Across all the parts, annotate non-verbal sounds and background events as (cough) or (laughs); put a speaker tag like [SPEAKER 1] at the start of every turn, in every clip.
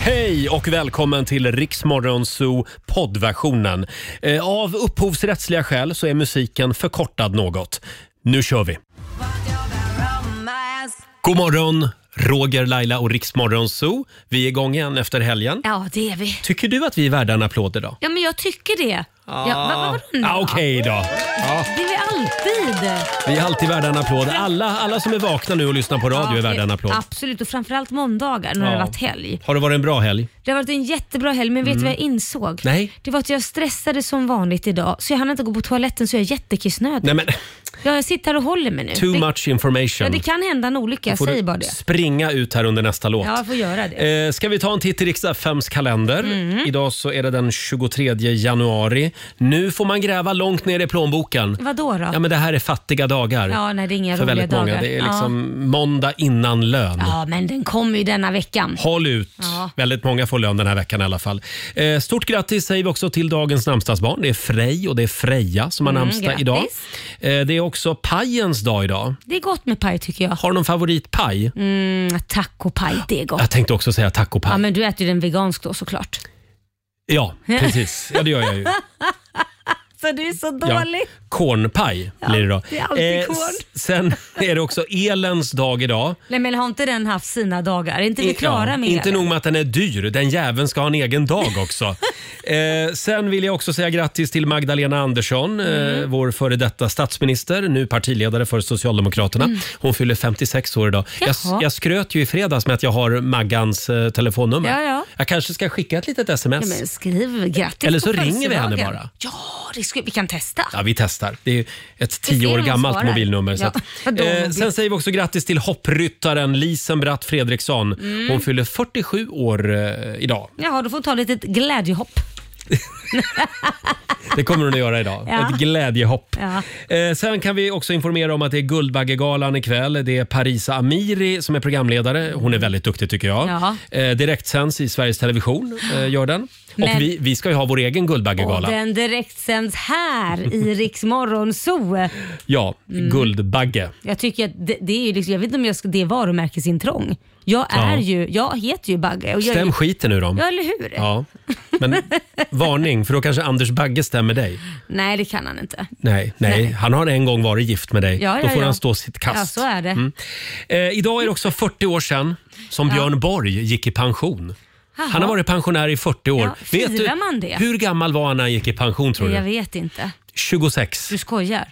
[SPEAKER 1] Hej och välkommen till Riksmorgon Zoo poddversionen. Eh, Av upphovsrättsliga skäl så är musiken förkortad något. Nu kör vi! God morgon, Roger, Laila och Riksmorgon Zoo. Vi är igång igen efter helgen.
[SPEAKER 2] Ja, det är vi.
[SPEAKER 1] Tycker du att vi är värda en applåd idag?
[SPEAKER 2] Ja, men jag tycker det. Ja, vad var det nu
[SPEAKER 1] ah,
[SPEAKER 2] då?
[SPEAKER 1] Okej då. Ja,
[SPEAKER 2] Det är vi alltid.
[SPEAKER 1] vi är alltid värda en applåd. Alla, alla som är vakna nu och lyssnar på radio är
[SPEAKER 2] Ja,
[SPEAKER 1] värda en applåd.
[SPEAKER 2] Absolut, och framförallt måndagar när det
[SPEAKER 1] Ja.
[SPEAKER 2] har varit helg.
[SPEAKER 1] Har det varit en bra helg?
[SPEAKER 2] Det har varit en jättebra helg, men vet du vad jag insåg?
[SPEAKER 1] Mm. Nej.
[SPEAKER 2] Det var att jag stressade som vanligt idag, så jag hann inte gå på toaletten så jag är jättekissnödig.
[SPEAKER 1] Nej men,
[SPEAKER 2] Ja, jag sitter här och håller mig nu.
[SPEAKER 1] too
[SPEAKER 2] det,
[SPEAKER 1] much information.
[SPEAKER 2] ja, det kan hända en olycka, jag
[SPEAKER 1] får
[SPEAKER 2] säger
[SPEAKER 1] du
[SPEAKER 2] bara det.
[SPEAKER 1] springa ut här under nästa låt.
[SPEAKER 2] Ja, jag får göra det.
[SPEAKER 1] Eh, ska vi ta en titt i riksdagsfems kalender?
[SPEAKER 2] Mm.
[SPEAKER 1] Idag så är det den 23 januari. Nu får man gräva långt ner i plånboken.
[SPEAKER 2] Vad då? då?
[SPEAKER 1] Ja, men det här är fattiga dagar.
[SPEAKER 2] Ja, nej, det är inga
[SPEAKER 1] för
[SPEAKER 2] roliga
[SPEAKER 1] väldigt många.
[SPEAKER 2] dagar.
[SPEAKER 1] Det är
[SPEAKER 2] Ja.
[SPEAKER 1] liksom måndag innan lön.
[SPEAKER 2] ja, men den kommer ju denna veckan.
[SPEAKER 1] Håll ut!
[SPEAKER 2] Ja.
[SPEAKER 1] Väldigt många får lön den här veckan i alla fall. Eh, stort grattis säger vi också till dagens namnsdagsbarn. Det är Frej och det är Freja som har
[SPEAKER 2] Mm,
[SPEAKER 1] namnsdag
[SPEAKER 2] grattis.
[SPEAKER 1] idag. Eh, det är också pajens dag idag.
[SPEAKER 2] Det är gott med paj tycker jag.
[SPEAKER 1] Har du någon favoritpaj?
[SPEAKER 2] Mm, tacopaj, det är gott.
[SPEAKER 1] Jag tänkte också säga tacopaj.
[SPEAKER 2] Ja, men du äter ju den vegansk då såklart.
[SPEAKER 1] Ja, precis. Ja, det gör
[SPEAKER 2] (laughs)
[SPEAKER 1] jag ju.
[SPEAKER 2] Så du är så
[SPEAKER 1] Ja. Kornpaj blir det då. Eh,
[SPEAKER 2] det är alltid korn.
[SPEAKER 1] s- Sen är det också elens dag idag.
[SPEAKER 2] Nej men har inte den haft sina dagar? Är inte vi klara
[SPEAKER 1] Ja,
[SPEAKER 2] med
[SPEAKER 1] inte
[SPEAKER 2] det?
[SPEAKER 1] nog med att den är dyr, den jäveln ska ha en egen dag
[SPEAKER 2] (laughs)
[SPEAKER 1] också. eh, sen vill jag också säga grattis till Magdalena Andersson,
[SPEAKER 2] Mm.
[SPEAKER 1] eh, vår före detta statsminister, nu partiledare för Socialdemokraterna. Hon fyller 56 år idag. Jag, s-
[SPEAKER 2] Mm. Jaha.
[SPEAKER 1] jag skröt ju i fredags med att jag har Maggans eh, telefonnummer.
[SPEAKER 2] Ja, ja.
[SPEAKER 1] Jag kanske ska skicka ett litet sms.
[SPEAKER 2] Ja, men skriv grattis
[SPEAKER 1] Eller så
[SPEAKER 2] på
[SPEAKER 1] ringer vi henne
[SPEAKER 2] födelsedagen.
[SPEAKER 1] bara.
[SPEAKER 2] Ja, det ska, vi kan testa.
[SPEAKER 1] Ja, vi testar. Det är ju ett
[SPEAKER 2] ser
[SPEAKER 1] tio år
[SPEAKER 2] hon
[SPEAKER 1] gammalt
[SPEAKER 2] svarar.
[SPEAKER 1] mobilnummer. Så
[SPEAKER 2] Ja,
[SPEAKER 1] att,
[SPEAKER 2] (laughs) vadå
[SPEAKER 1] eh,
[SPEAKER 2] mobil?
[SPEAKER 1] sen säger vi också grattis till hoppryttaren Lisen Bratt Fredriksson.
[SPEAKER 2] Mm.
[SPEAKER 1] Hon fyller 47 år eh, idag.
[SPEAKER 2] Jaha, då får du ta ett litet glädjehopp.
[SPEAKER 1] Det kommer hon att göra idag.
[SPEAKER 2] (laughs) Ja.
[SPEAKER 1] Ett glädjehopp.
[SPEAKER 2] Ja.
[SPEAKER 1] Eh, sen kan vi också informera om att det är Guldbaggegalan ikväll. Det är Parisa Amiri som är programledare. Hon är väldigt duktig tycker jag.
[SPEAKER 2] Ja.
[SPEAKER 1] Eh, direktsänds i Sveriges Television. Eh, gör den.
[SPEAKER 2] Men-
[SPEAKER 1] Och vi, vi ska ju ha vår egen
[SPEAKER 2] Och
[SPEAKER 1] Guldbaggegala.
[SPEAKER 2] den direktsänds
[SPEAKER 1] (laughs)
[SPEAKER 2] här i Rix Morgon Zoo.
[SPEAKER 1] Ja, Guldbagge.
[SPEAKER 2] Mm. Jag tycker att det, det är ju liksom, jag vet inte om jag ska, det är varumärkesintrång. Jag är
[SPEAKER 1] Ja.
[SPEAKER 2] ju, jag heter ju Bagge. Och jag,
[SPEAKER 1] Stäm skiten nu dem.
[SPEAKER 2] Ja, eller hur?
[SPEAKER 1] Ja, men varning för då kanske Anders Bagge stämmer dig.
[SPEAKER 2] Nej, det kan han inte.
[SPEAKER 1] Nej, nej, han har en gång varit gift med dig.
[SPEAKER 2] Ja,
[SPEAKER 1] då
[SPEAKER 2] ja,
[SPEAKER 1] får
[SPEAKER 2] ja.
[SPEAKER 1] han stå sitt kast.
[SPEAKER 2] Ja, så är det.
[SPEAKER 1] Eh, idag är det också 40 år sedan som Björn Borg gick i pension. Han har
[SPEAKER 2] Jaha.
[SPEAKER 1] varit pensionär i 40 år.
[SPEAKER 2] Ja, firar man det?
[SPEAKER 1] Hur gammal var han när han gick i pension tror
[SPEAKER 2] Jag
[SPEAKER 1] du?
[SPEAKER 2] vet inte.
[SPEAKER 1] 26.
[SPEAKER 2] Du skojar?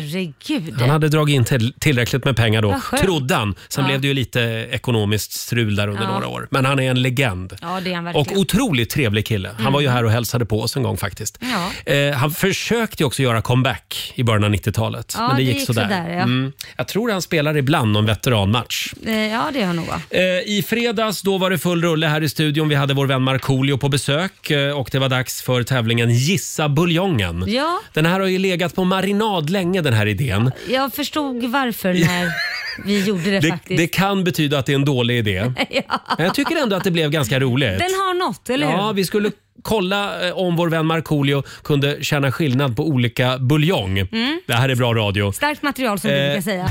[SPEAKER 2] Herregud.
[SPEAKER 1] Han hade dragit in till, tillräckligt med pengar då,
[SPEAKER 2] Vad skönt.
[SPEAKER 1] trodde han. Sen
[SPEAKER 2] Ja.
[SPEAKER 1] blev det ju lite ekonomiskt strul där under
[SPEAKER 2] Ja.
[SPEAKER 1] några år. Men han är en legend.
[SPEAKER 2] Ja, det är han verkligen. Mm.
[SPEAKER 1] Och otroligt trevlig kille. Han var ju här och hälsade på oss en gång faktiskt.
[SPEAKER 2] Ja.
[SPEAKER 1] Eh, han försökte ju också göra comeback i början av 90-talet.
[SPEAKER 2] Ja,
[SPEAKER 1] men det
[SPEAKER 2] det
[SPEAKER 1] gick,
[SPEAKER 2] gick
[SPEAKER 1] sådär.
[SPEAKER 2] sådär, ja.
[SPEAKER 1] mm. Jag tror han spelar ibland någon veteranmatch.
[SPEAKER 2] Eh, Ja, det gör han nog. va?
[SPEAKER 1] Eh, I fredags då var det full rulle här i studion. Vi hade vår vän Markoolio på besök eh, och det var dags för tävlingen Gissa buljongen.
[SPEAKER 2] Ja.
[SPEAKER 1] Den här har ju legat på marinad länge den här idén.
[SPEAKER 2] Jag förstod varför när vi gjorde det,
[SPEAKER 1] Det,
[SPEAKER 2] faktiskt.
[SPEAKER 1] det kan betyda att det är en dålig
[SPEAKER 2] (laughs)
[SPEAKER 1] idé. Men jag tycker ändå att det blev ganska roligt.
[SPEAKER 2] Den har något, eller
[SPEAKER 1] Ja,
[SPEAKER 2] hur?
[SPEAKER 1] vi skulle kolla eh, om vår vän Markoolio kunde känna skillnad på olika buljong.
[SPEAKER 2] Mm.
[SPEAKER 1] Det här är bra radio.
[SPEAKER 2] Starkt material som
[SPEAKER 1] Eh.
[SPEAKER 2] du brukar säga.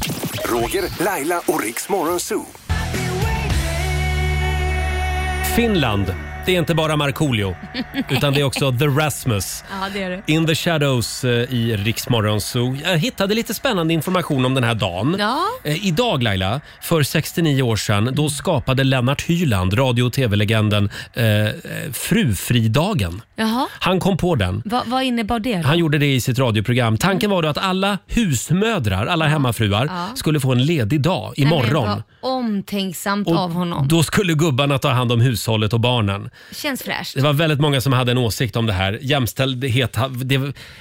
[SPEAKER 3] Roger, Laila och Riks Morgonzoo.
[SPEAKER 1] Finland, det är inte bara Markoolio
[SPEAKER 2] (laughs)
[SPEAKER 1] utan det är också The Rasmus.
[SPEAKER 2] Ja, det är det.
[SPEAKER 1] In the Shadows eh, i Riksmorgon Zoo. Jag hittade lite spännande information om den här dagen.
[SPEAKER 2] Ja.
[SPEAKER 1] Eh, Idag Laila, för 69 år sedan, då skapade Lennart Hyland, radio och tv-legenden, eh, eh, frufridagen.
[SPEAKER 2] Jaha,
[SPEAKER 1] Han kom på den.
[SPEAKER 2] Va, vad innebar det? då?
[SPEAKER 1] Han gjorde det i sitt radioprogram. Tanken var då att alla husmödrar, alla hemmafruar,
[SPEAKER 2] Ja.
[SPEAKER 1] skulle få en ledig dag imorgon.
[SPEAKER 2] Nej, men vad omtänksamt av honom.
[SPEAKER 1] Då skulle gubbarna ta hand om hushållet och barnen.
[SPEAKER 2] Känns fräscht.
[SPEAKER 1] Det var väldigt många som hade en åsikt om det här. Jämställdhet ha- det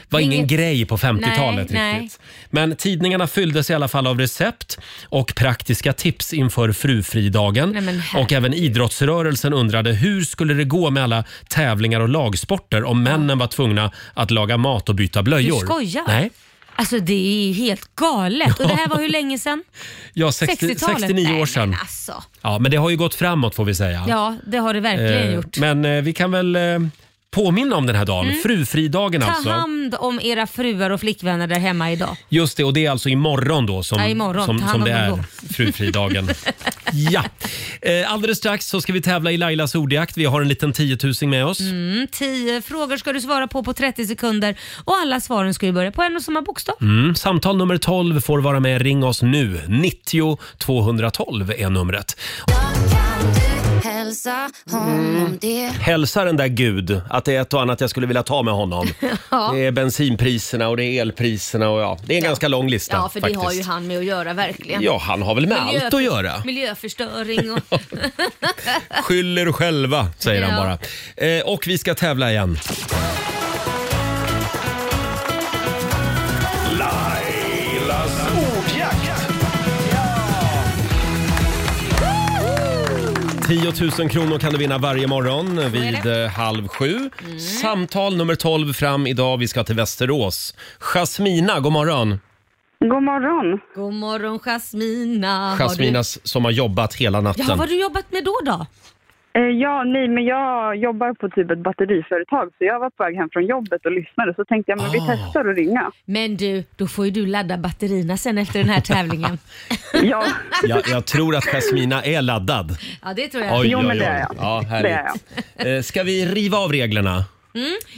[SPEAKER 1] var ingen
[SPEAKER 2] Inget-
[SPEAKER 1] grej på 50-talet
[SPEAKER 2] Nej, nej.
[SPEAKER 1] riktigt. Men tidningarna fylldes i alla fall av recept och praktiska tips inför frufridagen.
[SPEAKER 2] Nej, men herregud.
[SPEAKER 1] och även idrottsrörelsen undrade hur skulle det gå med alla tävlingar och lagsporter om männen var tvungna att laga mat och byta blöjor.
[SPEAKER 2] Du skojar?
[SPEAKER 1] Nej.
[SPEAKER 2] Alltså det är helt galet. Och det här var hur
[SPEAKER 1] (laughs)
[SPEAKER 2] länge sedan?
[SPEAKER 1] Ja, 60,
[SPEAKER 2] 60-talet?
[SPEAKER 1] 69
[SPEAKER 2] Nej,
[SPEAKER 1] år sedan.
[SPEAKER 2] Men alltså.
[SPEAKER 1] Ja, men det har ju gått framåt får vi säga.
[SPEAKER 2] Ja, det har det verkligen
[SPEAKER 1] Eh,
[SPEAKER 2] gjort. Mm.
[SPEAKER 1] Men eh, vi kan väl eh, påminna om den här dagen, frufridagen
[SPEAKER 2] Ta
[SPEAKER 1] alltså.
[SPEAKER 2] hand om era fruar och flickvänner där hemma idag.
[SPEAKER 1] Just det, och det är alltså imorgon då som,
[SPEAKER 2] Ja, imorgon.
[SPEAKER 1] som,
[SPEAKER 2] Ta hand
[SPEAKER 1] som
[SPEAKER 2] om
[SPEAKER 1] det
[SPEAKER 2] dem
[SPEAKER 1] är
[SPEAKER 2] då.
[SPEAKER 1] frufridagen. Ja. Eh, Alldeles strax så ska vi tävla i Lailas ordjakt. Vi har en liten tiotusing med oss.
[SPEAKER 2] Mm, tio frågor ska du svara på på 30 sekunder och alla svaren ska ju börja på en och samma bokstav.
[SPEAKER 1] Mm. Samtal nummer 12 får vara med. Ring oss nu. 90 212 är numret.
[SPEAKER 4] Hälsa honom det.
[SPEAKER 1] Hälsa den där Gud att det är ett och annat jag skulle vilja ta med honom. Det är bensinpriserna och det är elpriserna och ja, det är en ganska lång lista
[SPEAKER 4] Ja, för det
[SPEAKER 1] faktiskt.
[SPEAKER 4] har ju han med att göra verkligen.
[SPEAKER 1] Ja, han har väl med
[SPEAKER 4] Miljö-
[SPEAKER 1] allt att göra.
[SPEAKER 2] Miljöförstöring
[SPEAKER 1] (laughs)
[SPEAKER 2] och...
[SPEAKER 1] Skyller själva, säger han
[SPEAKER 2] Ja.
[SPEAKER 1] bara. Eh, och vi ska tävla igen.
[SPEAKER 3] Lailas ordjakt.
[SPEAKER 1] 10 000 kronor kan du vinna varje morgon vid eh, halv sju.
[SPEAKER 2] Mm.
[SPEAKER 1] Samtal nummer 12 fram idag. Vi ska till Västerås. Jasmina, god morgon.
[SPEAKER 5] God morgon.
[SPEAKER 2] God morgon Jasmina. Har
[SPEAKER 1] Jasminas som har jobbat hela
[SPEAKER 2] du... Ja, vad
[SPEAKER 1] natten.
[SPEAKER 2] har du jobbat med då då?
[SPEAKER 5] Eh, ja, nej, men jag jobbar på typ ett batteriföretag så jag var på väg hem från jobbet och lyssnade så tänkte jag men vi
[SPEAKER 1] Ah.
[SPEAKER 5] testar att ringa.
[SPEAKER 2] Men du, då får ju du ladda batterierna sen efter
[SPEAKER 1] (laughs)
[SPEAKER 2] den här tävlingen.
[SPEAKER 5] Ja,
[SPEAKER 1] Jag, jag tror att Jasmina är laddad.
[SPEAKER 2] Ja, det tror jag.
[SPEAKER 1] Oj,
[SPEAKER 5] Eh, Jo,
[SPEAKER 1] oj,
[SPEAKER 5] men
[SPEAKER 1] oj.
[SPEAKER 5] det är jag.
[SPEAKER 1] Ja,
[SPEAKER 5] det är jag.
[SPEAKER 1] härligt. Eh, Ska vi riva av reglerna? (laughs)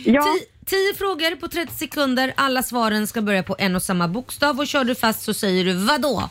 [SPEAKER 5] Ja,
[SPEAKER 2] Ti- Tio frågor på 30 sekunder. Alla svaren ska börja på en och samma bokstav och kör du fast så säger du vadå?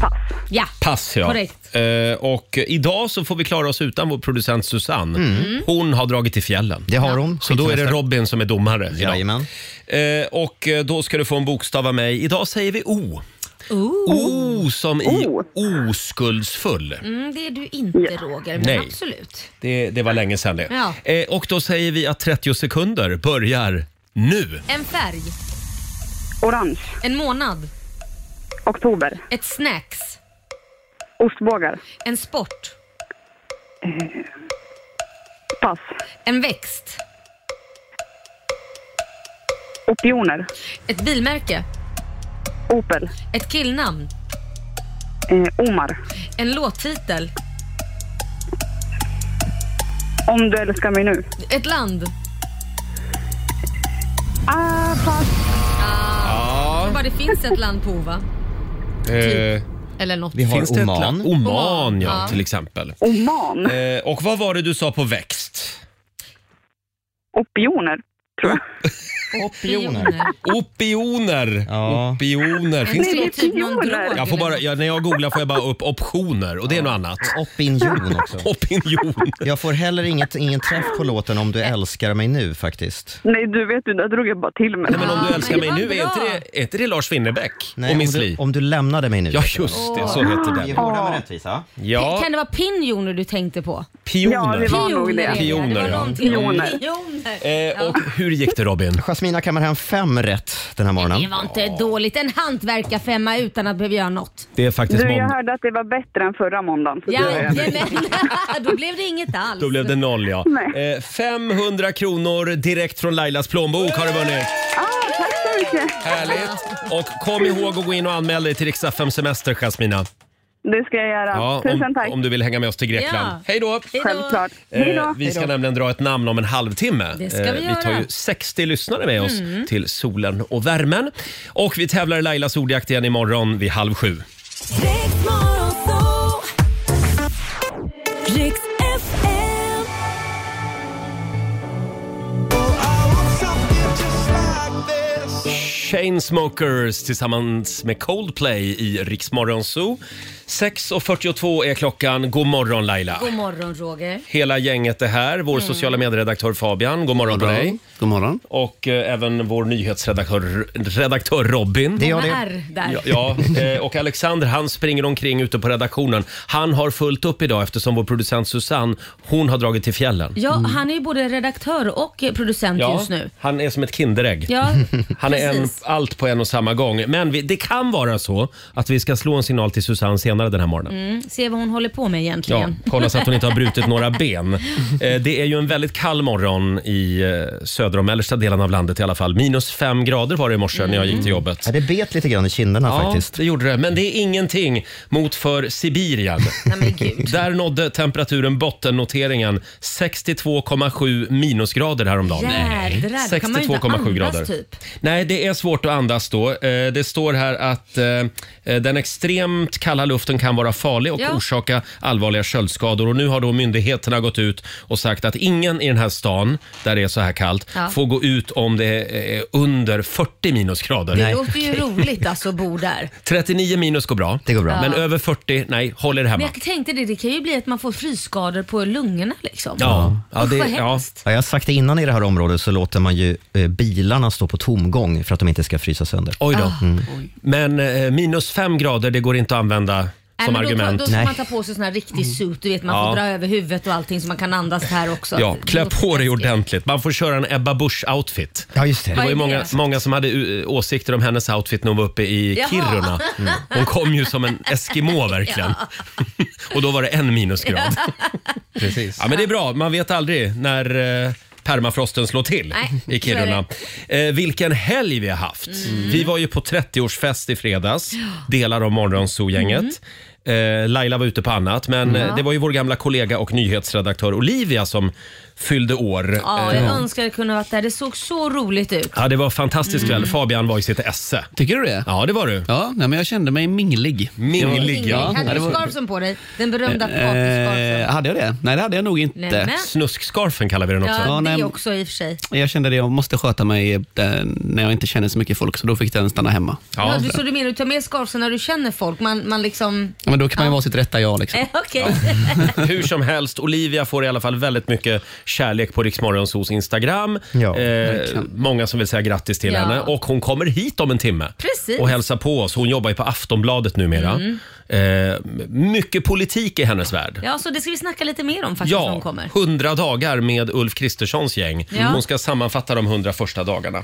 [SPEAKER 5] pass.
[SPEAKER 2] Ja.
[SPEAKER 1] Pass ja.
[SPEAKER 2] Korrekt.
[SPEAKER 1] Eh, Och idag så får vi klara oss utan vår producent Susanne. Hon har dragit till fjällen.
[SPEAKER 6] Det har hon.
[SPEAKER 1] Så då är det Robin som är domare. idag.
[SPEAKER 6] Jajamän.
[SPEAKER 1] Eh, och eh, då ska du få en bokstav av mig. Idag säger vi O.
[SPEAKER 2] Ooh.
[SPEAKER 1] O som i
[SPEAKER 5] O.
[SPEAKER 1] oskuldsfull.
[SPEAKER 2] Mm, det är du inte Roger, men
[SPEAKER 1] Nej.
[SPEAKER 2] absolut.
[SPEAKER 1] Det, det var länge sedan det.
[SPEAKER 2] Ja.
[SPEAKER 1] Eh, och då säger vi att 30 sekunder börjar nu.
[SPEAKER 2] En färg,
[SPEAKER 5] Orange.
[SPEAKER 2] en månad,
[SPEAKER 5] Oktober.
[SPEAKER 2] ett snacks,
[SPEAKER 5] Ostbågar.
[SPEAKER 2] en sport,
[SPEAKER 5] Pass.
[SPEAKER 2] en växt,
[SPEAKER 5] Opioner.
[SPEAKER 2] ett bilmärke,
[SPEAKER 5] Opel.
[SPEAKER 2] ett killnamn,
[SPEAKER 5] Eh, Omar.
[SPEAKER 2] en låttitel,
[SPEAKER 5] Om du älskar mig nu.
[SPEAKER 2] ett land.
[SPEAKER 5] Ah, pass.
[SPEAKER 2] Ja. Bara det finns ett land på O, va?
[SPEAKER 1] Eh,
[SPEAKER 5] Typ.
[SPEAKER 2] Eller något.
[SPEAKER 6] Vi har
[SPEAKER 1] finns det ett
[SPEAKER 6] Oman.
[SPEAKER 1] land? Oman,
[SPEAKER 2] Oman,
[SPEAKER 1] ja,
[SPEAKER 2] ja.
[SPEAKER 1] till exempel.
[SPEAKER 5] Oman.
[SPEAKER 1] Eh, och vad var det du sa på växt?
[SPEAKER 5] Opioner. Tror jag.
[SPEAKER 1] Mm.
[SPEAKER 6] Opioner.
[SPEAKER 1] Opioner.
[SPEAKER 6] Ja.
[SPEAKER 1] Opioner. Finns
[SPEAKER 2] Finns
[SPEAKER 1] det...
[SPEAKER 5] Nej,
[SPEAKER 2] det typ någon
[SPEAKER 5] opioner.
[SPEAKER 2] drog?
[SPEAKER 1] jag får bara,
[SPEAKER 2] eller-
[SPEAKER 1] ja, när jag googlar får jag bara upp optioner och det är något annat. (laughs)
[SPEAKER 6] Opinion också.
[SPEAKER 1] Opinion.
[SPEAKER 6] Jag får heller inget, ingen träff på låten om du älskar mig nu faktiskt.
[SPEAKER 5] Nej, du vet ju, där drog jag bara till mig.
[SPEAKER 1] Nej, men om du
[SPEAKER 2] Ja,
[SPEAKER 1] älskar
[SPEAKER 2] men
[SPEAKER 1] mig
[SPEAKER 2] det
[SPEAKER 1] nu,
[SPEAKER 2] var
[SPEAKER 1] är inte,
[SPEAKER 2] bra.
[SPEAKER 1] det, är inte det Lars Winnerbäck och
[SPEAKER 6] om,
[SPEAKER 1] Miss
[SPEAKER 6] du,
[SPEAKER 1] Li?
[SPEAKER 6] om du lämnade mig nu.
[SPEAKER 1] Ja, just det. Så heter
[SPEAKER 6] Vi är
[SPEAKER 1] den.
[SPEAKER 6] hårda med rättvisa.
[SPEAKER 1] Ja,
[SPEAKER 2] Kan det vara pinjoner du tänkte på?
[SPEAKER 5] Ja,
[SPEAKER 1] pioner.
[SPEAKER 5] det var nog
[SPEAKER 2] Pioner,
[SPEAKER 5] det.
[SPEAKER 2] är
[SPEAKER 1] Pioner,
[SPEAKER 2] det var
[SPEAKER 1] ja.
[SPEAKER 2] någonting.
[SPEAKER 5] Pioner.
[SPEAKER 2] Pioner.
[SPEAKER 1] Eh, och hur gick det Robin?
[SPEAKER 6] Jasmina kammar hem fem rätt den här
[SPEAKER 2] Det
[SPEAKER 6] morgonen.
[SPEAKER 2] var inte dåligt. En hantverkarfemma utan att behöva göra något.
[SPEAKER 1] Det är faktiskt
[SPEAKER 5] Du, jag
[SPEAKER 1] måndag.
[SPEAKER 5] hörde att det var bättre än förra måndagen. Så det är jag.
[SPEAKER 2] Jajamän, (laughs) då blev det inget alls.
[SPEAKER 1] Då blev det noll ja.
[SPEAKER 5] Nej.
[SPEAKER 1] Eh, 500 kronor direkt från Lailas plånbok har du vunnit.
[SPEAKER 5] ah, tack så mycket.
[SPEAKER 1] Härligt! Och kom ihåg att gå in och anmäla dig till Rix FM Semester Jasmina.
[SPEAKER 5] Det ska jag göra. Tusen
[SPEAKER 1] om,
[SPEAKER 5] tack.
[SPEAKER 1] om du vill hänga med oss till Grekland.
[SPEAKER 2] Ja.
[SPEAKER 1] Hej då!
[SPEAKER 2] Hej då.
[SPEAKER 5] Självklart. Hej då.
[SPEAKER 1] Eh, vi ska nämligen dra ett namn om en halvtimme. Eh,
[SPEAKER 2] Det ska vi
[SPEAKER 1] vi tar
[SPEAKER 2] göra. Mm.
[SPEAKER 1] ju 60 lyssnare med oss till solen och värmen. Och vi tävlar i Lailas ordjakt igen imorgon vid halv sju. Chainsmokers tillsammans med Coldplay i Rix Morgon Zoo. 6.42 är klockan. God morgon Laila!
[SPEAKER 2] God Mm. morgon Roger.
[SPEAKER 1] Hela gänget är här. Vår sociala medieredaktör Fabian, god morgon på dig.
[SPEAKER 7] God morgon.
[SPEAKER 1] Och eh, även vår nyhetsredaktör redaktör Robin.
[SPEAKER 6] Det är jag
[SPEAKER 2] Många
[SPEAKER 6] det.
[SPEAKER 2] R där.
[SPEAKER 1] Ja, ja, eh, och Alexander han springer omkring ute på redaktionen. Han har fullt upp idag eftersom vår producent Susanne, hon har dragit till fjällen.
[SPEAKER 2] Ja, han är ju både redaktör och producent just nu.
[SPEAKER 1] han är som ett Kinderägg.
[SPEAKER 2] Ja,
[SPEAKER 1] (laughs) Han är en,
[SPEAKER 2] precis.
[SPEAKER 1] allt på en och samma gång. Men vi, det kan vara så att vi ska slå en signal till Susanne senare den här morgonen.
[SPEAKER 2] Mm, se vad hon håller på med
[SPEAKER 1] Ja,
[SPEAKER 2] egentligen.
[SPEAKER 1] kolla så att hon inte har brutit
[SPEAKER 2] (laughs)
[SPEAKER 1] några ben. Eh, Det är ju en väldigt kall morgon i eh, södra och mellersta delen av landet i alla fall. Minus fem grader var det i morse när jag gick till
[SPEAKER 2] Mm.
[SPEAKER 1] jobbet.
[SPEAKER 6] Ja, det bet lite grann i kinderna faktiskt.
[SPEAKER 1] det gjorde det. Men det är ingenting mot för Sibirien.
[SPEAKER 2] (laughs) Nej men gud.
[SPEAKER 1] Där nådde temperaturen bottennoteringen 62,7 minusgrader häromdagen.
[SPEAKER 2] Jädrar, då kan man ju inte
[SPEAKER 1] 62,7
[SPEAKER 2] andas
[SPEAKER 1] grader.
[SPEAKER 2] typ.
[SPEAKER 1] Nej, det är svårt att andas då. Eh, Det står här att eh, eh, den extremt kalla luften kan vara farlig och
[SPEAKER 2] Ja.
[SPEAKER 1] orsaka allvarliga köldskador. Och nu har då myndigheterna gått ut och sagt att ingen i den här stan, där det är så här kallt,
[SPEAKER 2] Ja.
[SPEAKER 1] får gå ut om det är under 40 minusgrader.
[SPEAKER 2] Det låter
[SPEAKER 1] (laughs)
[SPEAKER 2] ju roligt alltså att bo där.
[SPEAKER 1] 39 minus går bra. Det går
[SPEAKER 2] bra.
[SPEAKER 1] Men
[SPEAKER 2] Ja.
[SPEAKER 1] över 40, nej, håll er
[SPEAKER 2] Men
[SPEAKER 1] hemma.
[SPEAKER 2] jag tänkte det, det kan ju bli att man får frysskador på lungorna liksom.
[SPEAKER 1] Ja, ja,
[SPEAKER 2] Usch,
[SPEAKER 1] det,
[SPEAKER 2] vad
[SPEAKER 1] ja.
[SPEAKER 2] hemskt.
[SPEAKER 6] Ja, jag har sagt det innan i det här området så låter man ju eh, bilarna stå på tomgång för att de inte ska frysa sönder.
[SPEAKER 1] Oj
[SPEAKER 2] Ah.
[SPEAKER 1] då. Men eh, minus fem grader, det går inte att använda
[SPEAKER 2] Nej,
[SPEAKER 1] som
[SPEAKER 2] Äh, men
[SPEAKER 1] argument. Mm.
[SPEAKER 2] Då, tar, då ska man ta på sig sån här riktig suit, du vet man får
[SPEAKER 1] Ja.
[SPEAKER 2] dra över huvudet och allting så man kan andas här också.
[SPEAKER 1] Ja,
[SPEAKER 2] Det
[SPEAKER 1] klä
[SPEAKER 2] låter
[SPEAKER 1] på dig
[SPEAKER 2] läskigt.
[SPEAKER 1] ordentligt. Man får köra en Ebba Busch-outfit.
[SPEAKER 6] Ja, just
[SPEAKER 1] Det var ju
[SPEAKER 2] Vad är
[SPEAKER 1] många,
[SPEAKER 2] det?
[SPEAKER 1] många som hade eh, åsikter om hennes outfit när hon var uppe i
[SPEAKER 2] Jaha.
[SPEAKER 1] Kiruna. Mm. Hon kom ju som en
[SPEAKER 2] (laughs)
[SPEAKER 1] eskimo verkligen. (laughs) Och då var det en minusgrad.
[SPEAKER 6] Precis.
[SPEAKER 1] Ja, men det är bra. Man vet aldrig när eh, permafrosten slår till
[SPEAKER 2] Nej,
[SPEAKER 1] i Kiruna. Eh, vilken helg vi har haft.
[SPEAKER 2] Mm.
[SPEAKER 1] Vi var ju på 30-årsfest i fredags, delar av
[SPEAKER 2] Mm.
[SPEAKER 1] Morgonzoo-gänget. Eh, Laila var ute på annat, men eh, det var ju vår gamla kollega och nyhetsredaktör Olivia som fyllde år.
[SPEAKER 2] Ja,
[SPEAKER 1] Eh,
[SPEAKER 2] jag önskar jag kunde varit där. Det såg så roligt ut.
[SPEAKER 1] Ja, det var en fantastisk
[SPEAKER 2] Mm.
[SPEAKER 1] kväll. Fabian var i sitt esse.
[SPEAKER 7] Tycker du det?
[SPEAKER 1] Ja, det var du.
[SPEAKER 7] Ja, nej, men jag kände mig minglig.
[SPEAKER 1] Minglig, ja.
[SPEAKER 2] Hade
[SPEAKER 7] det
[SPEAKER 2] du
[SPEAKER 7] var-
[SPEAKER 2] scarfen på dig? Den berömda
[SPEAKER 7] Eh,
[SPEAKER 2] partyscarfen.
[SPEAKER 7] hade jag det? Nej, det hade jag nog inte.
[SPEAKER 2] Nej, men-
[SPEAKER 1] Snuskscarfen kallar vi den också.
[SPEAKER 2] Ja,
[SPEAKER 7] Ja,
[SPEAKER 2] det
[SPEAKER 7] nej,
[SPEAKER 2] är också i och för sig.
[SPEAKER 7] Jag kände det, jag måste sköta mig eh, när jag inte känner så mycket folk, så då fick den stanna hemma.
[SPEAKER 2] Ja,
[SPEAKER 1] Ja.
[SPEAKER 2] du, så du menar du tar med scarfen när du känner folk? Man, man liksom...
[SPEAKER 7] Ja, men då kan man ju vara sitt rätta jag. Liksom.
[SPEAKER 2] (laughs) Eh, Okej.
[SPEAKER 1] Hur som helst, Olivia får i alla fall väldigt mycket kärlek på Riksmorgonsos Instagram.
[SPEAKER 6] Ja,
[SPEAKER 1] eh, många som vill säga grattis till
[SPEAKER 2] Ja.
[SPEAKER 1] henne. Och hon kommer hit om en timme
[SPEAKER 2] Precis. Mm.
[SPEAKER 1] och hälsar på oss. Hon jobbar ju på Aftonbladet numera. Eh, mycket politik i hennes värld.
[SPEAKER 2] Ja, så det ska vi snacka lite mer om faktiskt när hon
[SPEAKER 1] Ja,
[SPEAKER 2] kommer.
[SPEAKER 1] 100 dagar med Ulf Kristerssons gäng.
[SPEAKER 2] Ja.
[SPEAKER 1] Hon ska sammanfatta de 100 första dagarna.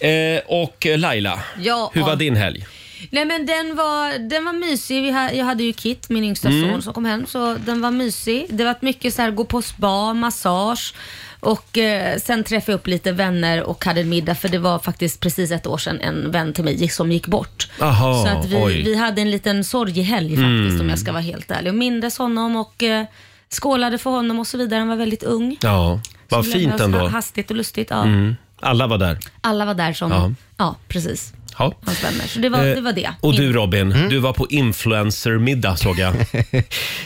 [SPEAKER 1] Eh, och Laila,
[SPEAKER 2] Ja.
[SPEAKER 1] hur var din helg?
[SPEAKER 2] Nej men den var, den var mysig. Vi ha, jag hade ju Kit, min yngsta
[SPEAKER 1] Mm.
[SPEAKER 2] son som kom hem, så den var mysig. Det var mycket så här gå på spa, massage och eh, sen träffade jag upp lite vänner och hade en middag för det var faktiskt precis ett år sedan en vän till mig gick- som gick bort.
[SPEAKER 1] Aha,
[SPEAKER 2] så att vi,
[SPEAKER 1] oj. Mm.
[SPEAKER 2] vi hade en liten sorgehelg faktiskt om jag ska vara helt ärlig. Och mindes honom och eh, skålade för honom och så vidare. Han var väldigt ung.
[SPEAKER 1] Ja, vad
[SPEAKER 2] Så lämnade
[SPEAKER 1] fint
[SPEAKER 2] oss
[SPEAKER 1] ändå.
[SPEAKER 2] Hastigt och lustigt. Ja.
[SPEAKER 1] Mm. Alla var där.
[SPEAKER 2] Alla var där som,
[SPEAKER 1] Ja.
[SPEAKER 2] ja, precis,
[SPEAKER 1] Ja.
[SPEAKER 2] hans vänner. Så det var
[SPEAKER 1] Eh,
[SPEAKER 2] det. Var det. Mm.
[SPEAKER 1] Och du Robin, du var på influencermiddag såg jag.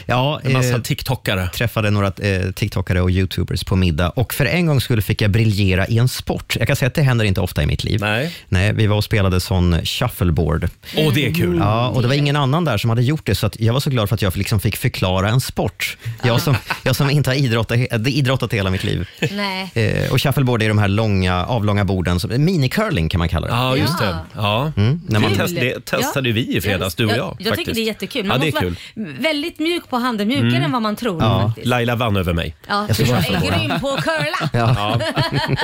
[SPEAKER 6] Ja,
[SPEAKER 1] En massa
[SPEAKER 6] eh,
[SPEAKER 1] tiktokare.
[SPEAKER 6] träffade några eh, TikTokare och YouTubers på middag och för en gång skulle fick jag briljera i en sport. Jag kan säga att det händer inte ofta i mitt liv.
[SPEAKER 1] Nej.
[SPEAKER 6] Nej, vi var och spelade sån shuffleboard.
[SPEAKER 1] Åh, det är kul.
[SPEAKER 6] Ja, och det var ingen annan där som hade gjort det, så att jag var så glad för att jag liksom fick förklara en sport. Jag som, jag som inte har idrottat, he- idrottat hela mitt liv.
[SPEAKER 2] Nej.
[SPEAKER 6] Eh, och shuffleboard är de här långa, avlånga borden, som- minicurling kan man kalla det.
[SPEAKER 1] Ja, just
[SPEAKER 2] Ja.
[SPEAKER 1] det. Ja.
[SPEAKER 6] När man
[SPEAKER 1] Det,
[SPEAKER 2] Kul.
[SPEAKER 1] Mm. test, det testade ju vi i fredags, du och jag.
[SPEAKER 2] Jag, jag tycker
[SPEAKER 1] faktiskt.
[SPEAKER 2] det är jättekul.
[SPEAKER 1] Ja,
[SPEAKER 2] Man
[SPEAKER 1] det är
[SPEAKER 2] måste
[SPEAKER 1] kul. Mm.
[SPEAKER 2] vara väldigt mjuk på handen, mjukare än vad man tror.
[SPEAKER 6] Ja.
[SPEAKER 2] faktiskt.
[SPEAKER 1] Laila vann över mig.
[SPEAKER 2] Ja,
[SPEAKER 6] Jag
[SPEAKER 2] du
[SPEAKER 6] ska bara
[SPEAKER 2] är
[SPEAKER 6] förlora.
[SPEAKER 2] grym på att curla.
[SPEAKER 1] (laughs) Ja.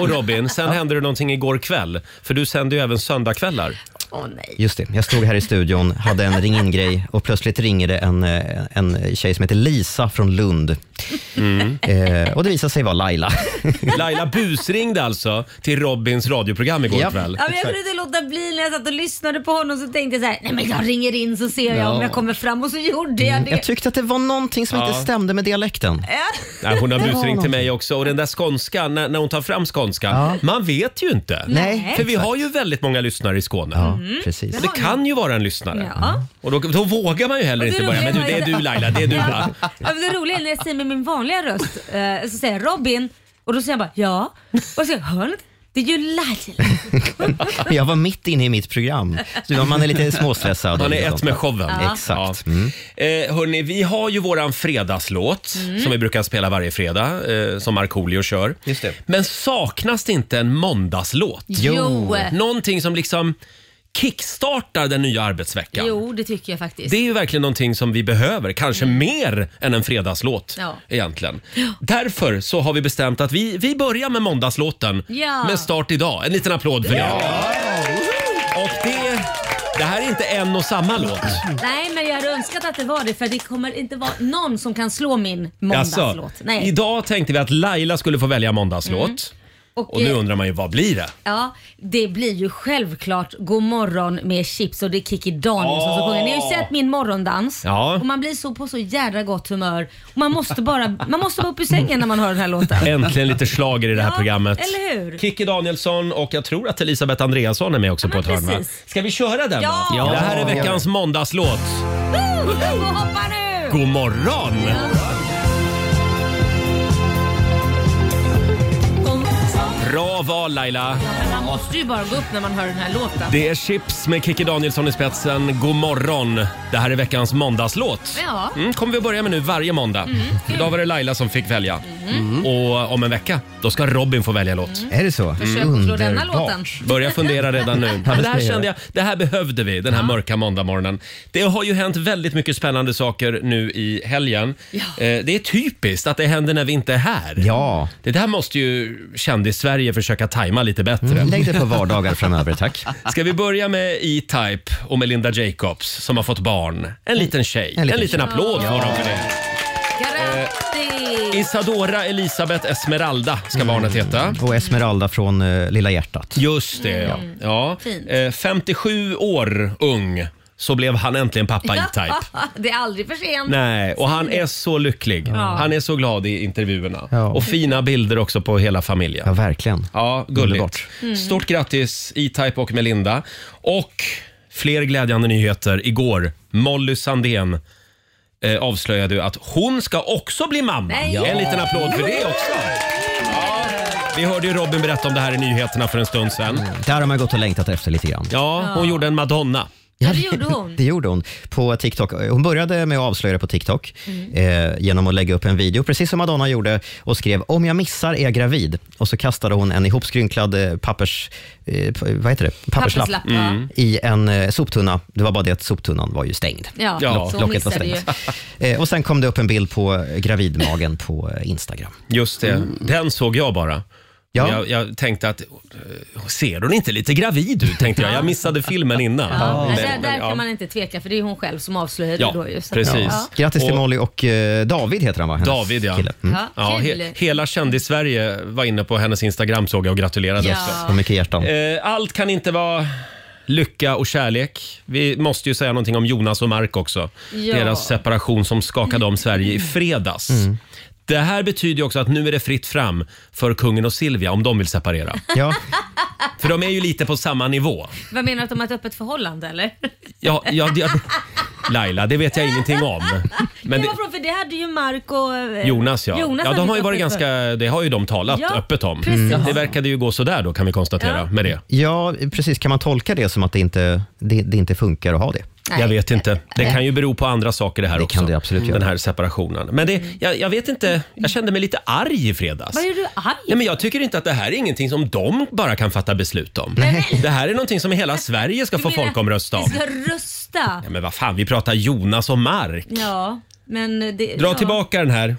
[SPEAKER 1] Och Robin, sen hände det någonting igår kväll. För du sänder ju även söndagkvällar.
[SPEAKER 2] (laughs) Åh nej.
[SPEAKER 6] Just det, jag stod här i studion, hade en ring in-grej och plötsligt ringer det en, eh, en tjej som heter Lisa från Lund.
[SPEAKER 1] Mm.
[SPEAKER 6] Eh, och det visade sig vara Laila.
[SPEAKER 1] Laila busringde alltså till Robins radioprogram igår
[SPEAKER 6] Japp.
[SPEAKER 1] kväll.
[SPEAKER 2] Ja, men jag kunde inte låta bli när jag satt och lyssnade på honom så tänkte jag så här, nej men jag ringer in så ser jag om jag kommer fram och så gjorde
[SPEAKER 1] Mm.
[SPEAKER 2] jag det.
[SPEAKER 6] Jag tyckte att det var någonting som inte stämde med dialekten.
[SPEAKER 1] Nej, hon har
[SPEAKER 6] Det var
[SPEAKER 1] busringt till
[SPEAKER 6] någonting.
[SPEAKER 1] mig också. Och den där skånskan, när, när hon tar fram skånskan.
[SPEAKER 6] Ja.
[SPEAKER 1] Man vet ju inte.
[SPEAKER 6] Nej.
[SPEAKER 1] För vi har ju väldigt många lyssnare i Skåne.
[SPEAKER 6] Ja, precis.
[SPEAKER 1] Det kan ju vara en lyssnare.
[SPEAKER 2] Ja.
[SPEAKER 1] Och då, då vågar man ju heller
[SPEAKER 2] Och det
[SPEAKER 1] inte börja. Men du,
[SPEAKER 2] roliga
[SPEAKER 1] det är
[SPEAKER 2] var
[SPEAKER 1] du
[SPEAKER 2] ju-
[SPEAKER 1] Laila, det är du va?
[SPEAKER 2] Ja, men det roliga är när jag säger med min vanliga röst, eh, så säger jag Robin och då säger jag bara ja. Och så säger jag, hör ni inte? Det är ju Laila.
[SPEAKER 6] Jag var mitt inne i mitt program. Så man är lite småstressad.
[SPEAKER 1] Man är
[SPEAKER 6] och
[SPEAKER 1] ett
[SPEAKER 6] sånt.
[SPEAKER 1] med showen.
[SPEAKER 6] Ja. Exakt. Mm.
[SPEAKER 1] Ja. Eh, hörni, vi har ju våran fredagslåt
[SPEAKER 2] Mm.
[SPEAKER 1] som vi brukar spela varje fredag, eh, som Markoolio kör.
[SPEAKER 6] Just det.
[SPEAKER 1] Men saknas det inte en måndagslåt?
[SPEAKER 2] Jo.
[SPEAKER 1] Någonting som liksom kickstartar den nya arbetsveckan.
[SPEAKER 2] Jo, det tycker jag faktiskt. Mm.
[SPEAKER 1] Det är ju verkligen någonting som vi behöver, kanske mer än en fredagslåt
[SPEAKER 2] Ja.
[SPEAKER 1] egentligen. Därför så har vi bestämt att vi, vi börjar med måndagslåten
[SPEAKER 2] Ja.
[SPEAKER 1] med start idag. En liten applåd för det. Och det, det här är inte en och samma låt.
[SPEAKER 2] Nej, men jag hade önskat att det var det för det kommer inte vara någon som kan slå min (laughs) måndagslåt.
[SPEAKER 1] Jaså,
[SPEAKER 2] Nej.
[SPEAKER 1] Idag tänkte vi att Laila skulle få välja måndagslåt.
[SPEAKER 2] Och,
[SPEAKER 1] Och nu
[SPEAKER 2] eh,
[SPEAKER 1] undrar man ju, vad blir det?
[SPEAKER 2] Ja, det blir ju självklart God morgon med chips och det är Kikki Danielsson som
[SPEAKER 1] Åh!
[SPEAKER 2] sjunger. Ni har ju sett min morgondans
[SPEAKER 1] Ja.
[SPEAKER 2] och man blir så på så jädra gott humör. Och man måste bara man måste vara uppe i sängen när man hör den
[SPEAKER 1] (laughs)
[SPEAKER 2] här låten.
[SPEAKER 1] Äntligen lite slager i det här
[SPEAKER 2] Ja,
[SPEAKER 1] programmet.
[SPEAKER 2] eller hur?
[SPEAKER 1] Kikki Danielsson och jag tror att Elisabeth Andreasson är med också på
[SPEAKER 2] men
[SPEAKER 1] ett hörn. va?
[SPEAKER 2] precis.
[SPEAKER 1] Ska vi köra den
[SPEAKER 2] Ja!
[SPEAKER 1] då? Det här är veckans måndagslåt.
[SPEAKER 2] Woo! Upp och hoppa nu!
[SPEAKER 1] God morgon! Bra val Laila!
[SPEAKER 2] Men man måste ju bara gå upp när man hör den här låten.
[SPEAKER 1] Det är Chips med Kikki Danielsson i spetsen. God morgon! Det här är veckans måndagslåt.
[SPEAKER 2] Ja.
[SPEAKER 1] Mm, kommer vi att börja med nu varje måndag. Idag var det Laila som fick välja. Mm. Och om en vecka, då ska Robin få välja låt.
[SPEAKER 6] Är det så?
[SPEAKER 2] Försök att slå denna låten.
[SPEAKER 1] Börja fundera redan nu. Men det här
[SPEAKER 6] ska jag
[SPEAKER 1] kände jag, det här behövde vi den här mörka måndagmorgonen. Det har ju hänt väldigt mycket spännande saker nu i helgen. Eh, Det är typiskt att det händer när vi inte är här.
[SPEAKER 6] Ja.
[SPEAKER 1] Det där måste ju kändis-Sverige försöka tajma lite bättre.
[SPEAKER 6] Lägg det på vardagar framöver, tack.
[SPEAKER 1] Ska vi börja med E-Type och Melinda Jacobs som har fått barn. En liten tjej. En
[SPEAKER 6] En
[SPEAKER 1] liten,
[SPEAKER 6] liten
[SPEAKER 1] applåd får de för det. Eh,
[SPEAKER 2] Grattis!
[SPEAKER 1] Isadora Elisabeth Esmeralda ska
[SPEAKER 6] Mm.
[SPEAKER 1] barnet heta.
[SPEAKER 6] Och Esmeralda från eh, Lilla hjärtat.
[SPEAKER 1] Just det, ja.
[SPEAKER 6] Mm.
[SPEAKER 1] ja.
[SPEAKER 2] Fint.
[SPEAKER 1] Eh, 57 år ung så blev han äntligen pappa E-Type.
[SPEAKER 2] (laughs) det är aldrig för sent.
[SPEAKER 1] Nej, och han är så lycklig. Han är så glad i intervjuerna.
[SPEAKER 6] Ja.
[SPEAKER 1] Och fina bilder också på hela familjen.
[SPEAKER 6] Ja, verkligen.
[SPEAKER 1] Ja, gulligt.
[SPEAKER 6] Underbart.
[SPEAKER 1] Stort grattis E-Type och Melinda. Och fler glädjande nyheter igår. Molly Sandén eh, avslöjade ju att hon ska också bli mamma.
[SPEAKER 2] Nej.
[SPEAKER 1] En liten applåd för det också. Ja, vi hörde ju Robin berätta om det här i nyheterna för en stund sedan.
[SPEAKER 6] Där har man gått och längtat efter lite grann.
[SPEAKER 1] Ja, hon gjorde en Madonna.
[SPEAKER 2] Ja, det gjorde hon.
[SPEAKER 6] (laughs) Det gjorde hon på TikTok. Hon började med att avslöja det på TikTok
[SPEAKER 2] Mm.
[SPEAKER 6] eh, genom att lägga upp en video, precis som Madonna gjorde, och skrev “Om jag missar är jag gravid” och så kastade hon en ihopskrynklad eh, pappers, eh, p- vad heter det? papperslapp,
[SPEAKER 2] Papperslapp, ja.
[SPEAKER 1] Mm.
[SPEAKER 6] i en eh, soptunna. Det var bara det att soptunnan var ju stängd.
[SPEAKER 2] Ja,
[SPEAKER 1] Ja,
[SPEAKER 2] så
[SPEAKER 6] Locket var
[SPEAKER 2] missade ju.
[SPEAKER 6] stängt. (laughs) Eh, och sen kom det upp en bild på eh, gravidmagen på eh, Instagram.
[SPEAKER 1] Just det. Den såg jag bara.
[SPEAKER 6] Ja.
[SPEAKER 1] Jag, jag tänkte att, eh, ser hon inte lite gravid ut? Tänkte jag. Jag missade filmen innan.
[SPEAKER 2] Ja,
[SPEAKER 1] Men-
[SPEAKER 2] Där, där
[SPEAKER 1] men, ja.
[SPEAKER 2] kan man inte tveka för det är hon själv som avslöjar det
[SPEAKER 1] Ja,
[SPEAKER 2] då ju. Så att-
[SPEAKER 1] precis.
[SPEAKER 2] Ja.
[SPEAKER 6] Grattis till
[SPEAKER 1] Och-
[SPEAKER 6] Molly och eh, David heter han va? Hennes
[SPEAKER 1] David, ja.
[SPEAKER 6] Kille. Mm.
[SPEAKER 2] Ja,
[SPEAKER 1] Ja,
[SPEAKER 2] kul.
[SPEAKER 1] he hela kändis-Sverige var inne på hennes Instagram såg jag och gratulerade
[SPEAKER 2] Ja.
[SPEAKER 1] också.
[SPEAKER 6] Så mycket hjärtan.
[SPEAKER 1] Eh, Allt kan inte vara lycka och kärlek. Vi måste ju säga någonting om Jonas och Mark också.
[SPEAKER 2] Ja.
[SPEAKER 1] Deras separation som skakade om Sverige i fredags. Det här betyder ju också att nu är det fritt fram för kungen och Silvia om de vill separera.
[SPEAKER 6] Ja.
[SPEAKER 1] För de är ju lite på samma nivå.
[SPEAKER 2] Vad menar du att de har ett öppet förhållande
[SPEAKER 1] (laughs)
[SPEAKER 2] eller?
[SPEAKER 1] Ja, ja, det- Laila, det vet jag ingenting om. Men
[SPEAKER 2] det
[SPEAKER 1] det,
[SPEAKER 2] var från, för det hade ju Mark och eh,
[SPEAKER 1] Jonas ja.
[SPEAKER 2] Jonas
[SPEAKER 1] ja
[SPEAKER 2] hade
[SPEAKER 1] de har ju
[SPEAKER 2] ett
[SPEAKER 1] varit
[SPEAKER 2] öppet för-
[SPEAKER 1] ganska, det har ju de talat
[SPEAKER 2] Ja,
[SPEAKER 1] öppet om. Mm.
[SPEAKER 2] precis.
[SPEAKER 1] Det verkade ju gå sådär då kan vi konstatera
[SPEAKER 2] Ja.
[SPEAKER 1] med det.
[SPEAKER 6] ja, precis. Kan man tolka det som att det inte, det, det inte funkar att ha det?
[SPEAKER 2] Nej.
[SPEAKER 1] Jag vet inte. Det kan ju bero på andra saker det här
[SPEAKER 6] Det
[SPEAKER 1] också.
[SPEAKER 6] kan det absolut
[SPEAKER 1] Den
[SPEAKER 6] göra.
[SPEAKER 1] här separationen. Men det, jag, jag vet inte, jag kände mig lite arg i fredags.
[SPEAKER 2] Vad är du arg
[SPEAKER 1] Ja, men jag tycker inte att det här är ingenting som de bara kan fatta beslut om. Det här är någonting som hela Sverige ska
[SPEAKER 2] Du
[SPEAKER 1] få
[SPEAKER 2] menar
[SPEAKER 1] folkomrösta
[SPEAKER 2] Vi
[SPEAKER 1] om.
[SPEAKER 2] ska rösta.
[SPEAKER 1] Ja, men vad fan, vi pratar Jonas och Mark.
[SPEAKER 2] Ja, men det,
[SPEAKER 1] Dra
[SPEAKER 2] ja.
[SPEAKER 1] tillbaka den här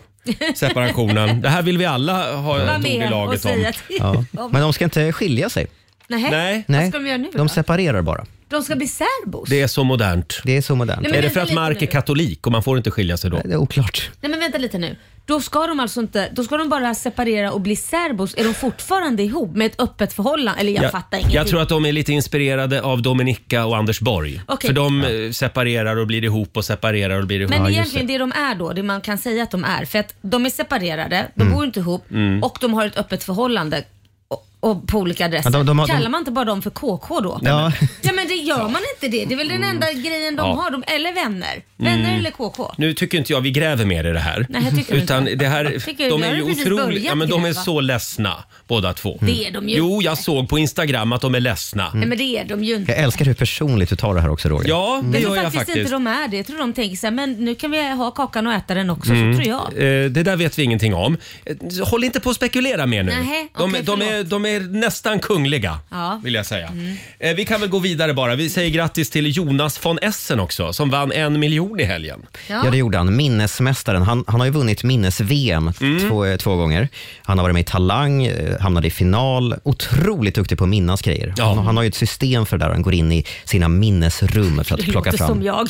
[SPEAKER 1] separationen. Det här vill vi alla ha
[SPEAKER 2] Var
[SPEAKER 1] ett ord i
[SPEAKER 2] med och
[SPEAKER 1] laget om.
[SPEAKER 2] säga till.
[SPEAKER 6] Ja.
[SPEAKER 2] om-
[SPEAKER 6] Men de ska inte skilja sig.
[SPEAKER 2] Nej.
[SPEAKER 1] Nej.
[SPEAKER 2] Vad ska de göra nu då?
[SPEAKER 6] De separerar bara.
[SPEAKER 2] De ska bli särbos?
[SPEAKER 1] Det är så modernt.
[SPEAKER 6] Det är så modernt.
[SPEAKER 2] Nej,
[SPEAKER 1] Är
[SPEAKER 2] men-
[SPEAKER 1] det för
[SPEAKER 2] vänta
[SPEAKER 1] att
[SPEAKER 2] lite
[SPEAKER 1] Mark
[SPEAKER 2] nu.
[SPEAKER 1] är katolik och man får inte skilja sig då?
[SPEAKER 6] Det är oklart.
[SPEAKER 2] Nej men vänta lite nu. Då ska de alltså inte, då ska de bara separera och bli särbos. Är de fortfarande ihop med ett öppet förhållande? Eller jag, fattar ingenting.
[SPEAKER 1] jag tror att de är lite inspirerade av Dominika och Anders Borg.
[SPEAKER 2] Okej.
[SPEAKER 1] För de eh, separerar och blir ihop och separerar och blir ihop.
[SPEAKER 2] Men
[SPEAKER 1] Ja, just
[SPEAKER 2] egentligen det. de är då, det man kan säga att de är, för att de är separerade, de
[SPEAKER 1] Mm.
[SPEAKER 2] bor inte ihop och de har ett öppet förhållande och, och på olika adresser.
[SPEAKER 6] Ja, de- de har-
[SPEAKER 2] Kallar
[SPEAKER 6] de-
[SPEAKER 2] man inte bara dem för KK då?
[SPEAKER 6] Ja.
[SPEAKER 2] Ja men det gör man inte det. Det är väl den enda grejen de
[SPEAKER 1] Mm. Ja. Mm.
[SPEAKER 2] har, de, eller vänner. Vänner eller KK.
[SPEAKER 1] Nu tycker inte jag vi gräver mer i det här.
[SPEAKER 2] Nej, jag tycker
[SPEAKER 1] Utan
[SPEAKER 2] inte.
[SPEAKER 1] det här,
[SPEAKER 2] Jag tycker
[SPEAKER 1] de
[SPEAKER 2] vi
[SPEAKER 1] är
[SPEAKER 2] har
[SPEAKER 1] ju
[SPEAKER 2] ju precis
[SPEAKER 1] otroligt,
[SPEAKER 2] börjat
[SPEAKER 1] ja, men de är
[SPEAKER 2] gräva.
[SPEAKER 1] så ledsna båda två.
[SPEAKER 2] Det är de ju Mm.
[SPEAKER 1] Jo,
[SPEAKER 2] inte.
[SPEAKER 1] jag såg på Instagram att de är ledsna.
[SPEAKER 2] Nej men det är de ju inte.
[SPEAKER 6] Jag älskar hur personligt du tar det här också Roger.
[SPEAKER 1] Ja, det gör
[SPEAKER 2] Jag tror
[SPEAKER 1] jag
[SPEAKER 2] faktiskt,
[SPEAKER 1] faktiskt.
[SPEAKER 2] inte de är det. Jag tror de tänker så här, men nu kan vi ha kakan och äta den också, så tror jag.
[SPEAKER 1] Eh, Det där vet vi ingenting om. Eh, Håll inte på att spekulera mer nu.
[SPEAKER 2] Nähä,
[SPEAKER 1] de,
[SPEAKER 2] okej,
[SPEAKER 1] de, är,
[SPEAKER 2] förlåt.
[SPEAKER 1] de är nästan kungliga,
[SPEAKER 2] Ja. Mm.
[SPEAKER 1] vill jag säga. Eh, Vi kan väl gå vidare bara. Vi säger grattis till Jonas von Essen också, som vann en miljon vann i helgen.
[SPEAKER 6] Ja. det gjorde han. Minnesmästaren. Han, han har ju vunnit minnes-VM
[SPEAKER 1] Mm.
[SPEAKER 6] två, eh, två gånger. Han har varit med i Talang, eh, hamnade i final. Otroligt duktig på att minnas grejer.
[SPEAKER 1] Ja.
[SPEAKER 6] Han, han har ju ett system för det där. Han går in i sina minnesrum för att
[SPEAKER 2] Det
[SPEAKER 6] (laughs) plocka
[SPEAKER 2] låter som
[SPEAKER 6] fram.
[SPEAKER 2] jag.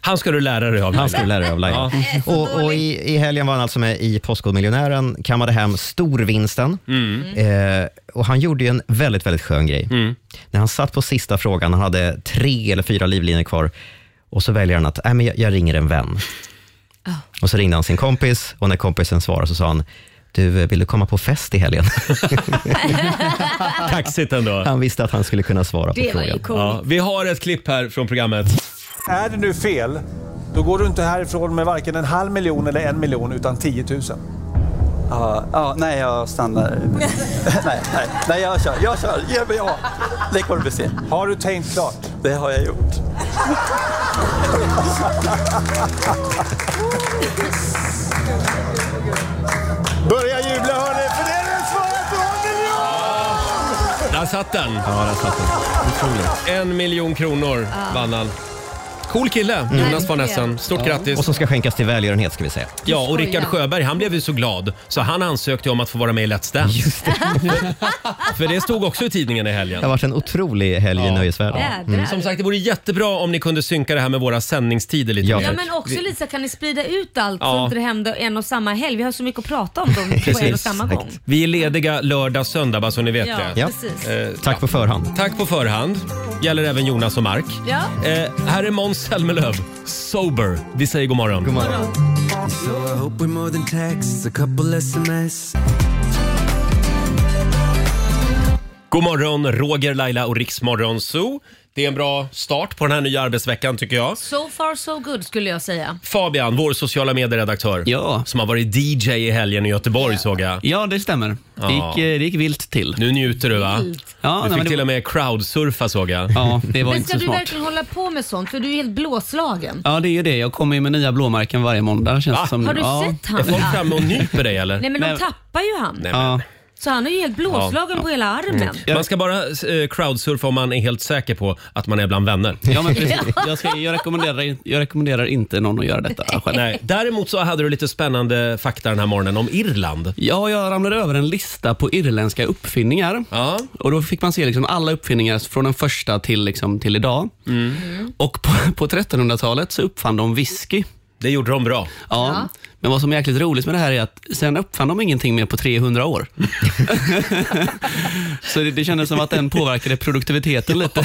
[SPEAKER 1] Han ska du lära dig av.
[SPEAKER 6] Han skulle lära dig av Laila. Och, och i, i helgen var han alltså med i Postkodmiljonären, kammade hem storvinsten. Eh, och han gjorde ju en väldigt, väldigt skön grej. När han satt på sista frågan, han hade tre eller fyra livlinor kvar, och så väljer han att, nej men jag, jag ringer en vän.
[SPEAKER 2] Ah.
[SPEAKER 6] Och så ringde han sin kompis och när kompisen svarade så sa han, du, eh, vill du komma på fest i helgen?
[SPEAKER 1] (laughs) Kaxigt ändå.
[SPEAKER 6] (laughs) Han visste att han skulle kunna svara på
[SPEAKER 2] Det var ju
[SPEAKER 6] frågan.
[SPEAKER 2] coolt.
[SPEAKER 1] Ja, vi har ett klipp här från programmet.
[SPEAKER 8] Är det nu fel, då går du inte härifrån med varken en halv miljon eller en miljon, utan 10 000.
[SPEAKER 9] Ja, ja, nej, jag
[SPEAKER 2] (laughs)
[SPEAKER 9] stannar. nej, nej, nej, jag kör. Jag kör. Ge mig av. Det kommer du se.
[SPEAKER 8] Har du tänkt klart?
[SPEAKER 9] Det har jag gjort.
[SPEAKER 8] Börja jubla hörni, för det är det svaret du har miljon!
[SPEAKER 1] Där satt den.
[SPEAKER 6] Ja, där satt den. Otroligt.
[SPEAKER 1] En miljon kronor vann han. Cool kille, Jonas von Essen. Stort grattis.
[SPEAKER 6] Mm. Och som ska skänkas till välgörenhet ska vi säga.
[SPEAKER 1] Ja, och Rickard
[SPEAKER 2] Skoja.
[SPEAKER 1] Sjöberg han blev ju så glad så han ansökte om att få vara med i Let's Dance. (laughs) För det stod också i tidningen i
[SPEAKER 6] Det har
[SPEAKER 1] helgen.
[SPEAKER 6] varit en otrolig helg i nöjesvärlden.
[SPEAKER 2] Jädrar.
[SPEAKER 1] Mm, Som sagt, det vore jättebra om ni kunde synka det här med våra sändningstider lite
[SPEAKER 6] Ja.
[SPEAKER 1] mer.
[SPEAKER 2] Ja men också lite så kan ni sprida ut allt
[SPEAKER 1] eh, Ja.
[SPEAKER 2] så inte det händer en och samma helg. Vi har så mycket att prata om dem på en och samma gång.
[SPEAKER 6] exakt.
[SPEAKER 1] Vi är lediga lördag, söndag bara så ni vet
[SPEAKER 2] Ja,
[SPEAKER 1] det.
[SPEAKER 6] Ja.
[SPEAKER 2] precis.
[SPEAKER 1] Eh,
[SPEAKER 6] Tack på förhand.
[SPEAKER 1] Tack på förhand. Gäller även Jonas och Mark.
[SPEAKER 2] Ja.
[SPEAKER 1] Eh, här är Måns Zelmerlöw, Sober. Vi säger god morgon.
[SPEAKER 6] God morgon.
[SPEAKER 1] God morgon, Roger, Laila och Riksmorgon Zoo. Det är en bra start på den här nya arbetsveckan tycker jag.
[SPEAKER 2] So far so good skulle jag säga.
[SPEAKER 1] Fabian, vår sociala medieredaktör.
[SPEAKER 10] Ja.
[SPEAKER 1] Som har varit DJ i helgen i Göteborg såg jag.
[SPEAKER 10] Ja, det stämmer. Det gick, eh, det gick vilt till.
[SPEAKER 1] Nu njuter du va?
[SPEAKER 10] Ja,
[SPEAKER 1] Du
[SPEAKER 10] nej, men
[SPEAKER 1] fick
[SPEAKER 10] det,
[SPEAKER 1] till och med crowdsurfa såg jag.
[SPEAKER 10] Ja, det var
[SPEAKER 2] Men
[SPEAKER 10] inte
[SPEAKER 2] ska
[SPEAKER 10] så
[SPEAKER 2] du
[SPEAKER 10] smart.
[SPEAKER 2] verkligen hålla på med sånt? För du är helt blåslagen.
[SPEAKER 10] Ja, det är ju det. Jag kommer ju med nya blåmärken varje måndag känns
[SPEAKER 1] Va?
[SPEAKER 10] det som.
[SPEAKER 2] Har du
[SPEAKER 10] ja.
[SPEAKER 2] sett
[SPEAKER 1] Är
[SPEAKER 2] han?
[SPEAKER 1] folk
[SPEAKER 2] Ja.
[SPEAKER 1] framme och nyper dig eller?
[SPEAKER 2] Nej men de
[SPEAKER 10] Nej.
[SPEAKER 2] tappar ju han.
[SPEAKER 1] Nej, men.
[SPEAKER 10] Ja.
[SPEAKER 2] Så han är ju helt blåslagen på hela armen.
[SPEAKER 1] Man ska bara eh, crowdsurfa om man är helt säker på att man är bland vänner.
[SPEAKER 10] Ja,
[SPEAKER 2] (laughs)
[SPEAKER 10] men precis. Jag, ska, jag, rekommenderar, jag rekommenderar inte någon att göra detta själv.
[SPEAKER 1] Nej. Däremot så hade du lite spännande fakta den här morgonen om Irland.
[SPEAKER 10] Ja, jag ramlade över en lista på irländska uppfinningar.
[SPEAKER 1] Ja.
[SPEAKER 10] Och Då fick man se liksom alla uppfinningar från den första till, liksom, till idag. Och på, på 1300-talet så uppfann de whisky.
[SPEAKER 1] Det gjorde de bra.
[SPEAKER 10] Ja. Men vad som är jäkligt roligt med det här är att sen uppfann de ingenting mer på 300 (laughs) år. så det, det kändes som att den påverkade produktiviteten lite.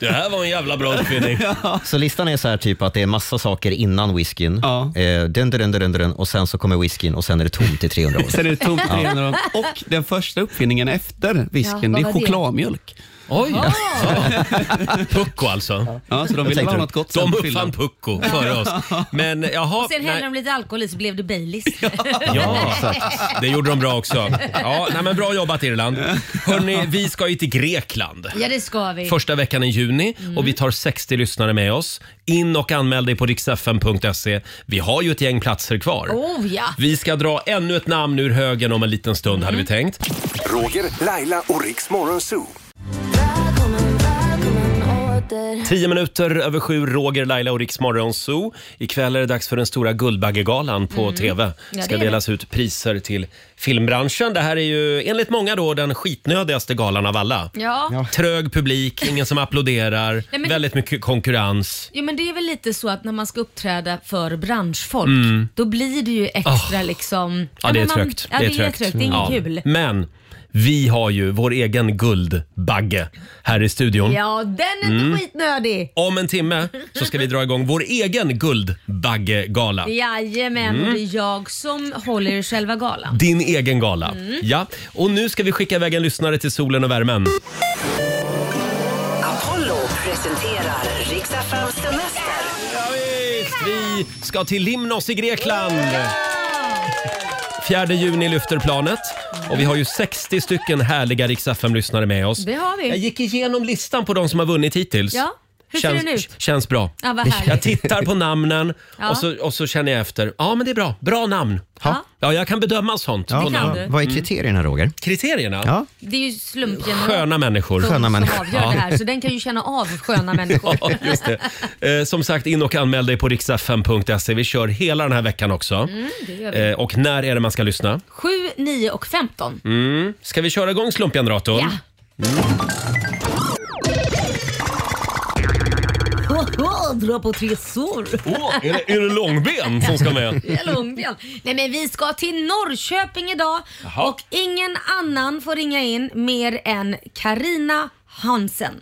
[SPEAKER 1] Det här var en jävla bra uppfinning.
[SPEAKER 6] Så listan är så här typ att det är massa saker innan whiskyn.
[SPEAKER 10] Ja.
[SPEAKER 6] Eh, dun, dun, dun, dun, dun, och sen så kommer whiskyn och sen är det tomt i 300 år.
[SPEAKER 10] (laughs) Sen är (laughs) det tomt 300 år. Och den första uppfinningen efter
[SPEAKER 2] Ja,
[SPEAKER 10] whiskyn,
[SPEAKER 2] vad
[SPEAKER 10] det
[SPEAKER 2] var
[SPEAKER 10] är
[SPEAKER 2] det?
[SPEAKER 10] chokladmjölk.
[SPEAKER 1] (laughs) Oj! Pucko alltså.
[SPEAKER 10] Ja, så de ville
[SPEAKER 6] tänkte
[SPEAKER 10] ha
[SPEAKER 6] du?
[SPEAKER 10] något gott sen
[SPEAKER 1] De
[SPEAKER 10] på fyllan.
[SPEAKER 1] uppfann pucko före oss.
[SPEAKER 2] (laughs)
[SPEAKER 1] Men jaha.
[SPEAKER 2] Sen hällde
[SPEAKER 1] nej.
[SPEAKER 2] de lite alkohol i så blev det Baileys. (laughs)
[SPEAKER 1] Ja, det gjorde de bra också. Ja, nej, men bra jobbat Irland. Hörrni, vi ska ju till Grekland.
[SPEAKER 2] Ja det ska vi.
[SPEAKER 1] Första veckan i juni
[SPEAKER 2] Mm.
[SPEAKER 1] och vi tar 60 lyssnare med oss. In och anmäl dig på riksfn.se. Vi har ju ett gäng platser kvar.
[SPEAKER 2] Oh ja.
[SPEAKER 1] Vi ska dra ännu ett namn ur högen om en liten stund hade vi
[SPEAKER 2] Mm.
[SPEAKER 1] tänkt.
[SPEAKER 2] (laughs)
[SPEAKER 3] Roger, Laila och Riks Morgonzoo.
[SPEAKER 1] Tio minuter över sju, Roger, Laila och Riks Morgonzoo. Ikväll är det dags för den stora Guldbaggegalan på TV. Det
[SPEAKER 2] Mm. det
[SPEAKER 1] ska
[SPEAKER 2] är det.
[SPEAKER 1] delas ut priser till filmbranschen. Det här är ju enligt många då den skitnödigaste galan av alla.
[SPEAKER 2] Ja.
[SPEAKER 1] Trög publik, ingen som applåderar,
[SPEAKER 2] men-
[SPEAKER 1] väldigt mycket konkurrens.
[SPEAKER 2] Jo men det är väl lite så att när man ska uppträda för branschfolk, då blir det ju extra liksom...
[SPEAKER 1] Mm. Ja, det är
[SPEAKER 2] men man-
[SPEAKER 1] trögt.
[SPEAKER 2] Ja, det är trögt. Det är inget
[SPEAKER 1] Ja. Mm.
[SPEAKER 2] kul.
[SPEAKER 1] Men vi har ju vår egen Guldbagge här i studion.
[SPEAKER 2] Ja, den är
[SPEAKER 1] Mm.
[SPEAKER 2] inte skitnödig.
[SPEAKER 1] Om en timme så ska vi dra igång vår egen Guldbaggegala.
[SPEAKER 2] Jajamän, och det
[SPEAKER 1] Mm.
[SPEAKER 2] är jag som håller i själva galan.
[SPEAKER 1] Din egen gala.
[SPEAKER 2] Mm.
[SPEAKER 1] Ja. Och nu ska vi skicka iväg en lyssnare till solen och värmen.
[SPEAKER 11] Apollo presenterar Riks-FMs semester.
[SPEAKER 1] Ja, visst. Vi ska till Limnos i Grekland. 4 juni lyfter planet och vi har ju 60 stycken härliga Rix FM-lyssnare med oss.
[SPEAKER 2] Det har vi.
[SPEAKER 1] Jag gick igenom listan på de som har vunnit hittills.
[SPEAKER 2] Ja. Hur ser den ut?
[SPEAKER 1] Känns bra.
[SPEAKER 2] Ja, vad härligt.
[SPEAKER 1] jag tittar på namnen
[SPEAKER 2] Ja.
[SPEAKER 1] och, så, och så känner jag efter. Ja, men det är bra. Bra namn.
[SPEAKER 2] Ja.
[SPEAKER 1] Ja, jag kan bedöma sånt.
[SPEAKER 2] Det
[SPEAKER 1] på
[SPEAKER 2] kan
[SPEAKER 1] namn.
[SPEAKER 2] du.
[SPEAKER 6] Vad är kriterierna, Roger?
[SPEAKER 1] Kriterierna?
[SPEAKER 2] Det är ju slumpgeneratorn
[SPEAKER 1] Sköna människor.
[SPEAKER 2] som avgör det här, så den kan ju känna av sköna människor.
[SPEAKER 1] (laughs) Ja, (laughs) just det. Eh, som sagt, in och anmäl dig på riksfm.se. Vi kör hela den här veckan också.
[SPEAKER 2] Mm, det gör vi.
[SPEAKER 1] Eh, och när är det man ska lyssna?
[SPEAKER 2] 7, 9 och 15.
[SPEAKER 1] Mm. Ska vi köra igång slumpgeneratorn?
[SPEAKER 2] Ja. Dra på tre sår.
[SPEAKER 1] Åh, är, det, är det långben som ska med?
[SPEAKER 2] Det är Lundgren. Nej men vi ska till Norrköping idag
[SPEAKER 1] Jaha.
[SPEAKER 2] och ingen annan får ringa in mer än Karina Hansen.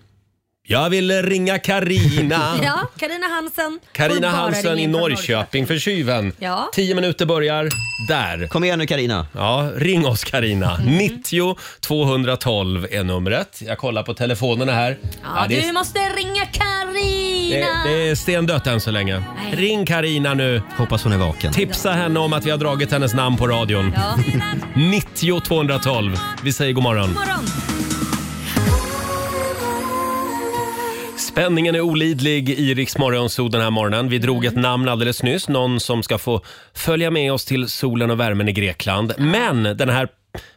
[SPEAKER 1] Jag vill ringa Karina.
[SPEAKER 2] Ja, Karina Hansen. får
[SPEAKER 1] Ah. Karina
[SPEAKER 2] bara
[SPEAKER 1] Hansen
[SPEAKER 2] ringa
[SPEAKER 1] i
[SPEAKER 2] in från
[SPEAKER 1] Norrköping för tjuven.
[SPEAKER 2] Ja.
[SPEAKER 1] Tio minuter börjar där.
[SPEAKER 6] Kom igen nu Karina.
[SPEAKER 1] Ja, ring oss Karina.
[SPEAKER 2] Mm.
[SPEAKER 1] 90 212 är numret. Jag kollar på telefonerna här.
[SPEAKER 2] Ja,
[SPEAKER 1] det,
[SPEAKER 2] du
[SPEAKER 1] är,
[SPEAKER 2] måste ringa
[SPEAKER 1] det,
[SPEAKER 2] Karina.
[SPEAKER 1] det är stendött än så länge.
[SPEAKER 2] Nej.
[SPEAKER 1] Ring Karina nu.
[SPEAKER 6] Hoppas hon är vaken.
[SPEAKER 1] Tipsa henne om att vi har dragit hennes namn på radion.
[SPEAKER 2] Ja,
[SPEAKER 1] 90 212. Vi säger god morgon.
[SPEAKER 2] morgon.
[SPEAKER 1] Spänningen är olidlig i Rix Morgonzoo den här morgonen. Vi drog ett namn alldeles nyss, någon som ska få följa med oss till solen och värmen i Grekland. Men den här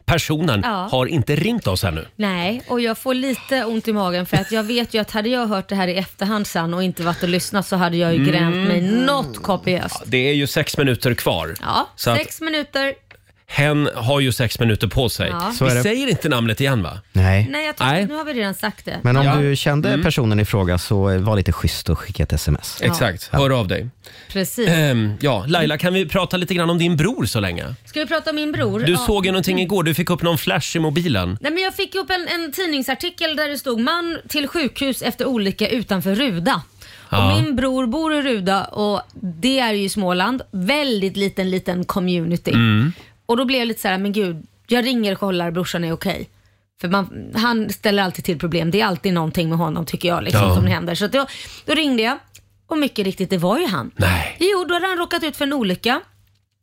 [SPEAKER 1] personen
[SPEAKER 2] Ja.
[SPEAKER 1] har inte ringt oss ännu.
[SPEAKER 2] Nej, och jag får lite ont i magen för att jag vet ju att hade jag hört det här i efterhand sen och inte varit och lyssnat så hade jag ju grämt mig
[SPEAKER 1] Mm.
[SPEAKER 2] något kopiöst.
[SPEAKER 1] Det är ju sex minuter kvar.
[SPEAKER 2] Ja,
[SPEAKER 1] Så att-
[SPEAKER 2] sex minuter.
[SPEAKER 1] Hen har ju sex minuter på sig.
[SPEAKER 2] Ja.
[SPEAKER 6] Så är
[SPEAKER 1] Vi
[SPEAKER 6] det.
[SPEAKER 1] säger inte namnet igen va?
[SPEAKER 6] Nej.
[SPEAKER 2] Nej, jag tror,
[SPEAKER 1] Nej.
[SPEAKER 2] nu har vi redan sagt det.
[SPEAKER 6] Men om
[SPEAKER 1] Ja.
[SPEAKER 6] du kände personen i fråga så eh, var lite schysst och skicka ett sms.
[SPEAKER 1] Exakt, hör av dig.
[SPEAKER 2] Precis.
[SPEAKER 1] Ehm, ja, Laila, kan vi prata lite grann om din bror så länge?
[SPEAKER 2] Ska vi prata om min bror?
[SPEAKER 1] Du
[SPEAKER 2] Ja.
[SPEAKER 1] såg ju någonting igår, du fick upp någon flash i mobilen.
[SPEAKER 2] Nej, men jag fick ihop en, en tidningsartikel där det stod man till sjukhus efter olycka utanför Ruda.
[SPEAKER 1] Ja.
[SPEAKER 2] Och min bror bor i Ruda och det är ju Småland. Väldigt liten, liten community.
[SPEAKER 1] Mm.
[SPEAKER 2] Och då blev jag lite så här, men gud, jag ringer och kollar, brorsan är okej. För man, han ställer alltid till problem. Det är alltid någonting med honom tycker jag liksom,
[SPEAKER 1] Ja.
[SPEAKER 2] som händer. Så att jag, då ringde jag och mycket riktigt, det var ju han.
[SPEAKER 1] Nej.
[SPEAKER 2] Jo, då hade han råkat ut för en olycka.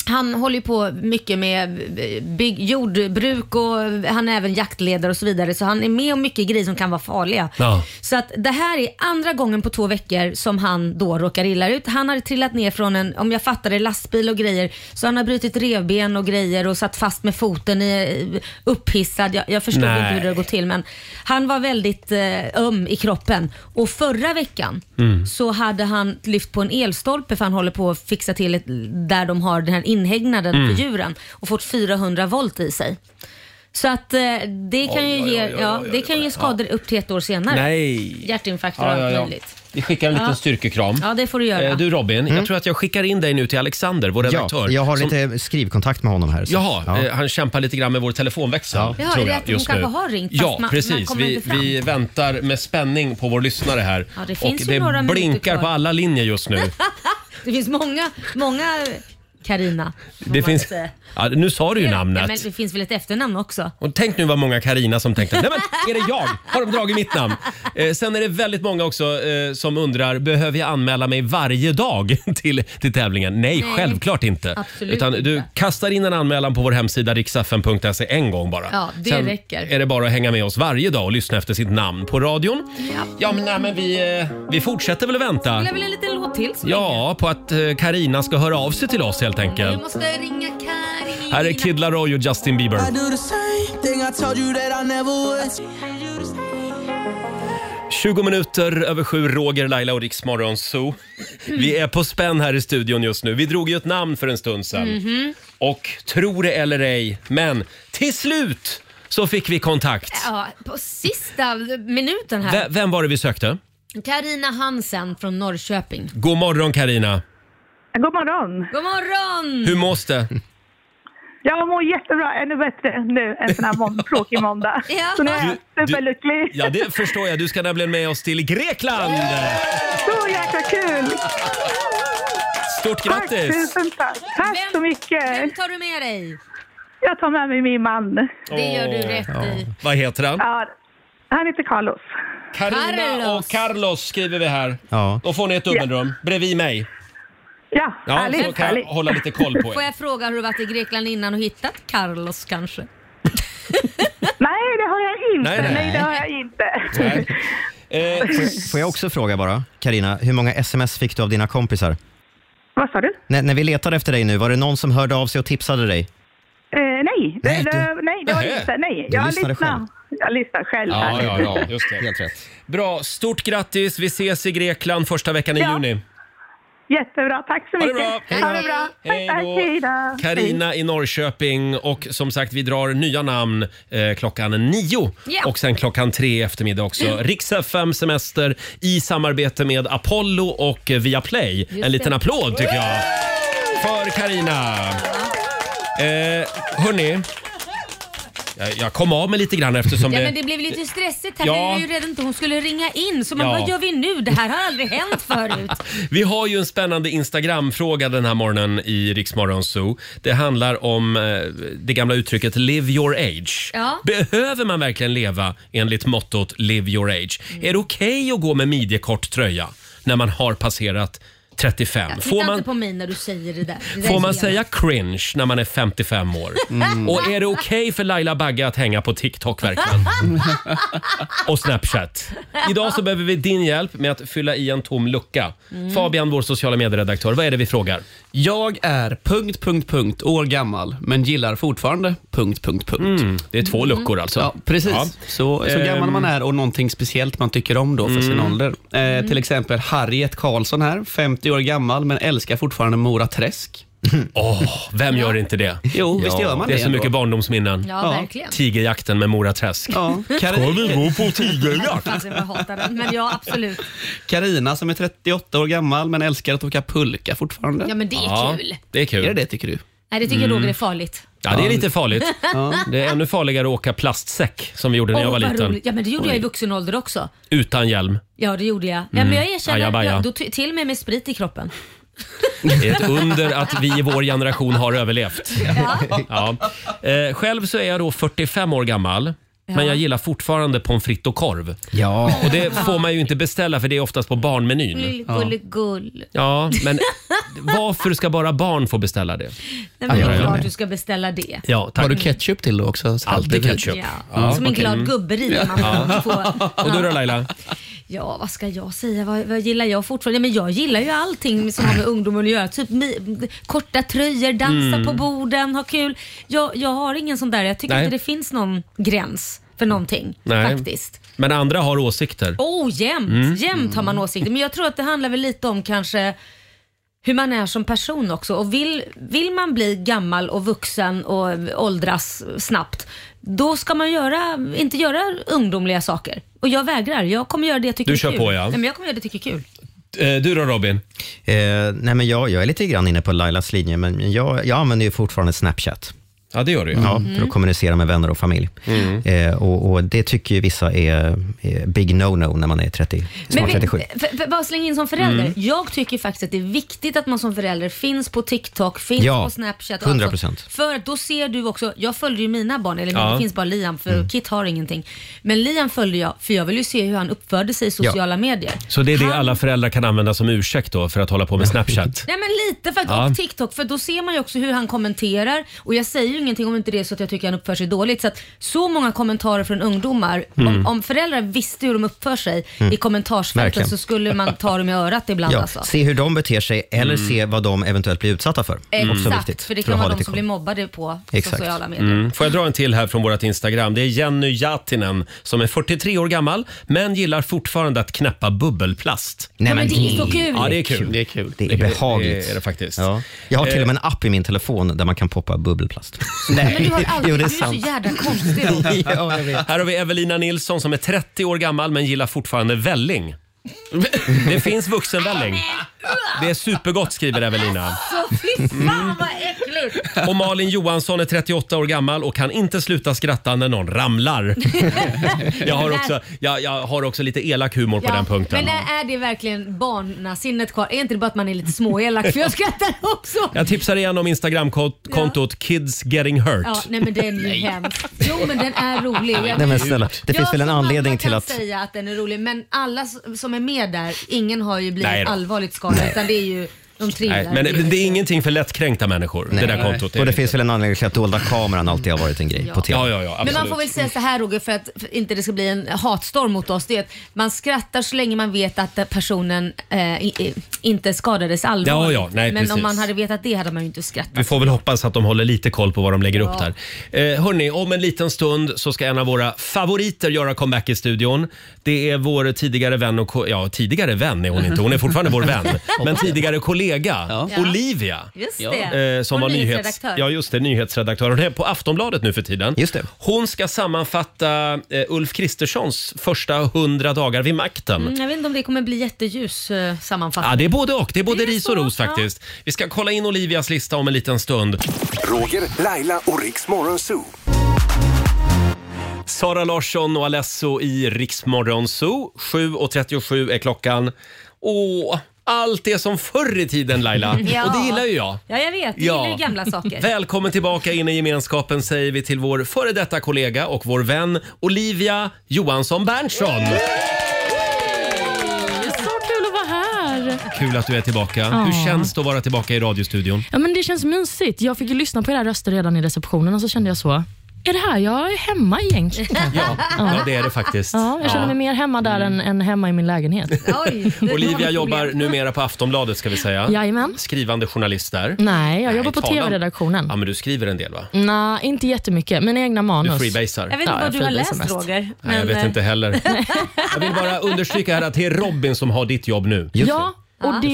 [SPEAKER 2] Han håller ju på mycket med eh, bygg, jordbruk och han är även jaktledare och så vidare. Så han är med om mycket grejer som kan vara farliga.
[SPEAKER 1] Ja.
[SPEAKER 2] Så att det här är andra gången på två veckor som han då råkar illa ut. Han har trillat ner från en, om jag fattar det, lastbil och grejer. Så han har brutit revben och grejer och satt fast med foten i, eh, upphissad. Jag, jag förstod
[SPEAKER 1] Nej.
[SPEAKER 2] inte hur det går till men han var väldigt eh, öm i kroppen. Och förra veckan
[SPEAKER 1] Mm.
[SPEAKER 2] så hade han lyft på en elstolpe för han håller på att fixa till ett, där de har den här inhägnaden
[SPEAKER 1] Mm.
[SPEAKER 2] för djuren och fått 400 volt i sig. Så att eh, det kan ju
[SPEAKER 1] oj,
[SPEAKER 2] ge,
[SPEAKER 1] oj, oj,
[SPEAKER 2] ja,
[SPEAKER 1] oj,
[SPEAKER 2] det kan ge skador upp till ett år senare.
[SPEAKER 1] Nej.
[SPEAKER 2] Hjärtinfarkter och allt möjligt.
[SPEAKER 1] Vi skickar en liten
[SPEAKER 2] Ja.
[SPEAKER 1] styrkekram.
[SPEAKER 2] Ja, det får du göra. Mm.
[SPEAKER 1] Eh, Du Robin, jag tror att jag skickar in dig nu till Alexander, vår redaktör.
[SPEAKER 6] Ja, jag har
[SPEAKER 1] som-
[SPEAKER 6] lite skrivkontakt med honom här. så-
[SPEAKER 1] Jaha,
[SPEAKER 6] Ja.
[SPEAKER 1] eh, han kämpar lite grann med vår telefonväxel.
[SPEAKER 2] Jaha, är
[SPEAKER 1] tror
[SPEAKER 2] det
[SPEAKER 1] jag,
[SPEAKER 2] att hon
[SPEAKER 1] just
[SPEAKER 2] kanske
[SPEAKER 1] nu.
[SPEAKER 2] har ringt, fast
[SPEAKER 1] Ja,
[SPEAKER 2] man- man
[SPEAKER 1] precis.
[SPEAKER 2] kommer
[SPEAKER 1] vi,
[SPEAKER 2] inte fram?
[SPEAKER 1] vi väntar med spänning på vår lyssnare här.
[SPEAKER 2] Ja, det
[SPEAKER 1] och
[SPEAKER 2] finns ju
[SPEAKER 1] det
[SPEAKER 2] några minuter
[SPEAKER 1] blinkar
[SPEAKER 2] kvar.
[SPEAKER 1] på alla linjer just
[SPEAKER 2] (laughs)
[SPEAKER 1] nu.
[SPEAKER 2] Det finns många, många Karina. får
[SPEAKER 1] Det
[SPEAKER 2] man
[SPEAKER 1] finns,
[SPEAKER 2] säga.
[SPEAKER 1] ja, nu sa du ju
[SPEAKER 2] Ja, men
[SPEAKER 1] namnet.
[SPEAKER 2] det finns väl ett efternamn också?
[SPEAKER 1] Och tänk nu vad många Karina som tänkte, nej men är det jag? Har de dragit mitt namn? Eh, sen är det väldigt många också eh, som undrar, behöver jag anmäla mig varje dag (laughs) till, till tävlingen? Nej,
[SPEAKER 2] Nej,
[SPEAKER 1] självklart inte.
[SPEAKER 2] absolut
[SPEAKER 1] Utan du
[SPEAKER 2] inte.
[SPEAKER 1] kastar in en anmälan på vår hemsida riksfn.se en gång bara.
[SPEAKER 2] Ja, det
[SPEAKER 1] sen
[SPEAKER 2] räcker.
[SPEAKER 1] är det bara att hänga med oss varje dag och lyssna efter sitt namn på radion. Ja, men, nej, men vi, eh, vi fortsätter väl att vänta.
[SPEAKER 2] Vill jag väl en liten låt till? så länge?
[SPEAKER 1] Ja, på att eh, Karina ska höra av sig till oss helt
[SPEAKER 2] Jag
[SPEAKER 1] enkelt.
[SPEAKER 2] måste ringa Karina.
[SPEAKER 1] Här är Kid Laroi och Justin Bieber.
[SPEAKER 12] do the same thing I told you that I never would.
[SPEAKER 1] 20 minuter över sju, Roger, Laila och Riks Morgonzoo. Vi är på spänn här i studion just nu. Vi drog ju ett namn för en stund sedan.
[SPEAKER 5] Mhm.
[SPEAKER 1] Och tro det eller ej, men till slut så fick vi kontakt.
[SPEAKER 2] Ja, på sista minuten
[SPEAKER 1] V-
[SPEAKER 2] här.
[SPEAKER 1] vem var det vi sökte?
[SPEAKER 2] Karina Hansen från Norrköping.
[SPEAKER 1] God morgon Karina.
[SPEAKER 5] God morgon!
[SPEAKER 2] God morgon!
[SPEAKER 1] Hur mås det?
[SPEAKER 5] Jag mår jättebra, ännu bättre nu än sån här
[SPEAKER 1] (laughs)
[SPEAKER 5] mån- tråkig måndag.
[SPEAKER 2] Ja.
[SPEAKER 5] Så nu är jag
[SPEAKER 1] Du- du-
[SPEAKER 5] superlycklig.
[SPEAKER 1] Ja, det förstår jag. Du ska nämligen med oss till Grekland!
[SPEAKER 5] Så jäkla kul!
[SPEAKER 1] Stort
[SPEAKER 5] Tack,
[SPEAKER 1] grattis!
[SPEAKER 5] tusen tack! Tack
[SPEAKER 2] Vem-
[SPEAKER 5] så
[SPEAKER 2] Vem
[SPEAKER 5] mycket!
[SPEAKER 2] tar du med dig?
[SPEAKER 5] Jag tar med mig min man.
[SPEAKER 2] Det gör du
[SPEAKER 1] Åh.
[SPEAKER 2] rätt i.
[SPEAKER 1] Vad heter han?
[SPEAKER 5] Ja, han heter Carlos.
[SPEAKER 1] Karina
[SPEAKER 2] Carlos.
[SPEAKER 1] och Carlos skriver vi här.
[SPEAKER 6] Ja.
[SPEAKER 1] Då får ni ett dubbelrum bredvid mig.
[SPEAKER 5] Ja,
[SPEAKER 1] Ja,
[SPEAKER 5] härligt,
[SPEAKER 1] så kan jag
[SPEAKER 5] härligt.
[SPEAKER 1] hålla lite koll på
[SPEAKER 2] Får
[SPEAKER 1] er.
[SPEAKER 2] jag fråga har du varit i Grekland innan och hittat Carlos kanske?
[SPEAKER 5] Nej, det har jag inte.
[SPEAKER 1] Nej,
[SPEAKER 5] Nej,
[SPEAKER 1] nej.
[SPEAKER 5] det har jag inte.
[SPEAKER 1] Nej. Eh,
[SPEAKER 6] Får- Får jag också fråga bara, Karina, hur många sms fick du av dina kompisar?
[SPEAKER 5] (laughs) Vad sa du?
[SPEAKER 6] När, när vi letade efter dig nu, var det någon som hörde av sig och tipsade dig?
[SPEAKER 5] Eh, nej, det, nej,
[SPEAKER 6] Nej, du-
[SPEAKER 5] det, nej, det var
[SPEAKER 1] Nähä.
[SPEAKER 5] inte. Nej,
[SPEAKER 6] Du
[SPEAKER 5] jag
[SPEAKER 6] lyssnade
[SPEAKER 5] lyssnar.
[SPEAKER 6] själv.
[SPEAKER 5] Jag lyssnar själv. här.
[SPEAKER 1] (laughs) just det. Helt rätt. Bra, stort grattis. Vi ses i Grekland första veckan i
[SPEAKER 5] Ja.
[SPEAKER 1] juni.
[SPEAKER 5] Jättebra, tack så
[SPEAKER 1] Ha det
[SPEAKER 5] mycket.
[SPEAKER 1] bra.
[SPEAKER 5] Ha det bra.
[SPEAKER 1] Hej
[SPEAKER 5] Tack,
[SPEAKER 1] då.
[SPEAKER 5] Hej då.
[SPEAKER 1] Karina i Norrköping och som sagt vi drar nya namn eh, klockan nio
[SPEAKER 2] Ja.
[SPEAKER 1] och sen klockan tre i eftermiddag också. Rix FM Semester i samarbete med Apollo och eh, Viaplay.
[SPEAKER 10] det.
[SPEAKER 1] en liten applåd tycker jag för Karina. Eh, hörni, jag, jag kom av mig lite grann eftersom
[SPEAKER 2] ja,
[SPEAKER 1] det...
[SPEAKER 2] men det blev lite stressigt här.
[SPEAKER 1] Ja.
[SPEAKER 2] Ja. Det var ju redan inte hon skulle ringa in. Så man
[SPEAKER 1] Ja.
[SPEAKER 2] vad gör vi nu? Det här har aldrig hänt
[SPEAKER 1] (laughs)
[SPEAKER 2] förut.
[SPEAKER 1] Vi har ju en spännande Instagram-fråga den här morgonen i Riksmorgon Zoo. Det handlar om eh, det gamla uttrycket “live your age”.
[SPEAKER 10] Ja.
[SPEAKER 1] Behöver man verkligen leva enligt mottot “live your age”?
[SPEAKER 2] Mm.
[SPEAKER 1] Är det okej att gå med midjekort tröja när man har passerat 35?
[SPEAKER 2] Titta
[SPEAKER 1] får man,
[SPEAKER 2] inte på mig när du säger det där. Det där
[SPEAKER 1] får man
[SPEAKER 2] är-
[SPEAKER 1] säga cringe när man är 55 år?
[SPEAKER 2] Mm.
[SPEAKER 1] Och är det okej för Laila Bagge att hänga på TikTok verkligen? och Snapchat. Idag så behöver vi din hjälp med att fylla i en tom lucka.
[SPEAKER 7] Mm.
[SPEAKER 1] Fabian, vår sociala medieredaktör, vad är det vi frågar?
[SPEAKER 7] Jag är punkt, punkt, punkt, år gammal, men gillar fortfarande punkt, punkt, punkt.
[SPEAKER 1] det är två luckor alltså.
[SPEAKER 7] Ja, precis.
[SPEAKER 1] Mm. Ja.
[SPEAKER 7] Så, så gammal
[SPEAKER 1] Ehm.
[SPEAKER 7] man är och någonting speciellt man tycker om då för sin
[SPEAKER 1] Mm.
[SPEAKER 7] ålder. Eh,
[SPEAKER 1] Mm.
[SPEAKER 7] Till exempel Harriet Karlsson här, 50 år gammal, men älskar fortfarande Mora Träsk.
[SPEAKER 1] Åh, vem gör inte det?
[SPEAKER 7] Jo, visst
[SPEAKER 1] Ja.
[SPEAKER 7] gör man
[SPEAKER 1] Det
[SPEAKER 7] det.
[SPEAKER 1] är så mycket barndomsminnen.
[SPEAKER 2] Ja, verkligen.
[SPEAKER 1] Tigerjakten med Mora Träsk.
[SPEAKER 7] Ja.
[SPEAKER 1] Ska vi gå på tigerjakt?
[SPEAKER 2] Fast jag hatar den. Men ja, absolut.
[SPEAKER 7] Karina som är 38 år gammal, men älskar att åka pulka fortfarande.
[SPEAKER 2] Ja, men det är Ja, kul.
[SPEAKER 1] Det är kul.
[SPEAKER 7] Är det det tycker du?
[SPEAKER 2] Nej, det tycker
[SPEAKER 1] Mm.
[SPEAKER 2] jag Roger är farligt.
[SPEAKER 1] Ja, det är lite farligt.
[SPEAKER 2] Ja.
[SPEAKER 1] Det är ännu farligare att åka plastsäck som vi gjorde när jag
[SPEAKER 2] Åh,
[SPEAKER 1] var
[SPEAKER 2] vad
[SPEAKER 1] liten.
[SPEAKER 2] roligt. Ja, men det gjorde jag i vuxen ålder också.
[SPEAKER 1] Utan hjälm.
[SPEAKER 2] Ja, det gjorde jag. Ja,
[SPEAKER 1] Mm.
[SPEAKER 2] men jag erkänner.
[SPEAKER 1] Ajabaja.
[SPEAKER 2] Jag, då t- till och med med sprit i kroppen.
[SPEAKER 1] Det är ett under att vi i vår generation har överlevt. Ja. Eh, själv så är jag då 45 år gammal.
[SPEAKER 2] Ja.
[SPEAKER 1] Men jag gillar fortfarande pommes frites och korv.
[SPEAKER 6] Ja.
[SPEAKER 1] Och det får man ju inte beställa för det är oftast på barnmenyn.
[SPEAKER 2] Gull, gull, gull.
[SPEAKER 1] Ja, men varför ska bara barn få beställa det?
[SPEAKER 2] Nej, men det
[SPEAKER 1] Ja,
[SPEAKER 2] är
[SPEAKER 1] jag
[SPEAKER 2] klart
[SPEAKER 1] med.
[SPEAKER 2] du ska beställa det.
[SPEAKER 1] Ja, tack.
[SPEAKER 7] Har du ketchup till då också?
[SPEAKER 1] Alltid ketchup.
[SPEAKER 2] Ja. Som en glad gubbe rider man
[SPEAKER 1] Mm. Ja.
[SPEAKER 2] på.
[SPEAKER 1] (laughs) Och du då Laila?
[SPEAKER 2] Ja, vad ska jag säga? Vad, vad gillar jag fortfarande? Ja, men jag gillar ju allting som har med ungdomen att göra. Typ mi, korta tröjor, dansa
[SPEAKER 1] Mm.
[SPEAKER 2] på borden, ha kul. Jag, jag har ingen sån där. Jag tycker
[SPEAKER 1] Nej.
[SPEAKER 2] inte det finns någon gräns för någonting
[SPEAKER 1] Nej.
[SPEAKER 2] faktiskt.
[SPEAKER 1] Men andra har åsikter.
[SPEAKER 2] Oh, jämt.
[SPEAKER 1] Mm.
[SPEAKER 2] Jämt har man åsikter. Men jag tror att det handlar väl lite om kanske hur man är som person också. Och vill, vill man bli gammal och vuxen och åldras snabbt, då ska man göra, inte göra ungdomliga saker. Och jag vägrar. Jag kommer göra det jag tycker
[SPEAKER 6] Du
[SPEAKER 2] är
[SPEAKER 6] kör
[SPEAKER 2] kul.
[SPEAKER 6] på, ja.
[SPEAKER 2] Nej, men jag kommer göra det jag tycker är kul.
[SPEAKER 1] Eh, Du då Robin?
[SPEAKER 6] Eh, nej men jag, jag är lite grann inne på Lailas linje, men jag, jag använder ju fortfarande Snapchat.
[SPEAKER 1] Ja, det gör du
[SPEAKER 6] Ja,
[SPEAKER 1] Mm.
[SPEAKER 6] för att kommunicera med vänner och familj. Eh, och, och Det tycker ju vissa är, är big no-no när man är 30,
[SPEAKER 2] Men,
[SPEAKER 6] snart
[SPEAKER 2] vi-
[SPEAKER 6] 37.
[SPEAKER 2] för, för, bara slänga in som förälder.
[SPEAKER 6] Mm.
[SPEAKER 2] Jag tycker faktiskt att det är viktigt att man som förälder finns på TikTok, finns
[SPEAKER 6] Ja,
[SPEAKER 2] på Snapchat.
[SPEAKER 6] 100%.
[SPEAKER 2] Alltså, för att då ser du också, jag följde ju mina barn, eller
[SPEAKER 6] Ja.
[SPEAKER 2] det finns bara Liam för
[SPEAKER 1] Mm.
[SPEAKER 2] Kit har ingenting. Men Liam följde jag för jag vill ju se hur han uppförde sig i sociala medier.
[SPEAKER 1] Så det är det alla föräldrar kan använda som ursäkt då för att hålla på med Snapchat?
[SPEAKER 2] Nej men lite för att,
[SPEAKER 1] Ja.
[SPEAKER 2] och TikTok för då ser man ju också hur han kommenterar och jag säger ju ingenting om inte det är så att jag tycker han uppför sig dåligt. Så att så många kommentarer från ungdomar, om,
[SPEAKER 6] Mm.
[SPEAKER 2] om föräldrar visste hur de uppför sig
[SPEAKER 6] Mm.
[SPEAKER 2] i kommentarsfältet
[SPEAKER 6] Verkligen.
[SPEAKER 2] så skulle man ta dem i örat ibland
[SPEAKER 6] Ja,
[SPEAKER 2] alltså.
[SPEAKER 6] se hur de beter sig eller
[SPEAKER 1] Mm.
[SPEAKER 6] se vad de eventuellt blir utsatta för. Också
[SPEAKER 2] Exakt,
[SPEAKER 6] Mm, viktigt,
[SPEAKER 2] för det
[SPEAKER 6] att
[SPEAKER 2] kan
[SPEAKER 6] ha
[SPEAKER 2] vara de
[SPEAKER 6] lite
[SPEAKER 2] som
[SPEAKER 6] koll.
[SPEAKER 2] blir mobbade på sociala medier.
[SPEAKER 6] (laughs)
[SPEAKER 1] Mm. Får jag dra en till här från vårt Instagram? Det är Jenny Jatinen som är 43 år gammal men gillar fortfarande att knäppa bubbelplast.
[SPEAKER 6] Nej, Ja, men men det är det- så kul.
[SPEAKER 1] Ja, det är kul.
[SPEAKER 6] Det
[SPEAKER 1] är, kul.
[SPEAKER 6] Det är behagligt.
[SPEAKER 1] Det är det faktiskt.
[SPEAKER 6] Ja. Jag har till
[SPEAKER 1] Eh.
[SPEAKER 6] och med en app i min telefon där man kan
[SPEAKER 1] (laughs)
[SPEAKER 6] poppa bubbelplast.
[SPEAKER 2] Men du har aldrig,
[SPEAKER 6] jo, det
[SPEAKER 2] du
[SPEAKER 6] är
[SPEAKER 2] är så
[SPEAKER 6] sant.
[SPEAKER 2] jävla konstig
[SPEAKER 6] (laughs)
[SPEAKER 2] Roger.
[SPEAKER 1] Här har vi Evelina Nilsson som är 30 år gammal men gillar fortfarande välling. Det finns vuxenvälling. Det är supergott skriver Evelina.
[SPEAKER 2] Så fy fan vad äckligt!
[SPEAKER 1] Och Malin Johansson är 38 år gammal och kan inte sluta skratta när någon ramlar. Jag har också, jag, jag har också lite elak humor på
[SPEAKER 2] Ja,
[SPEAKER 1] den punkten.
[SPEAKER 2] Men är, är det verkligen barnasinnet kvar? Är inte det bara att man är lite småelak? För jag skrattar också.
[SPEAKER 1] Jag tipsar igen om Instagramkontot Kids Getting Hurt.
[SPEAKER 2] Ja, nej men den är ju hemsk. Jo men den är rolig. Jag-
[SPEAKER 6] Nej men snälla, det finns
[SPEAKER 2] jag
[SPEAKER 6] väl en
[SPEAKER 2] som mamma
[SPEAKER 6] anledning till
[SPEAKER 2] kan
[SPEAKER 6] att...
[SPEAKER 2] säga att den är rolig men alla s- som är med där, ingen har ju blivit
[SPEAKER 6] Nej då.
[SPEAKER 2] allvarligt skadad
[SPEAKER 6] Nej.
[SPEAKER 2] utan det är ju De
[SPEAKER 1] Nej,
[SPEAKER 2] trillar.
[SPEAKER 1] men det- det är ingenting för lättkränkta människor, det där kontot.
[SPEAKER 6] Och det finns väl en anledning till att dolda kameran alltid har varit en grej på tv.
[SPEAKER 1] Ja, ja, ja,
[SPEAKER 2] Men man får väl säga så här Roger, för att för att inte det ska bli en hatstorm mot oss. Det är att man skrattar så länge man vet att personen eh, i- i- inte skadades allvarligt.
[SPEAKER 1] Ja, ja, nej,
[SPEAKER 2] Men om
[SPEAKER 1] precis.
[SPEAKER 2] man hade vetat det hade man ju inte skrattat.
[SPEAKER 1] Vi får väl hoppas att de håller lite koll på vad de lägger
[SPEAKER 2] Ja.
[SPEAKER 1] upp där. Eh, hörni, om en liten stund så ska en av våra favoriter göra comeback i studion. Det är vår tidigare vän och... ko- Ja, tidigare vän är hon inte. Hon är fortfarande vår
[SPEAKER 2] (laughs)
[SPEAKER 1] vän. Men tidigare kollega, Olivia.
[SPEAKER 2] Just det.
[SPEAKER 1] Eh, som
[SPEAKER 2] Vår
[SPEAKER 1] var nyhets,
[SPEAKER 2] nyhetsredaktör.
[SPEAKER 1] ja, just det, nyhetsredaktör. Hon är på Aftonbladet nu för tiden. Just det. Hon ska sammanfatta eh, Ulf Kristerssons första 100 dagar vid makten.
[SPEAKER 2] Mm, jag vet inte om det kommer bli jätteljus eh, sammanfattning.
[SPEAKER 1] Ja, det är både och. Det är både
[SPEAKER 2] Det är
[SPEAKER 1] ris
[SPEAKER 2] så,
[SPEAKER 1] och ros
[SPEAKER 2] ja.
[SPEAKER 1] faktiskt. Vi ska kolla in Olivias lista om en liten stund.
[SPEAKER 3] Roger, Laila och Riks Morgonzoo.
[SPEAKER 1] Sara Larsson och Alesso i Riksmorgon Zoo. 7.37 är klockan. Åh, allt det som förr i tiden Laila.
[SPEAKER 2] Ja.
[SPEAKER 1] Och det gillar ju jag.
[SPEAKER 2] Ja, jag vet. Jag
[SPEAKER 1] Ja.
[SPEAKER 2] gillar ju gamla
[SPEAKER 1] (laughs)
[SPEAKER 2] saker.
[SPEAKER 1] Välkommen tillbaka in i gemenskapen säger vi till vår före detta kollega och vår vän Olivia Johansson Berntsson.
[SPEAKER 10] Så kul att vara här.
[SPEAKER 1] Kul att du är tillbaka.
[SPEAKER 10] Ja.
[SPEAKER 1] Hur känns det att vara tillbaka i radiostudion?
[SPEAKER 10] Ja, men det känns mysigt. Jag fick ju lyssna på era röster redan i receptionen och så kände jag så. Är det här jag är hemma egentligen?
[SPEAKER 1] Ja,
[SPEAKER 10] Ja.
[SPEAKER 1] ja det är det faktiskt.
[SPEAKER 10] Ja, jag känner mig mer hemma där än, än hemma i min lägenhet.
[SPEAKER 1] Olivia jobbar numera på Aftonbladet ska vi säga.
[SPEAKER 10] Jajamän.
[SPEAKER 1] Skrivande journalist där.
[SPEAKER 10] (laughs) Nej, jag jobbar på
[SPEAKER 1] tala om-
[SPEAKER 10] tv-redaktionen.
[SPEAKER 1] Ja, men du skriver en del va?
[SPEAKER 10] Nej, inte jättemycket. Mina egna manus.
[SPEAKER 1] freebasar. Jag vet inte vad
[SPEAKER 10] jag
[SPEAKER 1] du har
[SPEAKER 10] freebasar
[SPEAKER 1] läst,
[SPEAKER 10] mest.
[SPEAKER 2] Roger.
[SPEAKER 1] Nej, jag vet inte (laughs) heller. Jag vill bara understryka här att det är Robin som har ditt jobb nu.
[SPEAKER 10] Ja, och det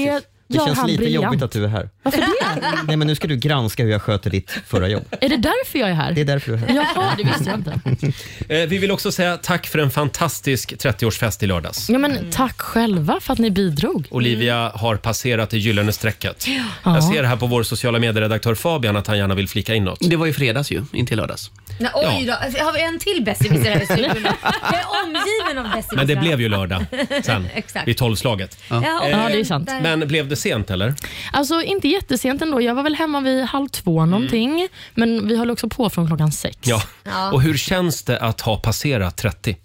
[SPEAKER 6] Det
[SPEAKER 10] gör
[SPEAKER 6] känns
[SPEAKER 10] han
[SPEAKER 6] lite
[SPEAKER 10] briljant.
[SPEAKER 6] jobbigt att du är här.
[SPEAKER 10] Varför det?
[SPEAKER 6] (laughs) Nej, men nu ska du granska hur jag sköter ditt förra jobb.
[SPEAKER 10] Är det därför jag är här?
[SPEAKER 6] Det är därför du är här.
[SPEAKER 10] Jaha, det visste jag inte.
[SPEAKER 1] Eh, Vi vill också säga tack för en fantastisk 30-årsfest i lördags.
[SPEAKER 10] Ja, men tack själva för att ni bidrog.
[SPEAKER 1] Olivia har passerat det gyllene strecket.
[SPEAKER 10] Mm. Ja.
[SPEAKER 1] Jag ser här på vår sociala medieredaktör Fabian att han gärna vill flika in något. Det var ju fredags ju, inte lördags.
[SPEAKER 2] Nej, oj då, Alltså, har vi en till besserwisser här i studion? Jag är omgiven av besserwissrar.
[SPEAKER 1] Men det blev ju lördag (laughs) sen,
[SPEAKER 2] Exakt.
[SPEAKER 1] vid tolvslaget.
[SPEAKER 10] Ja. Ja, det är sant.
[SPEAKER 1] Men blev det sent eller?
[SPEAKER 10] Alltså inte jättesent ändå. Jag var väl hemma vid halv två någonting. Men vi höll också på från klockan sex.
[SPEAKER 1] Ja.
[SPEAKER 10] Ja.
[SPEAKER 1] Och hur känns det att ha passerat 30?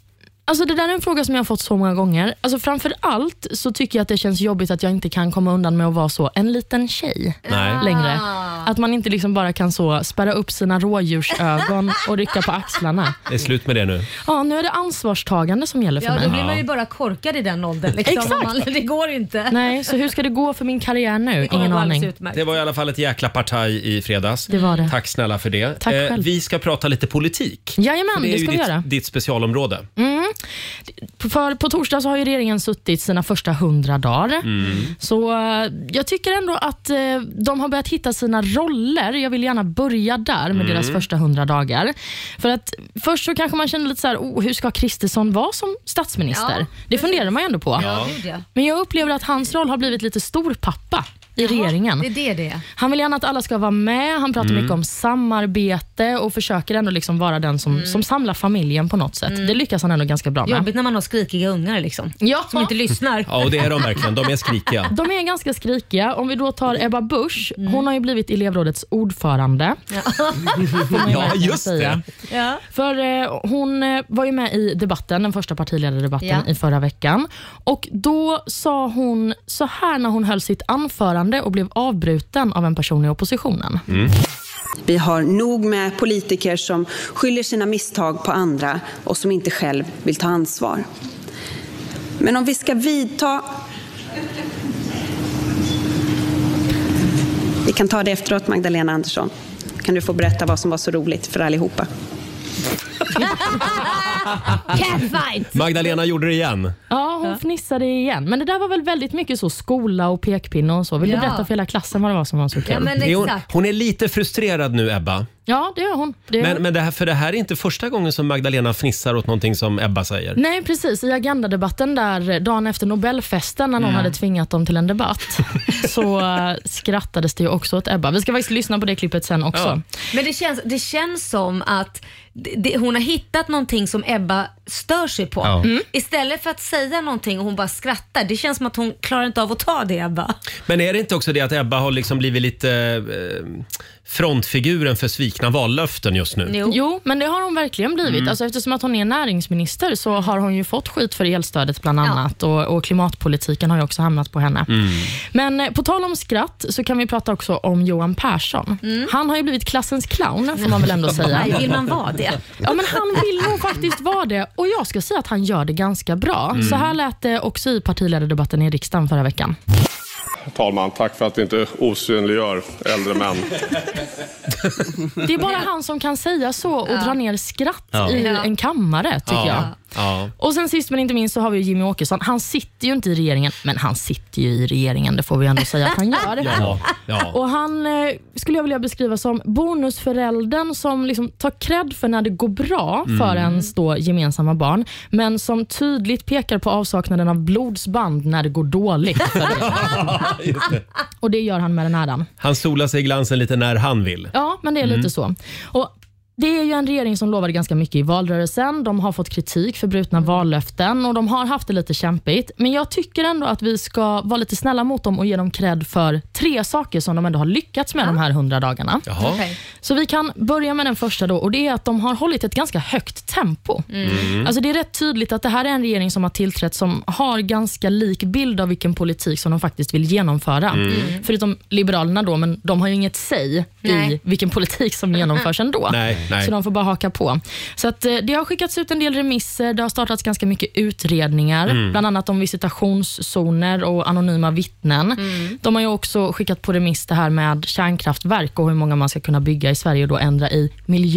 [SPEAKER 10] Alltså det där är en fråga som jag har fått så många gånger. Alltså framför allt så tycker jag att det känns jobbigt att jag inte kan komma undan med att vara så en liten tjej
[SPEAKER 1] Nej.
[SPEAKER 10] längre. Att man inte liksom bara kan så spärra upp sina rådjursögon och rycka på axlarna.
[SPEAKER 1] Det är slut med det nu.
[SPEAKER 10] Ja, nu är det ansvarstagande som gäller för
[SPEAKER 2] Ja,
[SPEAKER 10] mig.
[SPEAKER 2] då blir man ju bara korkad i den åldern. Liksom,
[SPEAKER 10] Exakt.
[SPEAKER 2] Om Man, det går inte.
[SPEAKER 10] Nej, så hur ska det gå för min karriär nu?
[SPEAKER 2] kommer
[SPEAKER 10] Ingen
[SPEAKER 2] gå alldeles
[SPEAKER 10] aning.
[SPEAKER 2] utmärkt.
[SPEAKER 1] Det var i alla fall ett jäkla partaj i fredags.
[SPEAKER 10] Det var det.
[SPEAKER 1] Tack snälla för det. Eh,
[SPEAKER 10] Tack själv.
[SPEAKER 1] vi ska prata lite politik.
[SPEAKER 10] Jajamän,
[SPEAKER 1] För
[SPEAKER 10] det
[SPEAKER 1] är ju
[SPEAKER 10] ska vi
[SPEAKER 1] ditt,
[SPEAKER 10] göra.
[SPEAKER 1] ditt specialområde.
[SPEAKER 10] Mm. För på torsdag så har ju regeringen suttit sina första 100 dagar.
[SPEAKER 1] Mm.
[SPEAKER 10] Så eh, jag tycker ändå att eh, de har börjat hitta sina roller. Jag vill gärna börja där med
[SPEAKER 13] Mm.
[SPEAKER 10] deras första 100 dagar. För att först så kanske man känner lite så här, oh, hur ska Kristersson vara som statsminister?
[SPEAKER 13] Ja,
[SPEAKER 10] det funderar man ju ändå på.
[SPEAKER 13] Ja, gud, ja.
[SPEAKER 10] Men jag upplever att hans roll har blivit lite stor pappa i regeringen.
[SPEAKER 2] Det är det det är.
[SPEAKER 10] Han vill gärna att alla ska vara med. Han pratar
[SPEAKER 13] Mm.
[SPEAKER 10] mycket om samarbete och försöker ändå liksom vara den som, som samlar familjen på något sätt. Det lyckas han ändå ganska bra med.
[SPEAKER 2] Mm. Jobbigt när man har skrikiga ungar liksom.
[SPEAKER 10] Ja.
[SPEAKER 2] Som inte lyssnar.
[SPEAKER 1] Ja, och det är de verkligen. De är skrikiga.
[SPEAKER 10] De är ganska skrikiga. Om vi då tar Ebba Busch. Hon har ju blivit elevrådets ordförande. Får man ju
[SPEAKER 13] Ja,
[SPEAKER 10] verkligen
[SPEAKER 13] just
[SPEAKER 10] säga.
[SPEAKER 13] det.
[SPEAKER 10] För eh, hon eh, var ju med i debatten, den första partiledardebatten
[SPEAKER 13] Ja.
[SPEAKER 10] i förra veckan. Och Då sa hon så här när hon höll sitt anförande och blev avbruten av en person i oppositionen.
[SPEAKER 14] Vi har nog med politiker som skyller sina misstag på andra och som inte själv vill ta ansvar. Men om vi ska vidta... Vi kan ta det efteråt, Magdalena Andersson. Kan du få berätta vad som var så roligt för allihopa?
[SPEAKER 2] Catfight!
[SPEAKER 1] Magdalena gjorde det igen.
[SPEAKER 10] Ja, hon fnissade igen. Men det där var väl väldigt mycket så skola och pekpinne och så. Vill
[SPEAKER 1] Ja.
[SPEAKER 10] du berätta för hela klassen vad det var som var så kul?
[SPEAKER 1] Det är hon, hon är lite frustrerad nu, Ebba.
[SPEAKER 10] Ja, det gör hon. Det gör hon.
[SPEAKER 1] Men, men det här, för det här är inte första gången som Magdalena fnissar åt någonting som Ebba säger.
[SPEAKER 10] Nej, precis. I agendadebatten där dagen efter Nobelfesten när någon
[SPEAKER 1] Mm.
[SPEAKER 10] hade tvingat dem till en debatt så eh, skrattades det ju också åt Ebba. Vi ska faktiskt lyssna på det klippet sen också.
[SPEAKER 2] Men det känns, det känns som att det, det, hon har hittat någonting som Ebba stör sig på.
[SPEAKER 1] Ja. Mm.
[SPEAKER 2] Istället för att säga någonting och hon bara skrattar. Det känns som att hon klarar inte av att ta det Ebba.
[SPEAKER 1] Men är det inte också det att Ebba har liksom blivit lite eh, frontfiguren för svikna vallöften just nu?
[SPEAKER 10] Jo. men det har hon verkligen blivit.
[SPEAKER 1] Mm.
[SPEAKER 10] Alltså, eftersom att hon är näringsminister så har hon ju fått skit för elstödet bland annat och, och klimatpolitiken har ju också hamnat på henne. Men eh, på tal om skratt så kan vi prata också om Johan Persson. Han har ju blivit klassens clown får man väl
[SPEAKER 2] (laughs)
[SPEAKER 10] ändå säga.
[SPEAKER 2] Nej, vill man vara det?
[SPEAKER 10] Ja, men han vill nog faktiskt vara det och jag ska säga att han gör det ganska bra.
[SPEAKER 13] Mm.
[SPEAKER 10] Så här lät det också i partiledardebatten i riksdagen förra veckan.
[SPEAKER 13] Talman, tack för att ni inte osynliggör äldre män.
[SPEAKER 10] Det är bara han som kan säga så och dra ner skratt
[SPEAKER 13] Ja.
[SPEAKER 10] i
[SPEAKER 13] Ja.
[SPEAKER 10] en kammare tycker jag.
[SPEAKER 1] Ja.
[SPEAKER 10] Och sen sist men inte minst så har vi ju Jimmy Åkesson. Han sitter ju inte i regeringen, men han sitter ju i regeringen. Det får vi ändå säga att han gör. Det
[SPEAKER 1] Ja, ja.
[SPEAKER 10] Och han eh, skulle jag vilja beskriva som bonusföräldern som liksom tar cred för när det går bra
[SPEAKER 15] Mm.
[SPEAKER 10] för ens då gemensamma barn, men som tydligt pekar på avsaknaden av blodsband när det går
[SPEAKER 1] (laughs)
[SPEAKER 10] dåligt. för det.
[SPEAKER 1] Just det.
[SPEAKER 10] Och det gör han med den här. Dan.
[SPEAKER 1] Han solar sig i glansen lite när han vill.
[SPEAKER 10] Ja, men det är
[SPEAKER 1] Mm.
[SPEAKER 10] lite så. Och det är ju en regering som lovade ganska mycket i valrörelsen. De har fått kritik för brutna
[SPEAKER 1] Mm.
[SPEAKER 10] vallöften och de har haft det lite kämpigt. Men jag tycker ändå att vi ska vara lite snälla mot dem och ge dem cred för tre saker som de ändå har lyckats med de här hundra dagarna.
[SPEAKER 1] Jaha. Okej.
[SPEAKER 10] Så vi kan börja med den första då och det är att de har hållit ett ganska högt tempo.
[SPEAKER 15] Mm.
[SPEAKER 10] Alltså det är rätt tydligt att det här är en regering som har tillträtt som har ganska lik bild av vilken politik som de faktiskt vill genomföra.
[SPEAKER 15] Mm.
[SPEAKER 10] Förutom Liberalerna då, men de har ju inget säg
[SPEAKER 15] Nej.
[SPEAKER 10] i vilken politik som genomförs ändå.
[SPEAKER 15] Nej, nej.
[SPEAKER 10] Så de får bara haka på. Så att, eh, Det har skickats ut en del remisser, det har startats ganska mycket utredningar,
[SPEAKER 15] Mm.
[SPEAKER 10] bland annat om visitationszoner och anonyma vittnen.
[SPEAKER 15] Mm.
[SPEAKER 10] De har ju också skickat på remiss det här med kärnkraftverk och hur många man ska kunna bygga i Sverige och då ändra i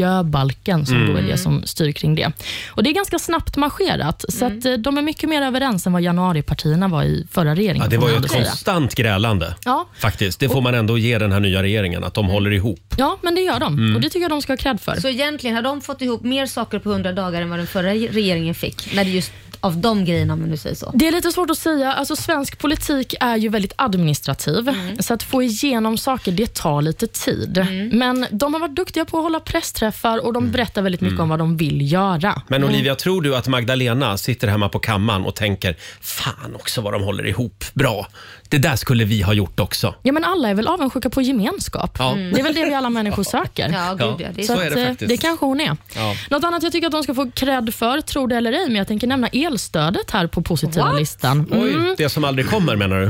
[SPEAKER 10] miljöbalken som
[SPEAKER 15] Mm.
[SPEAKER 10] då är det som styr kring det. Och Det är ganska snabbt marscherat, så
[SPEAKER 15] Mm.
[SPEAKER 10] att eh, de är mycket mer överens än vad januaripartierna var i förra regeringen.
[SPEAKER 1] Ja, det
[SPEAKER 10] får
[SPEAKER 1] var
[SPEAKER 10] man
[SPEAKER 1] ju
[SPEAKER 10] ändå
[SPEAKER 1] ett
[SPEAKER 10] säga.
[SPEAKER 1] konstant grälande.
[SPEAKER 10] Ja.
[SPEAKER 1] Faktiskt, det får man ändå ge den här nya regeringen, att de håller ihop.
[SPEAKER 10] Ja, men det gör de
[SPEAKER 1] Mm.
[SPEAKER 10] och det tycker jag de ska ha cred för.
[SPEAKER 2] Så egentligen har de fått ihop mer saker på 100 dagar än vad den förra regeringen fick. När det just av de grejerna om man nu säger så.
[SPEAKER 10] Det är lite svårt att säga. Alltså, svensk politik är ju väldigt administrativ, så att få igenom saker det tar lite tid. Men de har varit duktiga på att hålla pressträffar och de berättar väldigt mycket
[SPEAKER 1] Mm.
[SPEAKER 10] om vad de vill göra.
[SPEAKER 1] Men Olivia, tror du att Magdalena sitter hemma på kammaren och tänker “Fan också vad de håller ihop, bra. Det där skulle vi ha gjort också”?
[SPEAKER 10] Ja, men alla är väl avundsjuka på gemenskap?
[SPEAKER 1] Ja. Mm.
[SPEAKER 10] Det är väl det vi alla människor söker?
[SPEAKER 1] Ja, gud, ja. Det är
[SPEAKER 10] så
[SPEAKER 1] så.
[SPEAKER 10] att,
[SPEAKER 1] är det
[SPEAKER 10] eh,
[SPEAKER 1] faktiskt.
[SPEAKER 10] det kanske hon är.
[SPEAKER 1] Ja.
[SPEAKER 10] Något annat jag tycker att de ska få cred för, tro det eller ej, men jag tänker nämna elstödet här på positiva
[SPEAKER 1] What?
[SPEAKER 10] listan. Mm.
[SPEAKER 1] Oj, det som aldrig kommer menar du?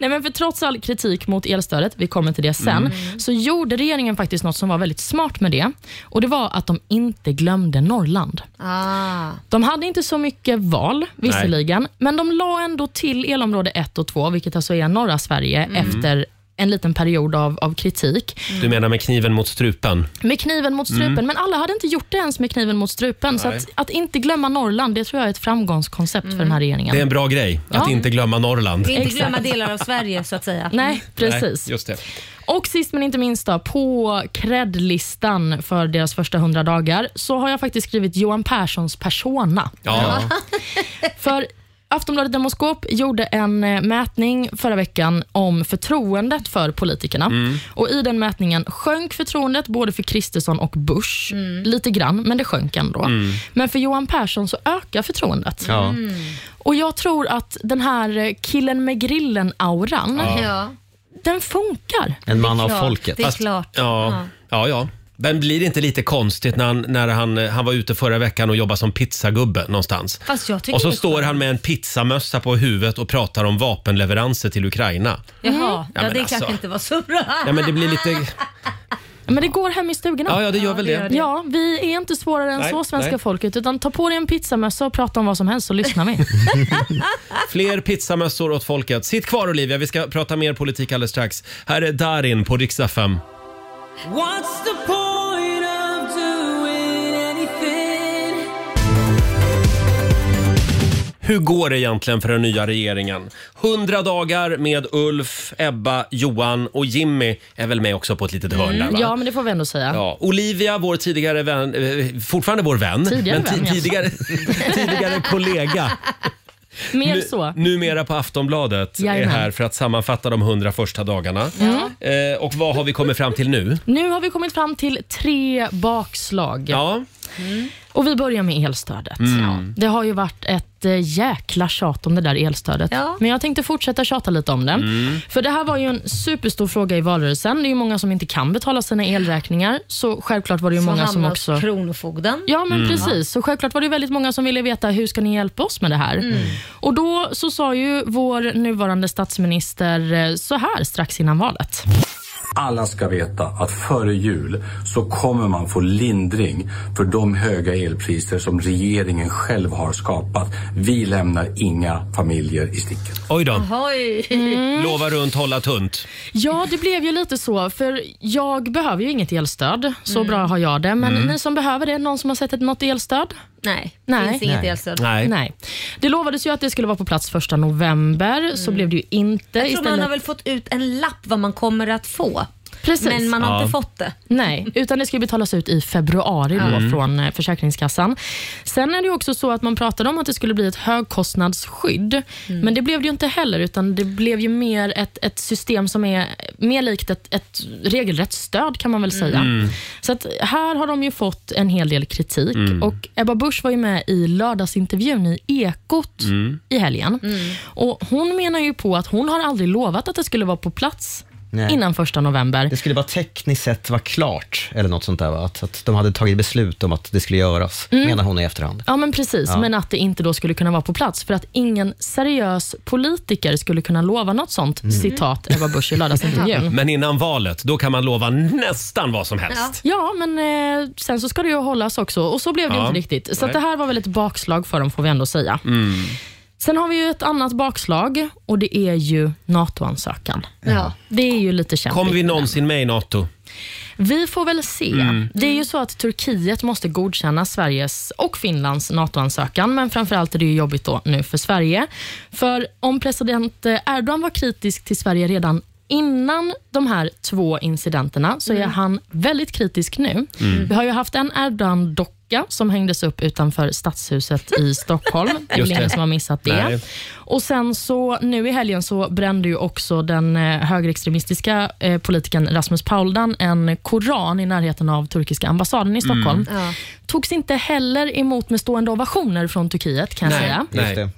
[SPEAKER 10] Nej, men för trots all kritik mot elstödet, vi kommer till det sen,
[SPEAKER 1] Mm.
[SPEAKER 10] så gjorde regeringen faktiskt något som var väldigt smart med det. Och Det var att de inte glömde Norrland.
[SPEAKER 2] Ah.
[SPEAKER 10] De hade inte så mycket val, visserligen, men de la ändå till elområde 1 och 2, vilket alltså är norra Sverige,
[SPEAKER 1] Mm.
[SPEAKER 10] efter en liten period av, av kritik.
[SPEAKER 1] Du menar med kniven mot strupen?
[SPEAKER 10] Med kniven mot strupen,
[SPEAKER 1] Mm.
[SPEAKER 10] men alla hade inte gjort det ens med kniven mot strupen. Så
[SPEAKER 1] Nej. Mm.
[SPEAKER 10] att, att inte glömma Norrland, det tror jag är ett framgångskoncept för den här regeringen.
[SPEAKER 1] Det är en bra grej, att
[SPEAKER 10] Ja.
[SPEAKER 1] inte glömma Norrland.
[SPEAKER 10] Inte glömma
[SPEAKER 2] Samma delar av Sverige så att säga.
[SPEAKER 10] Nej, precis.
[SPEAKER 1] Nej, just det.
[SPEAKER 10] Och sist men inte minst då, på cred-listan för deras första 100 dagar så har jag faktiskt skrivit Johan
[SPEAKER 15] (laughs)
[SPEAKER 10] Perssons persona.
[SPEAKER 15] Ja.
[SPEAKER 10] för Aftonbladet Demoskop gjorde en eh, mätning förra veckan om förtroendet för politikerna.
[SPEAKER 15] Mm.
[SPEAKER 10] Och I den mätningen sjönk förtroendet både för Kristersson och Bush. Lite grann, men det sjönk ändå.
[SPEAKER 15] Mm.
[SPEAKER 10] Men för Johan Persson så ökar förtroendet.
[SPEAKER 15] Ja.
[SPEAKER 10] Och Jag tror att den här eh, killen med grillen-auran,
[SPEAKER 1] Ja. Ja.
[SPEAKER 10] den funkar.
[SPEAKER 6] Alltså,
[SPEAKER 1] Fast- Ja, ja, ja. Men blir det inte lite konstigt när han, när han, han var ute förra veckan och jobbade som pizzagubbe någonstans?
[SPEAKER 2] Fast jag tycker
[SPEAKER 1] Och så
[SPEAKER 2] det är
[SPEAKER 1] står han med en pizzamössa på huvudet och pratar om vapenleveranser till Ukraina.
[SPEAKER 2] Jaha,
[SPEAKER 1] Ja,
[SPEAKER 2] ja,
[SPEAKER 1] men
[SPEAKER 2] det
[SPEAKER 1] alltså.
[SPEAKER 2] kanske inte var så bra.
[SPEAKER 1] Nej, men det blir lite...
[SPEAKER 10] Men det går hem i stugorna.
[SPEAKER 1] Ja, ja, det gör väl det.
[SPEAKER 10] Ja, vi är inte svårare än
[SPEAKER 1] Nej,
[SPEAKER 10] så, svenska
[SPEAKER 1] nej.
[SPEAKER 10] folket. Utan ta på dig en pizzamössa och prata om vad som helst så
[SPEAKER 1] (laughs)
[SPEAKER 10] lyssnar vi.
[SPEAKER 1] Fler pizzamössor åt folket. Sitt kvar Olivia, vi ska prata mer politik alldeles strax. Här är Darin på riksdag 5.
[SPEAKER 15] What's the point of doing anything?
[SPEAKER 1] Hur går det egentligen för den nya regeringen? 100 dagar med Ulf, Ebba, Johan och Jimmy är väl med också på ett litet hörn där va?
[SPEAKER 10] Mm, ja, men det får vi ändå säga.
[SPEAKER 1] Ja, Olivia, vår tidigare vän, eh, fortfarande vår vän,
[SPEAKER 10] Tidigare
[SPEAKER 1] men ti-
[SPEAKER 10] vän, ja. (laughs)
[SPEAKER 1] tidigare, tidigare kollega.
[SPEAKER 10] Mer
[SPEAKER 1] Nu-
[SPEAKER 10] så.
[SPEAKER 1] Numera på Aftonbladet är
[SPEAKER 10] Jajamän.
[SPEAKER 1] här för att sammanfatta de 100 första dagarna.
[SPEAKER 10] Ja.
[SPEAKER 1] Eh, och vad har vi kommit fram till nu?
[SPEAKER 10] Nu har vi kommit fram till tre bakslag.
[SPEAKER 1] Ja.
[SPEAKER 10] Och vi börjar med elstödet.
[SPEAKER 15] Mm.
[SPEAKER 10] Det har ju varit ett eh, jäkla tjat om det där elstödet. Men jag tänkte fortsätta tjata lite om det.
[SPEAKER 15] Mm.
[SPEAKER 10] För det här var ju en superstor fråga i valrörelsen. Det är ju många som inte kan betala sina elräkningar. Så självklart var det ju
[SPEAKER 2] Som
[SPEAKER 10] många som
[SPEAKER 2] hamnar hos
[SPEAKER 10] också...
[SPEAKER 2] Kronofogden.
[SPEAKER 10] Ja, men
[SPEAKER 2] Mm.
[SPEAKER 10] precis. Så självklart var det väldigt många som ville veta hur ska ni hjälpa oss med det här?
[SPEAKER 2] Mm.
[SPEAKER 10] Och Då så sa ju vår nuvarande statsminister eh, så här strax innan valet.
[SPEAKER 16] Alla ska veta att före jul så kommer man få lindring för de höga elpriser som regeringen själv har skapat. Vi lämnar inga familjer i sticket.
[SPEAKER 1] Oj då.
[SPEAKER 2] Oj.
[SPEAKER 1] Lova runt, hålla tunt.
[SPEAKER 10] Ja, det blev ju lite så, för jag behöver ju inget elstöd. Så
[SPEAKER 2] Mm.
[SPEAKER 10] bra har jag det. Men
[SPEAKER 1] Mm.
[SPEAKER 10] ni som behöver det, någon som har sett ett, något elstöd?
[SPEAKER 2] Nej,
[SPEAKER 10] Nej.
[SPEAKER 2] finns inget elstöd.
[SPEAKER 10] Nej. Det lovades ju att det skulle vara på plats första november, så blev det ju inte.
[SPEAKER 2] Mm. Jag tror man har väl fått ut en lapp vad man kommer att få.
[SPEAKER 10] Precis.
[SPEAKER 2] Men man har
[SPEAKER 10] Ja.
[SPEAKER 2] inte fått det.
[SPEAKER 10] Nej, utan det ska ju betalas ut i februari då
[SPEAKER 2] Mm.
[SPEAKER 10] från eh, Försäkringskassan. Sen är det ju också så att man pratade om att det skulle bli ett högkostnadsskydd,
[SPEAKER 15] Mm.
[SPEAKER 10] men det blev det ju inte heller, utan det blev ju mer ett, ett system som är mer likt ett, ett regelrätt stöd kan man väl säga.
[SPEAKER 15] Mm.
[SPEAKER 10] Så att här har de ju fått en hel del kritik
[SPEAKER 15] Mm.
[SPEAKER 10] och Ebba Busch var ju med i lördagsintervjun i Ekot
[SPEAKER 15] Mm.
[SPEAKER 10] i helgen. Och Hon menar ju på att hon har aldrig lovat att det skulle vara på plats
[SPEAKER 6] Nej.
[SPEAKER 10] innan första november.
[SPEAKER 6] Det skulle bara tekniskt sett vara klart, eller något sånt där, va? att, att de hade tagit beslut om att det skulle göras,
[SPEAKER 10] Mm.
[SPEAKER 6] menar hon i efterhand.
[SPEAKER 10] Ja, men precis.
[SPEAKER 6] Ja.
[SPEAKER 10] Men att det inte då skulle kunna vara på plats för att ingen seriös politiker skulle kunna lova något sånt,
[SPEAKER 1] Mm.
[SPEAKER 10] citat Ebba Busch
[SPEAKER 1] (laughs)
[SPEAKER 10] i lördagsintervjun.
[SPEAKER 1] Men innan valet, då kan man lova nästan vad som helst.
[SPEAKER 10] Ja. ja, men eh, sen så ska det ju hållas också och så blev det
[SPEAKER 1] Ja.
[SPEAKER 10] inte riktigt. Så att det
[SPEAKER 1] Nej.
[SPEAKER 10] här var väl ett bakslag för dem får vi ändå säga.
[SPEAKER 1] Mm.
[SPEAKER 10] Sen har vi ju ett annat bakslag och det är ju NATO-ansökan.
[SPEAKER 2] Ja.
[SPEAKER 10] Det är ju lite kämpigt.
[SPEAKER 1] Kommer vi någonsin med i NATO?
[SPEAKER 10] Vi får väl se.
[SPEAKER 1] Mm.
[SPEAKER 10] Det är ju så att Turkiet måste godkänna Sveriges och Finlands NATO-ansökan, men framförallt är det ju jobbigt då nu för Sverige. För om president eh, Erdogan var kritisk till Sverige redan Innan de här två incidenterna så är
[SPEAKER 15] Mm.
[SPEAKER 10] han väldigt kritisk nu.
[SPEAKER 15] Mm.
[SPEAKER 10] Vi har ju haft en Erdogan-docka som hängdes upp utanför stadshuset i Stockholm. Det är
[SPEAKER 15] Just
[SPEAKER 10] väl
[SPEAKER 15] det.
[SPEAKER 10] ingen som har missat det.
[SPEAKER 15] Nej.
[SPEAKER 10] Och sen så nu i helgen så brände ju också den eh, högerextremistiska eh, politikern Rasmus Paludan en koran i närheten av turkiska ambassaden i Stockholm.
[SPEAKER 15] Mm. Ja.
[SPEAKER 10] Togs inte heller emot med stående ovationer från Turkiet kan jag säga.
[SPEAKER 6] Just det.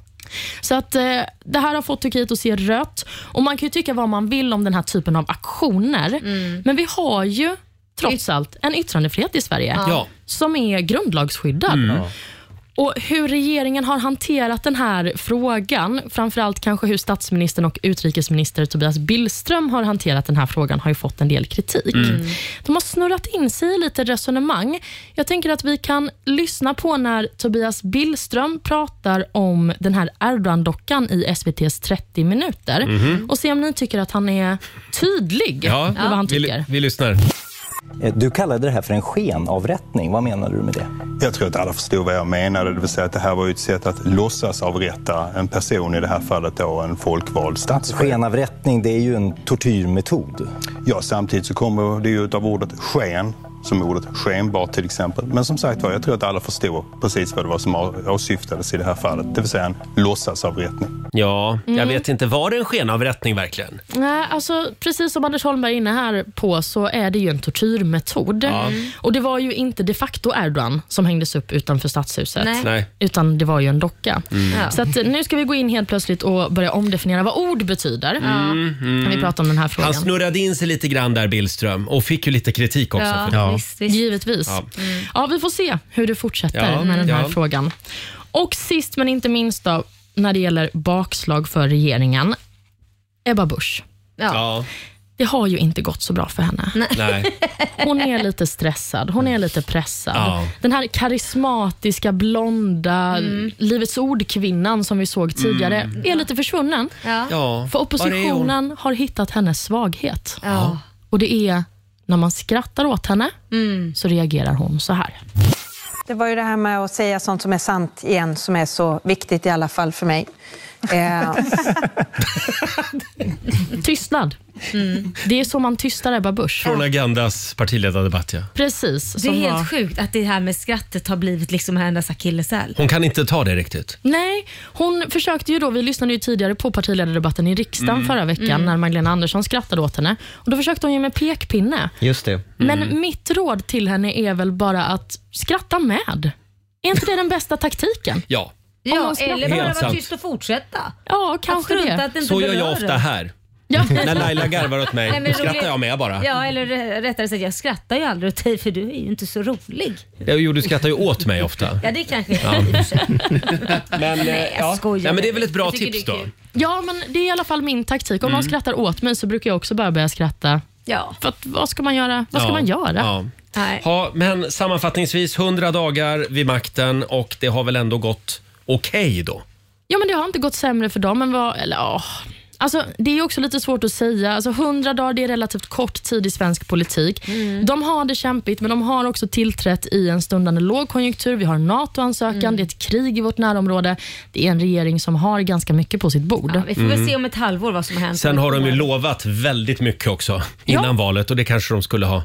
[SPEAKER 10] Så att eh, det här har fått Turkiet att se rött. Och man kan ju tycka vad man vill om den här typen av aktioner.
[SPEAKER 15] Mm.
[SPEAKER 10] Men vi har ju trots allt en yttrandefrihet i Sverige
[SPEAKER 15] Ja. Ja.
[SPEAKER 10] som är grundlagsskyddad.
[SPEAKER 15] Mm.
[SPEAKER 10] Och Hur regeringen har hanterat den här frågan, framförallt kanske hur statsministern och utrikesminister Tobias Billström har hanterat den här frågan, har ju fått en del kritik.
[SPEAKER 15] Mm.
[SPEAKER 10] De har snurrat in sig i lite resonemang. Jag tänker att vi kan lyssna på när Tobias Billström pratar om den här Erdogan-dockan i SVTs 30 minuter
[SPEAKER 17] Mhm.
[SPEAKER 10] och se om ni tycker att han är tydlig med vad han tycker.
[SPEAKER 17] vi lyssnar. Eh, Du kallade det här för en skenavrättning. Vad menade du med det?
[SPEAKER 8] Jag tror att alla förstod vad jag menade, det vill säga att det här var ju ett sätt att låtsas avrätta en person, i det här fallet då en folkvald statschef.
[SPEAKER 17] Skenavrättning, det är ju en tortyrmetod.
[SPEAKER 8] Ja, samtidigt så kommer det ju av ordet sken, som ordet skenbart till exempel. Men som sagt var, jag tror att alla förstod precis vad det var som å- åsyftades i det här fallet, det vill säga en låtsasavrättning.
[SPEAKER 1] Ja, jag
[SPEAKER 10] Mm.
[SPEAKER 1] vet inte. Var det en skenavrättning verkligen?
[SPEAKER 10] Nej, alltså precis som Anders Holmberg är inne här på så är det ju en tortyrmetod.
[SPEAKER 1] Ja.
[SPEAKER 10] Och det var ju inte de facto Erdogan som hängdes upp utanför stadshuset.
[SPEAKER 1] Nej. Nej.
[SPEAKER 10] Utan det var ju en docka.
[SPEAKER 1] Mm.
[SPEAKER 15] Ja.
[SPEAKER 10] Så att eh, nu ska vi gå in helt plötsligt och börja omdefiniera vad ord betyder.
[SPEAKER 1] Mm, mm.
[SPEAKER 10] När vi pratar om den här frågan.
[SPEAKER 1] Han snurrade in sig lite grann där, Billström, och fick ju lite kritik också. för det.
[SPEAKER 10] Givetvis.
[SPEAKER 1] Ja.
[SPEAKER 10] Ja. vi får se hur det fortsätter
[SPEAKER 1] Ja,
[SPEAKER 10] med den här
[SPEAKER 1] ja.
[SPEAKER 10] frågan. Och sist men inte minst då, när det gäller bakslag för regeringen. Ebba Busch.
[SPEAKER 1] Ja.
[SPEAKER 10] Det har ju inte gått så bra för henne.
[SPEAKER 1] Nej.
[SPEAKER 10] (laughs) Hon är lite stressad, hon är lite pressad.
[SPEAKER 15] Ja.
[SPEAKER 10] Den här karismatiska, blonda, Livets ord-kvinnan som vi såg tidigare
[SPEAKER 15] Mm.
[SPEAKER 10] är lite försvunnen.
[SPEAKER 15] Ja.
[SPEAKER 10] För
[SPEAKER 15] Var är
[SPEAKER 10] oppositionen har hittat hennes svaghet. Och det är när man skrattar åt henne så reagerar hon så här.
[SPEAKER 18] Det var ju det här med att säga sånt som är sant igen som är så viktigt i alla fall för mig. Eh,
[SPEAKER 10] Tystnad. Det är så man tystar Ebba Busch.
[SPEAKER 1] Från Agendas partiledardebatt, ja.
[SPEAKER 10] Precis.
[SPEAKER 2] Det är
[SPEAKER 10] som
[SPEAKER 2] helt
[SPEAKER 10] var-
[SPEAKER 2] sjukt att det här med skrattet har blivit liksom hennes akilleshäl.
[SPEAKER 1] Hon kan inte ta det riktigt.
[SPEAKER 10] Nej, hon försökte ju då, vi lyssnade ju tidigare på partiledardebatten i riksdagen
[SPEAKER 1] Mm.
[SPEAKER 10] förra veckan
[SPEAKER 1] Mm.
[SPEAKER 10] när Magdalena Andersson skrattade åt henne. Och Då försökte hon ju med pekpinne.
[SPEAKER 1] Mm.
[SPEAKER 6] Just det.
[SPEAKER 10] Men mitt råd till henne är väl bara att skratta med. Är inte det den bästa taktiken?
[SPEAKER 1] Ja.
[SPEAKER 10] Om
[SPEAKER 2] Ja,
[SPEAKER 10] någon skrattar.
[SPEAKER 2] eller bara
[SPEAKER 1] Helt
[SPEAKER 2] vara
[SPEAKER 1] sant.
[SPEAKER 2] tyst och fortsätta.
[SPEAKER 10] Ja,
[SPEAKER 2] kanske
[SPEAKER 10] det.
[SPEAKER 2] Att det inte
[SPEAKER 1] Så gör
[SPEAKER 2] berör
[SPEAKER 1] jag
[SPEAKER 2] en.
[SPEAKER 1] ofta här. (laughs)
[SPEAKER 10] Ja.
[SPEAKER 1] När Laila garvar åt mig,
[SPEAKER 2] Nej, men
[SPEAKER 1] då skrattar
[SPEAKER 2] roligt-
[SPEAKER 1] jag med bara.
[SPEAKER 2] Ja, eller r- rättare sagt, jag skrattar ju aldrig åt dig för du är ju inte så rolig.
[SPEAKER 1] Jo, du skrattar ju åt mig ofta.
[SPEAKER 2] Ja, det kanske
[SPEAKER 1] Ja.
[SPEAKER 2] är i och för sig.
[SPEAKER 1] Men, eh,
[SPEAKER 2] Nej, jag
[SPEAKER 1] ja.
[SPEAKER 2] skojar
[SPEAKER 1] Nej, men det är
[SPEAKER 2] med
[SPEAKER 1] väl ett
[SPEAKER 2] dig.
[SPEAKER 1] bra
[SPEAKER 2] Jag tycker
[SPEAKER 1] tips
[SPEAKER 2] det är
[SPEAKER 1] då.
[SPEAKER 2] kul.
[SPEAKER 10] Ja, men det är i alla fall min taktik. Om
[SPEAKER 1] Mm.
[SPEAKER 10] någon skrattar åt mig så brukar jag också bara börja skratta.
[SPEAKER 2] Ja.
[SPEAKER 10] För att, vad ska man göra? Vad ska
[SPEAKER 1] Ja,
[SPEAKER 10] man göra?
[SPEAKER 1] ja. Ja, men sammanfattningsvis 100 dagar vid makten och det har väl ändå gått okej då?
[SPEAKER 10] Ja, men det har inte gått sämre för dem än vad... Eller, åh. Alltså, det är ju också lite svårt att säga. Alltså, 100 dagar det är relativt kort tid i svensk politik.
[SPEAKER 2] Mm.
[SPEAKER 10] De har det kämpigt, men de har också tillträtt i en stundande lågkonjunktur. Vi har NATO-ansökan,
[SPEAKER 2] Mm.
[SPEAKER 10] det är ett krig i vårt närområde. Det är en regering som har ganska mycket på sitt bord.
[SPEAKER 2] Ja, vi får väl
[SPEAKER 1] Mm.
[SPEAKER 2] se om ett halvår vad som har hänt.
[SPEAKER 1] Sen har de ju lovat väldigt mycket också innan valet och det kanske de skulle ha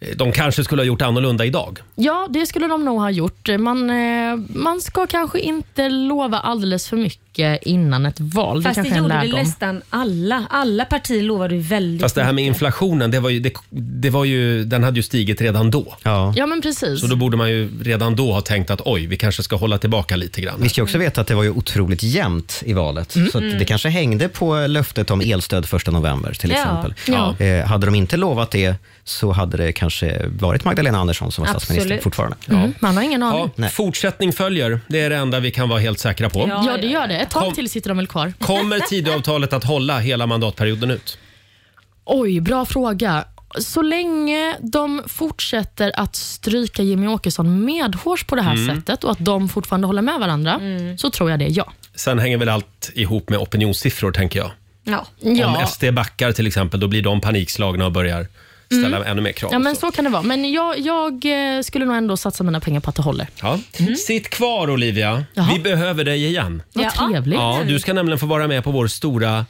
[SPEAKER 1] eh, de kanske skulle ha gjort annorlunda idag.
[SPEAKER 10] Ja, det skulle de nog ha gjort. Man, eh, man ska kanske inte lova alldeles för mycket innan ett val.
[SPEAKER 2] Fast
[SPEAKER 10] det
[SPEAKER 2] det
[SPEAKER 10] kanske är
[SPEAKER 2] gjorde
[SPEAKER 10] en
[SPEAKER 2] väl
[SPEAKER 10] lärdom.
[SPEAKER 2] nästan alla. Alla partier lovade ju väldigt
[SPEAKER 1] Fast det här med inflationen, det var ju, det, det var ju, den hade ju stigit redan då.
[SPEAKER 10] Ja, men precis.
[SPEAKER 1] Så då borde man ju redan då ha tänkt att oj, vi kanske ska hålla tillbaka lite grann.
[SPEAKER 6] Vi ska ju också veta att det var ju otroligt jämnt i valet.
[SPEAKER 1] Mm.
[SPEAKER 6] Så att det
[SPEAKER 1] Mm.
[SPEAKER 6] kanske hängde på löftet om elstöd 1 november till
[SPEAKER 1] Ja.
[SPEAKER 6] exempel.
[SPEAKER 1] Ja.
[SPEAKER 6] Eh, hade de inte lovat det så hade det kanske varit Magdalena Andersson som var statsminister
[SPEAKER 1] Absolut.
[SPEAKER 6] fortfarande.
[SPEAKER 10] Mm, man har ingen aning.
[SPEAKER 1] Ja, fortsättning följer, det är det enda vi kan vara helt säkra på.
[SPEAKER 10] Ja, (laughs) det gör det. Ett tag till sitter de väl kvar.
[SPEAKER 1] Kommer Tidöavtalet att hålla hela mandatperioden ut?
[SPEAKER 10] Oj, bra fråga. Så länge de fortsätter att stryka Jimmy Åkesson medhårs på det här
[SPEAKER 1] Mm.
[SPEAKER 10] sättet och att de fortfarande håller med varandra, så tror jag det, ja.
[SPEAKER 1] Sen hänger väl allt ihop med opinionssiffror, tänker jag.
[SPEAKER 2] Ja.
[SPEAKER 1] Om SD backar till exempel, då blir de panikslagna och börjar ställa
[SPEAKER 10] Mm.
[SPEAKER 1] ännu mer krav.
[SPEAKER 10] ja, men så kan det vara. Men jag, jag eh, skulle nog ändå satsa mina pengar på att det håller.
[SPEAKER 1] Ja.
[SPEAKER 10] Mm.
[SPEAKER 1] Sitt kvar Olivia. Vi behöver dig igen.
[SPEAKER 10] Vad Ja. trevligt.
[SPEAKER 1] Ja, du ska nämligen få vara med på vår stora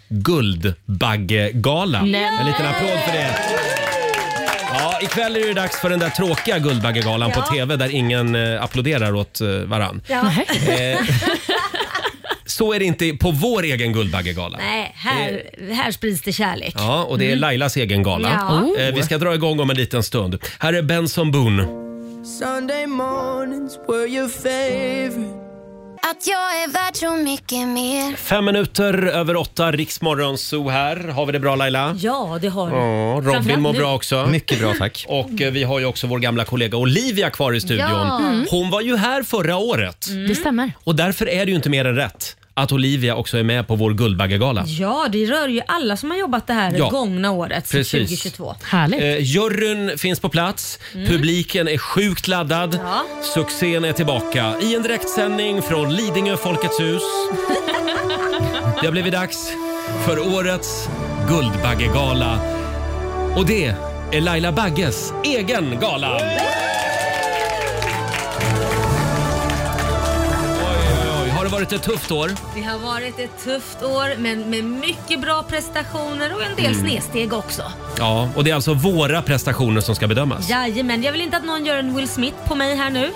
[SPEAKER 1] Guldbaggegala.
[SPEAKER 10] Nej.
[SPEAKER 1] En liten applåd för det. Ja, ikväll är det dags för den där tråkiga Guldbaggegalan
[SPEAKER 2] Ja.
[SPEAKER 1] på TV där ingen eh, applåderar åt eh, varann.
[SPEAKER 2] Ja.
[SPEAKER 1] Eh, så är det inte på vår egen Guldbaggegala.
[SPEAKER 2] Nej, här, här sprids det kärlek.
[SPEAKER 1] Ja, och det är Lailas egen gala.
[SPEAKER 2] Ja. Oh.
[SPEAKER 1] Eh, vi ska dra igång om en liten stund. Här är Benson Boone.
[SPEAKER 12] Sunday mornings were your favorite.
[SPEAKER 19] Att jag är värd så mycket mer.
[SPEAKER 1] Fem minuter över åtta, Riksmorgon Zoo här. Har vi det bra Laila?
[SPEAKER 2] Ja, det har du.
[SPEAKER 1] Ja, Robin
[SPEAKER 2] Framförallt
[SPEAKER 1] mår
[SPEAKER 2] nu.
[SPEAKER 1] bra också.
[SPEAKER 6] Mycket bra, tack.
[SPEAKER 1] (laughs) Och eh, vi har ju också vår gamla kollega Olivia kvar i studion.
[SPEAKER 10] Ja. Mm.
[SPEAKER 1] Hon var ju här förra året.
[SPEAKER 10] Det stämmer.
[SPEAKER 1] Och därför är det ju inte mer än rätt att Olivia också är med på vår Guldbaggegala.
[SPEAKER 2] Ja, det rör ju alla som har jobbat det här
[SPEAKER 1] Ja.
[SPEAKER 2] gångna året,
[SPEAKER 1] Precis.
[SPEAKER 2] 2022.
[SPEAKER 10] Härligt.
[SPEAKER 1] Eh, juryn finns på plats, publiken är sjukt laddad.
[SPEAKER 2] Mm. Ja.
[SPEAKER 1] Succén är tillbaka i en direktsändning från Lidingö Folkets hus. Det har blivit dags för årets Guldbaggegala. Och det är Laila Bagges egen gala. Oj, oj, oj. Har det varit ett tufft år?
[SPEAKER 2] Det har varit ett tufft år, men med mycket bra prestationer och en del
[SPEAKER 1] Mm.
[SPEAKER 2] snedsteg också.
[SPEAKER 1] Ja, och det är alltså våra prestationer som ska bedömas.
[SPEAKER 2] Jajamän, jag vill inte att någon gör en Will Smith på mig här nu.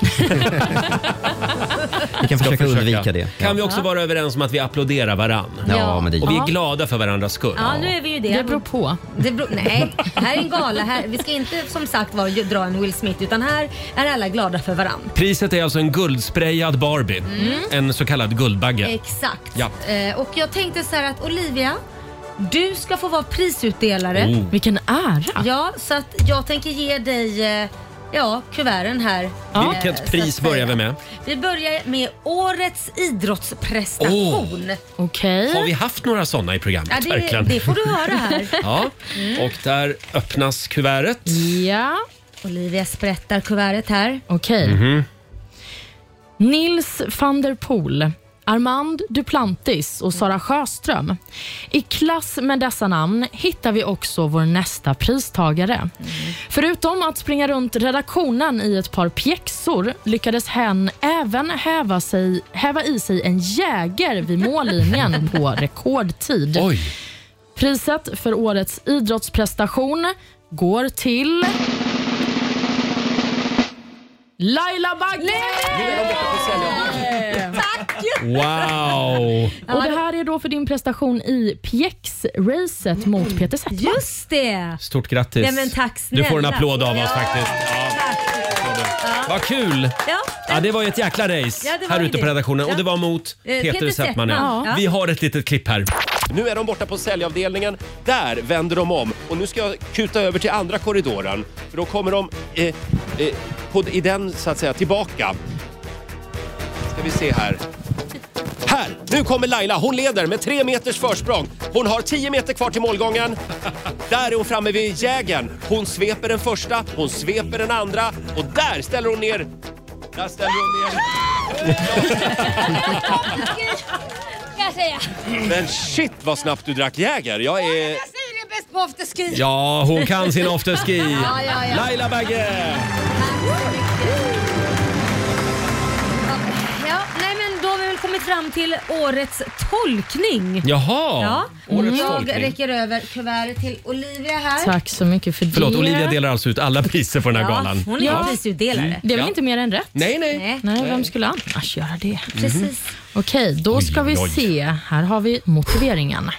[SPEAKER 6] Vi kan försöka undvika det.
[SPEAKER 1] Kan vi också
[SPEAKER 2] Ja.
[SPEAKER 1] vara överens om att vi applåderar varann?
[SPEAKER 6] Ja, men det-
[SPEAKER 1] Och vi
[SPEAKER 2] Ja.
[SPEAKER 1] är glada för varandras skull.
[SPEAKER 2] Ja, nu är vi ju det. Det beror
[SPEAKER 10] på.
[SPEAKER 2] nej, här är en gala. Här, vi ska inte som sagt vara, dra en Will Smith utan här är alla glada för varann.
[SPEAKER 1] Priset är alltså en guldsprayad Barbie.
[SPEAKER 2] Mm.
[SPEAKER 1] En så kallad Guldbagge.
[SPEAKER 2] Exakt.
[SPEAKER 1] Ja.
[SPEAKER 2] Eh, och jag tänkte så här att Olivia, du ska få vara prisutdelare.
[SPEAKER 1] Oh.
[SPEAKER 10] Vilken ära.
[SPEAKER 2] Ja, så att jag tänker ge dig eh, ja, kuverten här. Eh, så
[SPEAKER 1] Vilket
[SPEAKER 2] att
[SPEAKER 1] pris
[SPEAKER 2] säga.
[SPEAKER 1] börjar vi med?
[SPEAKER 2] Vi börjar med årets idrottsprestation.
[SPEAKER 10] Okej.
[SPEAKER 1] Har vi haft några sådana i programmet?
[SPEAKER 2] Ja, det-
[SPEAKER 1] Verkligen.
[SPEAKER 2] det får du höra
[SPEAKER 1] (laughs)
[SPEAKER 2] här.
[SPEAKER 1] ja.
[SPEAKER 2] Mm.
[SPEAKER 1] Och där öppnas kuvertet.
[SPEAKER 10] Ja.
[SPEAKER 2] Olivia sprättar kuvertet här.
[SPEAKER 10] Okej.
[SPEAKER 1] Mhm.
[SPEAKER 10] Nils van der Poel, Armand Duplantis och Sara Sjöström. I klass med dessa namn hittar vi också vår nästa pristagare. Förutom att springa runt redaktionen i ett par pjäxor lyckades hen även häva, sig, häva i sig en jäger vid mållinjen på rekordtid.
[SPEAKER 2] (laughs)
[SPEAKER 10] Priset för årets idrottsprestation går till... Laila Bagge!
[SPEAKER 1] Wow!
[SPEAKER 10] Och det här är då för din prestation i pjäxracet mot Peter Settman.
[SPEAKER 2] Just det!
[SPEAKER 1] Stort grattis.
[SPEAKER 2] Ja, men tack
[SPEAKER 1] du
[SPEAKER 2] snälla.
[SPEAKER 1] får en applåd av oss
[SPEAKER 2] Ja.
[SPEAKER 1] faktiskt. Ja. Vad kul!
[SPEAKER 2] Ja.
[SPEAKER 1] Ja, det var ju ett jäkla race
[SPEAKER 2] Ja, det var
[SPEAKER 1] här
[SPEAKER 2] ju
[SPEAKER 1] ute på
[SPEAKER 2] det.
[SPEAKER 1] redaktionen
[SPEAKER 2] Ja.
[SPEAKER 1] och det var mot
[SPEAKER 2] Eh,
[SPEAKER 1] Peter,
[SPEAKER 2] Peter Settman.
[SPEAKER 1] Settman. Ja.
[SPEAKER 2] Ja.
[SPEAKER 1] Vi har ett litet klipp här.
[SPEAKER 20] Nu är de borta på säljavdelningen. Där vänder de om och nu ska jag kuta över till andra korridoren. För då kommer de eh, eh, på, i den så att säga tillbaka. Ska vi se här. Här! Nu kommer Laila. Hon leder med tre meters försprång. Hon har 10 meter kvar till målgången. Där är hon framme vid jägen. Hon sveper den första, hon sveper den andra och där ställer hon ner... Där ställer hon ner...
[SPEAKER 21] Ska jag säga.
[SPEAKER 20] Men shit vad snabbt du drack Jäger. Jag är...
[SPEAKER 21] Jag säger det bäst på afterski.
[SPEAKER 1] Ja, hon kan sin afterski.
[SPEAKER 21] Ja, ja, ja.
[SPEAKER 1] Laila Bagge!
[SPEAKER 2] Ja, nej men då har vi väl kommit fram till årets tolkning.
[SPEAKER 1] Jaha,
[SPEAKER 2] Ja. Mm.
[SPEAKER 1] årets
[SPEAKER 2] jag
[SPEAKER 1] tolkning.
[SPEAKER 2] räcker över kuvertet till Olivia här.
[SPEAKER 10] Tack så mycket för det.
[SPEAKER 1] Förlåt, Olivia delar alltså ut alla priser på den här
[SPEAKER 2] Ja,
[SPEAKER 1] galan.
[SPEAKER 2] hon är prisutdelare.
[SPEAKER 1] Mm.
[SPEAKER 10] Det är väl
[SPEAKER 1] Ja.
[SPEAKER 10] inte mer än rätt?
[SPEAKER 1] Nej, nej.
[SPEAKER 2] Nej.
[SPEAKER 10] vem skulle annars göra det?
[SPEAKER 1] Precis.
[SPEAKER 10] Okej, då ska
[SPEAKER 1] Oj,
[SPEAKER 10] vi
[SPEAKER 1] oj.
[SPEAKER 10] se. Här har vi motiveringen.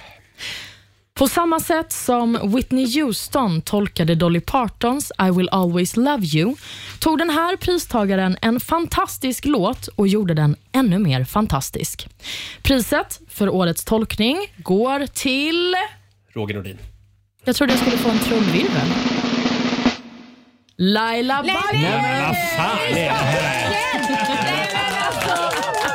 [SPEAKER 10] På samma sätt som Whitney Houston tolkade Dolly Partons I will always love you tog den här pristagaren en fantastisk låt och gjorde den ännu mer fantastisk. Priset för årets tolkning går till...
[SPEAKER 1] Roger Nordin.
[SPEAKER 10] Jag trodde jag skulle få en trumvirvel. Laila Bagge!
[SPEAKER 1] Vad fan är det här?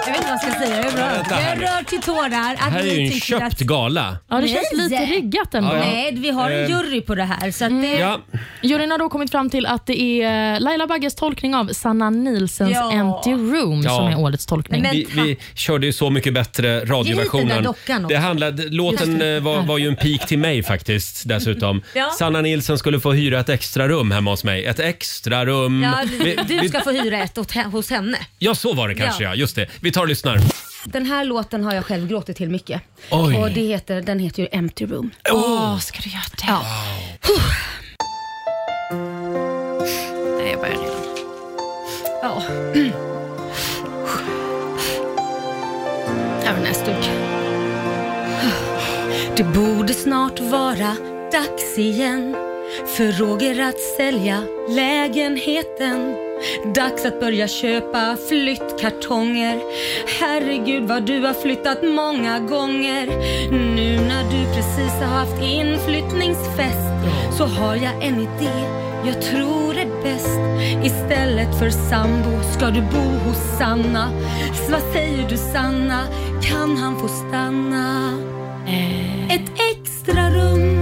[SPEAKER 2] Jag vet inte vad jag ska säga. Jag är
[SPEAKER 1] Ja, vänta
[SPEAKER 2] rörd. Jag
[SPEAKER 1] här
[SPEAKER 2] är
[SPEAKER 1] nu.
[SPEAKER 2] rörd till tårar. Att
[SPEAKER 1] Det här är
[SPEAKER 2] ni
[SPEAKER 1] ju en
[SPEAKER 2] tycker
[SPEAKER 1] köpt
[SPEAKER 2] att-
[SPEAKER 1] gala.
[SPEAKER 10] Ja, det känns
[SPEAKER 2] Nej.
[SPEAKER 10] lite riggat ändå.
[SPEAKER 1] Ja, ja.
[SPEAKER 2] Nej, vi har en
[SPEAKER 1] Eh.
[SPEAKER 2] jury på det här. Så att det...
[SPEAKER 1] Ja.
[SPEAKER 10] Juryn har då kommit fram till att det är eh, Laila Bagges tolkning av Sanna Nilsens
[SPEAKER 2] Ja.
[SPEAKER 10] Empty Room
[SPEAKER 1] Ja.
[SPEAKER 10] som är årets tolkning.
[SPEAKER 1] Vi, vi körde ju Så mycket bättre
[SPEAKER 10] Ge hit den
[SPEAKER 1] radioversionen.
[SPEAKER 10] där dockan också.
[SPEAKER 1] Det handlade, låten
[SPEAKER 10] Just det.
[SPEAKER 1] eh, var, var ju en pik till mig faktiskt dessutom.
[SPEAKER 2] Ja.
[SPEAKER 1] Sanna Nilsson skulle få hyra ett extra rum hemma hos mig. Ett extra rum.
[SPEAKER 2] Ja,
[SPEAKER 1] Mm. Vi-
[SPEAKER 2] du, du
[SPEAKER 1] vi-
[SPEAKER 2] ska få hyra ett åt, he- hos henne.
[SPEAKER 1] Ja, så var det kanske
[SPEAKER 2] Ja.
[SPEAKER 1] ja. Just det. Vi tar och lyssnar.
[SPEAKER 2] Den här låten har jag själv gråtit till mycket.
[SPEAKER 1] Oj.
[SPEAKER 2] Och det heter, den heter ju Empty Room. Oh.
[SPEAKER 10] Åh, ska du göra det? Ja.
[SPEAKER 2] Nej, jag börjar redan. Ja. (clears throat) Även nästa vecka. Det borde snart vara dags igen för Roger att sälja lägenheten. Dags att börja köpa flyttkartonger. Herregud vad du har flyttat många gånger. Nu när du precis har haft inflyttningsfest så har jag en idé. Jag tror det är bäst. Istället för sambo ska du bo hos Sanna. Så vad säger du Sanna? Kan han få stanna? Ett extra rum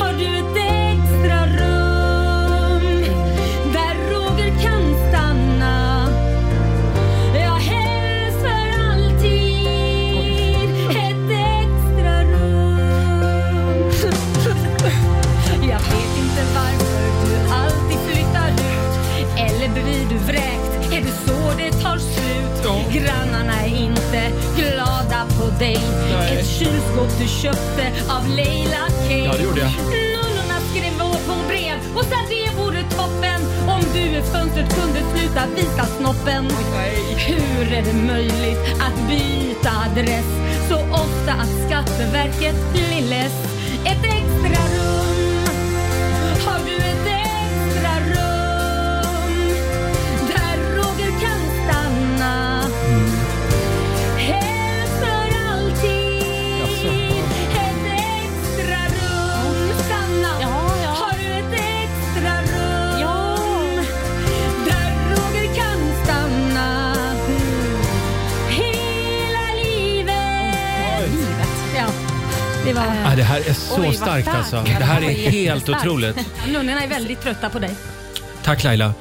[SPEAKER 2] Har du ett extra rum Där Roger kan stanna Ja, helst för alltid Ett extra rum Jag vet inte varför du alltid flyttar ut Eller blir du vräkt? Är det så det tar slut? Grannarna är inte glada på dig Ett kylskåp du köpte av Leila K
[SPEAKER 15] Ja, det gjorde jag.
[SPEAKER 2] Nunnarna skrev år på brev och sa det vore toppen om du i fönstret kunde sluta visa snoppen. Hur är det möjligt att byta adress så ofta att Skatteverket blir less? Ett extra rum, har du ett extra rum där Roger kan stanna? Helst för alltid, ett extra rum. Stanna, har du ett extra rum? Där Roger kan stanna hela livet. Ja, det var...
[SPEAKER 1] Ah, det här är så
[SPEAKER 2] vad
[SPEAKER 1] starkt
[SPEAKER 2] starkt.
[SPEAKER 1] alltså.
[SPEAKER 2] Ja,
[SPEAKER 1] Det här är
[SPEAKER 2] var
[SPEAKER 1] helt
[SPEAKER 2] jättestarkt.
[SPEAKER 1] otroligt.
[SPEAKER 2] Nunnorna är väldigt trötta på dig.
[SPEAKER 1] Tack Laila.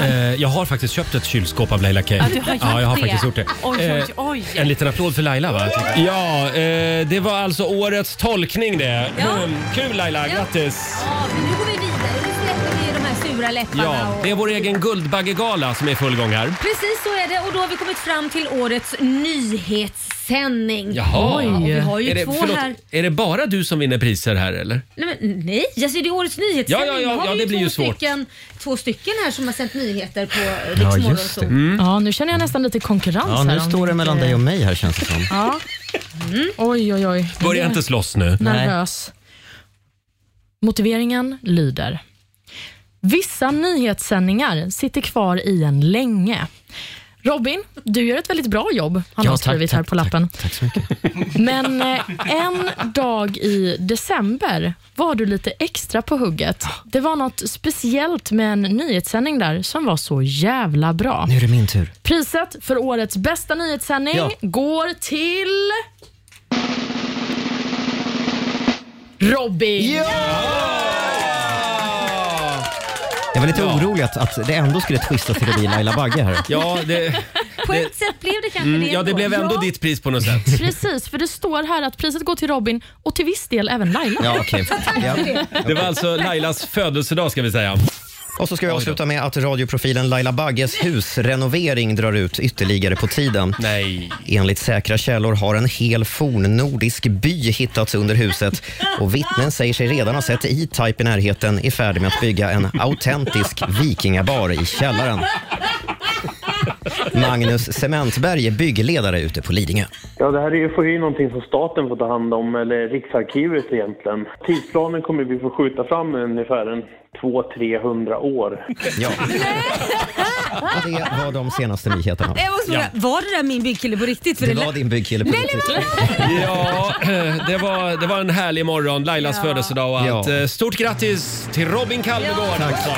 [SPEAKER 1] Eh, jag har faktiskt köpt ett kylskåp av Laila Kay.
[SPEAKER 2] Ja, du har gjort
[SPEAKER 1] ja, jag har
[SPEAKER 2] det.
[SPEAKER 1] faktiskt gjort det.
[SPEAKER 2] Oj, oj, oj.
[SPEAKER 1] Eh, En liten applåd för Laila va? Ja, eh, det var alltså årets tolkning det. Mm, Kul Laila, grattis!
[SPEAKER 2] Ja, men nu går vi vidare. Nu släpper vi de här sura läpparna.
[SPEAKER 1] Ja,
[SPEAKER 2] och...
[SPEAKER 1] det är vår egen Guldbaggegala som är i full gång här.
[SPEAKER 2] Precis så är det och då har vi kommit fram till årets nyhetssändning.
[SPEAKER 1] Jaha.
[SPEAKER 2] Ja, och vi har ju
[SPEAKER 1] är det,
[SPEAKER 2] två
[SPEAKER 1] förlåt,
[SPEAKER 2] här.
[SPEAKER 1] Är det bara du som vinner priser här eller?
[SPEAKER 2] Nej, men, nej. Alltså, det är årets nyhetssändning.
[SPEAKER 1] Ja, ja, ja,
[SPEAKER 2] Då har
[SPEAKER 1] ja,
[SPEAKER 2] vi
[SPEAKER 1] det blir
[SPEAKER 2] två
[SPEAKER 1] ju svårt.
[SPEAKER 2] Stycken, två stycken här som har sänt nyheter på
[SPEAKER 6] Ja,
[SPEAKER 2] Riksmorgon.
[SPEAKER 6] just
[SPEAKER 2] så.
[SPEAKER 6] det. Mm.
[SPEAKER 10] Ja, nu känner jag nästan lite konkurrens
[SPEAKER 6] Ja,
[SPEAKER 10] här.
[SPEAKER 6] nu
[SPEAKER 10] om
[SPEAKER 6] står det
[SPEAKER 10] inte-
[SPEAKER 6] mellan dig och mig här känns det som.
[SPEAKER 10] Ja. Oj, oj, oj.
[SPEAKER 1] Börja inte slåss nu.
[SPEAKER 10] Nervös. Motiveringen lyder. Vissa nyhetssändningar sitter kvar i en länge. Robin, du gör ett väldigt bra jobb, har någon skrivit här på lappen.
[SPEAKER 6] Tack så mycket.
[SPEAKER 10] Men eh, en dag i december var du lite extra på hugget. Det var något speciellt med en nyhetssändning där som var så jävla bra.
[SPEAKER 6] Nu är det min tur.
[SPEAKER 10] Priset för årets bästa nyhetssändning
[SPEAKER 6] Ja.
[SPEAKER 10] går till... Robin!
[SPEAKER 6] Jag var lite orolig att, att det ändå skulle twista till att bli Laila Bagge här.
[SPEAKER 1] Ja, det,
[SPEAKER 2] På ett sätt blev det kanske det
[SPEAKER 1] mm, ja, det blev ändå
[SPEAKER 10] Ja.
[SPEAKER 1] ditt pris på något sätt.
[SPEAKER 10] Precis, för det står här att priset går till Robin och till viss del även Laila.
[SPEAKER 1] Ja,
[SPEAKER 6] (laughs)
[SPEAKER 1] okej.
[SPEAKER 6] Ja.
[SPEAKER 1] Det var alltså Lailas födelsedag ska vi säga.
[SPEAKER 6] Och så ska vi avsluta med att radioprofilen Laila Bagges husrenovering drar ut ytterligare på tiden.
[SPEAKER 1] Nej.
[SPEAKER 6] Enligt säkra källor har en hel fornnordisk by hittats under huset och vittnen säger sig redan ha sett E-Type i närheten i färd med att bygga en autentisk vikingabar i källaren. Magnus Cementberg är byggledare ute på Lidingö.
[SPEAKER 4] Ja, det här är ju, får ju någonting som staten får ta hand om, eller Riksarkivet egentligen. Tidsplanen kommer vi få skjuta fram ungefär en 200-300 år.
[SPEAKER 6] Ja. Det var de senaste nyheterna.
[SPEAKER 2] Jag måste fråga, var det där min byggkille på riktigt? För
[SPEAKER 6] Det
[SPEAKER 2] lä-
[SPEAKER 6] var din byggkille på
[SPEAKER 2] Nej,
[SPEAKER 6] riktigt.
[SPEAKER 1] Ja, eh, det var, det var en härlig morgon, Lailas
[SPEAKER 2] Ja.
[SPEAKER 1] födelsedag och allt.
[SPEAKER 6] Ja.
[SPEAKER 1] Eh, Stort grattis till Robin Kalmegård alltså.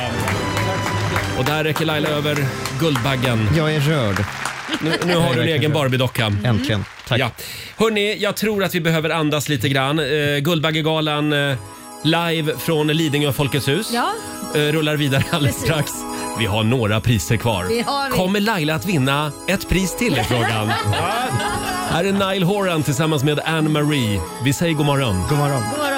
[SPEAKER 1] Och där räcker Laila över Guldbaggen.
[SPEAKER 6] Jag är rörd.
[SPEAKER 1] Nu, nu har du en egen bar. Barbie-docka.
[SPEAKER 6] Äntligen. Tack.
[SPEAKER 1] Ja. Hörni, jag tror att vi behöver andas lite grann. Eh, Guldbaggegalan eh, live från Lidingö Folkets hus
[SPEAKER 2] Ja.
[SPEAKER 1] eh, rullar vidare alldeles
[SPEAKER 2] Precis.
[SPEAKER 1] strax. Vi har några priser kvar.
[SPEAKER 2] Det har vi.
[SPEAKER 1] Kommer Laila att vinna ett pris till i
[SPEAKER 2] (laughs)
[SPEAKER 1] frågan? Här är Nile Horan tillsammans med Anne Marie. Vi säger god morgon.
[SPEAKER 6] God morgon.
[SPEAKER 2] God morgon.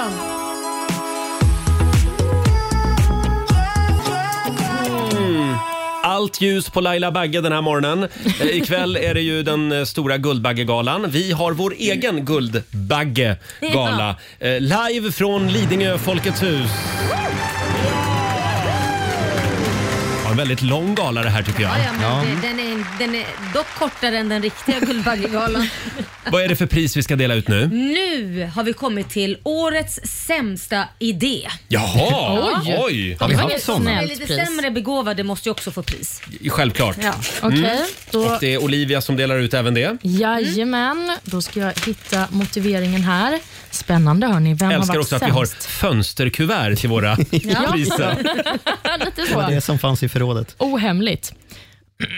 [SPEAKER 1] Mm. Allt ljus på Laila Bagge den här morgonen. Eh, ikväll är det ju den eh, stora Guldbaggegalan. Vi har vår egen Guldbaggegala. Eh, live från Lidingö Folkets hus. Ja, en väldigt lång gala det här tycker jag.
[SPEAKER 2] Ja, ja, men Det, den, är, den är dock kortare än den riktiga
[SPEAKER 6] (laughs)
[SPEAKER 2] Guldbaggegalan.
[SPEAKER 1] Vad är det för pris vi ska dela ut nu?
[SPEAKER 2] nu har vi kommit till årets sämsta idé.
[SPEAKER 1] Jaha, oj!
[SPEAKER 2] Ja, men de som är lite sämre begåvade måste ju också få pris.
[SPEAKER 1] Självklart.
[SPEAKER 2] Ja,
[SPEAKER 10] okej, då-
[SPEAKER 1] Och det är Olivia som delar ut även det.
[SPEAKER 10] Jajamän, då ska jag hitta motiveringen här. Spännande hörni, vem har
[SPEAKER 1] Älskar
[SPEAKER 10] varit
[SPEAKER 1] också att
[SPEAKER 10] sämst?
[SPEAKER 1] vi har fönsterkuvert till våra priser.
[SPEAKER 10] Lite
[SPEAKER 6] Det var det
[SPEAKER 10] så.
[SPEAKER 6] som fanns i förrådet.
[SPEAKER 10] Ohemligt.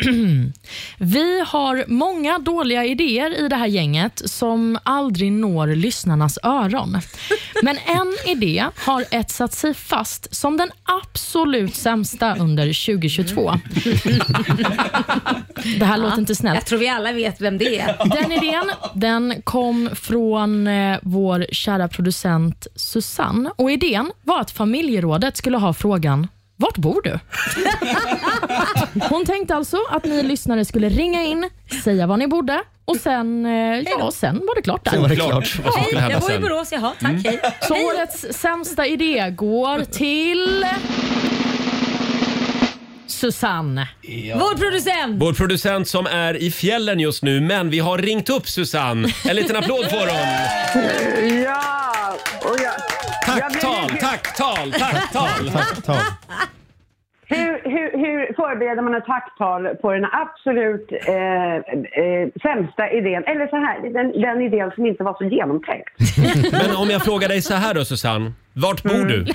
[SPEAKER 10] (clears throat) Vi har många dåliga idéer i det här gänget som aldrig når lyssnarnas öron. Men en idé har etsat sig fast som den absolut sämsta under 2022. (laughs) Det här låter inte snällt.
[SPEAKER 2] Jag tror vi alla vet vem det
[SPEAKER 6] (laughs)
[SPEAKER 2] är.
[SPEAKER 10] Den idén den kom från eh, vår kära producent Susanne. Och Idén var att familjerådet skulle ha frågan vart bor du? (laughs) Hon tänkte alltså att ni lyssnare skulle ringa in, säga var ni bodde och sen, eh, ja, sen var det klart där.
[SPEAKER 1] Sen var det klart vad som skulle
[SPEAKER 2] Hej,
[SPEAKER 1] hända
[SPEAKER 2] jag bor i
[SPEAKER 1] sen.
[SPEAKER 2] Borås. Jaha, tack. Hej.
[SPEAKER 10] Så årets sämsta idé går till Susanne.
[SPEAKER 2] Vår producent!
[SPEAKER 1] Vår producent som är i fjällen just nu, men vi har ringt upp Susanne. En liten applåd för dem.
[SPEAKER 5] Ja!
[SPEAKER 22] Ah,
[SPEAKER 5] Och jag,
[SPEAKER 1] Tacktal, tacktal, tacktal.
[SPEAKER 6] Tacktal.
[SPEAKER 22] Hur, hur, hur förbereder man ett tacktal på den absolut eh, eh, sämsta idén? Eller så här, den, den idén som inte var så genomtänkt.
[SPEAKER 1] Men om jag frågar dig så här då Susanne, vart
[SPEAKER 22] Mm.
[SPEAKER 1] bor du?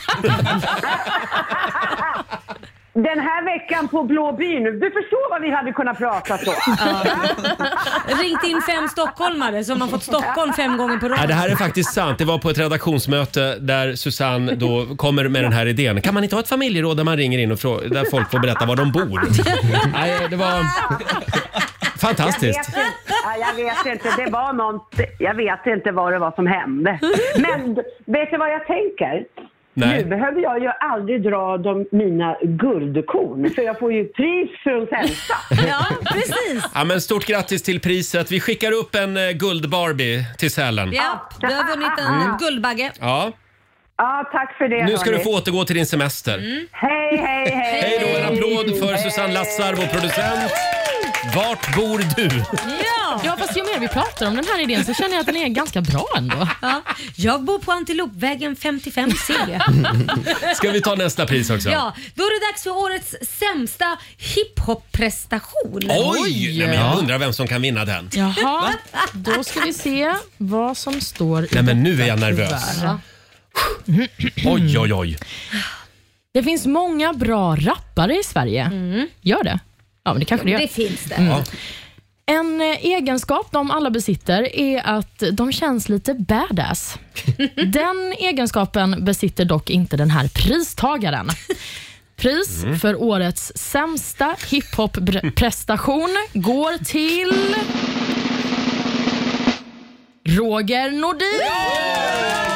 [SPEAKER 22] Den här veckan på Blåbyn. Du förstår vad vi hade kunnat prata så.
[SPEAKER 2] Ringt in fem stockholmare som har fått Stockholm fem gånger på
[SPEAKER 1] Nej,
[SPEAKER 2] rad.
[SPEAKER 1] det här är faktiskt sant. Det var på ett redaktionsmöte där Susanne då kommer med den här idén. Kan man inte ha ett familjeråd där man ringer in och frå- där folk får berätta var de bor? Nej, det var
[SPEAKER 22] Jag vet,
[SPEAKER 1] fantastiskt.
[SPEAKER 22] inte, Ja, jag vet inte, det var något, jag vet inte vad det var som hände. Men d- vet du vad jag tänker?
[SPEAKER 1] Nej.
[SPEAKER 22] Nu behöver jag ju aldrig dra de, mina guldkorn, för jag får ju pris för de sämsta.
[SPEAKER 2] Ja, precis.
[SPEAKER 1] Ja, men stort grattis till priset. Vi skickar upp en eh, guld-Barbie till Sälen.
[SPEAKER 2] Ja, du har vunnit en Guldbagge.
[SPEAKER 1] Ja,
[SPEAKER 22] Ja, tack för det.
[SPEAKER 1] nu ska du
[SPEAKER 22] hörni.
[SPEAKER 1] få återgå till din semester.
[SPEAKER 22] Hej, hej, hej!
[SPEAKER 1] Hej då, en applåd för Susanne Lassar, vår producent. Vart bor du?
[SPEAKER 2] Ja.
[SPEAKER 10] ja, fast ju mer vi pratar om den här idén så känner jag att den är ganska bra ändå.
[SPEAKER 2] Ja, jag bor på Antilopvägen 55C.
[SPEAKER 1] Ska vi ta nästa pris också?
[SPEAKER 2] Ja, då är det dags för årets sämsta hiphop-prestation.
[SPEAKER 1] Oj! Nej, men jag undrar vem som kan vinna den.
[SPEAKER 10] Jaha, då ska vi se vad som står i
[SPEAKER 1] Nej, men nu är jag
[SPEAKER 10] detta
[SPEAKER 1] nervös.
[SPEAKER 10] kuvert.
[SPEAKER 1] Oj, oj, oj.
[SPEAKER 10] Det finns många bra rappare i Sverige. Gör det? Ja, men det kanske det gör.
[SPEAKER 2] Det finns det.
[SPEAKER 10] Mm. En eh, egenskap de alla besitter är att de känns lite (laughs) badass. Den egenskapen besitter dock inte den här pristagaren. Pris
[SPEAKER 15] Mm.
[SPEAKER 10] för årets sämsta hiphop-prestation går till... Roger Nordin!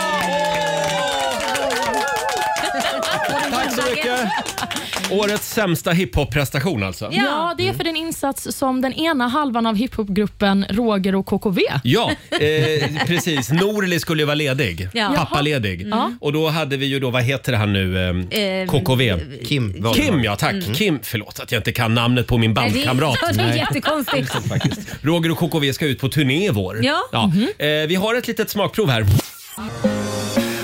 [SPEAKER 1] Tack så mycket! (laughs) Årets sämsta hiphop-prestation alltså.
[SPEAKER 10] Ja, det är för den insats som den ena halvan av hiphopgruppen Roger och KKV.
[SPEAKER 1] Ja, eh, precis. Norli skulle ju vara ledig.
[SPEAKER 10] Ja.
[SPEAKER 1] Pappaledig.
[SPEAKER 10] Jaha. Mm.
[SPEAKER 1] Och då hade vi ju då, vad heter han nu? Eh,
[SPEAKER 2] Eh,
[SPEAKER 1] KKV?
[SPEAKER 6] Kim.
[SPEAKER 2] var det.
[SPEAKER 1] Kim, ja tack.
[SPEAKER 2] Mm.
[SPEAKER 1] Kim, förlåt att jag inte kan namnet på min
[SPEAKER 2] Nej, det är-
[SPEAKER 1] bandkamrat.
[SPEAKER 2] Ja, det är jättekonstigt.
[SPEAKER 1] Roger och KKV ska ut på turné i vår.
[SPEAKER 2] Ja.
[SPEAKER 1] Eh, vi har ett litet smakprov här.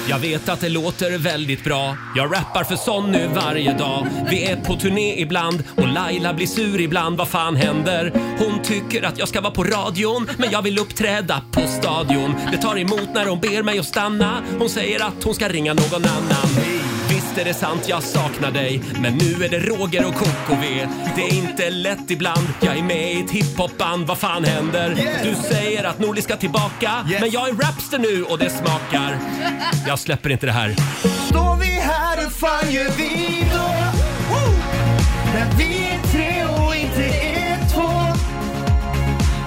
[SPEAKER 1] Jag vet att det låter väldigt bra. Jag rappar för sån nu varje dag. Vi är på turné ibland och Laila blir sur ibland. Vad fan händer? Hon tycker att jag ska vara på radion, men jag vill uppträda på stadion. Det tar emot när hon ber mig att stanna. Hon säger att hon ska ringa någon annan. Visst är det sant, jag saknar dig. Men nu är det Roger och KKV. Det är inte lätt ibland. Jag är med i ett hiphopband. Vad fan händer? Du säger att Norli ska tillbaka. Men jag är rapster nu och det smakar. Jag släpper inte det här.
[SPEAKER 15] Står vi här, hur fan gör vi då? Woo! När vi är tre och inte är två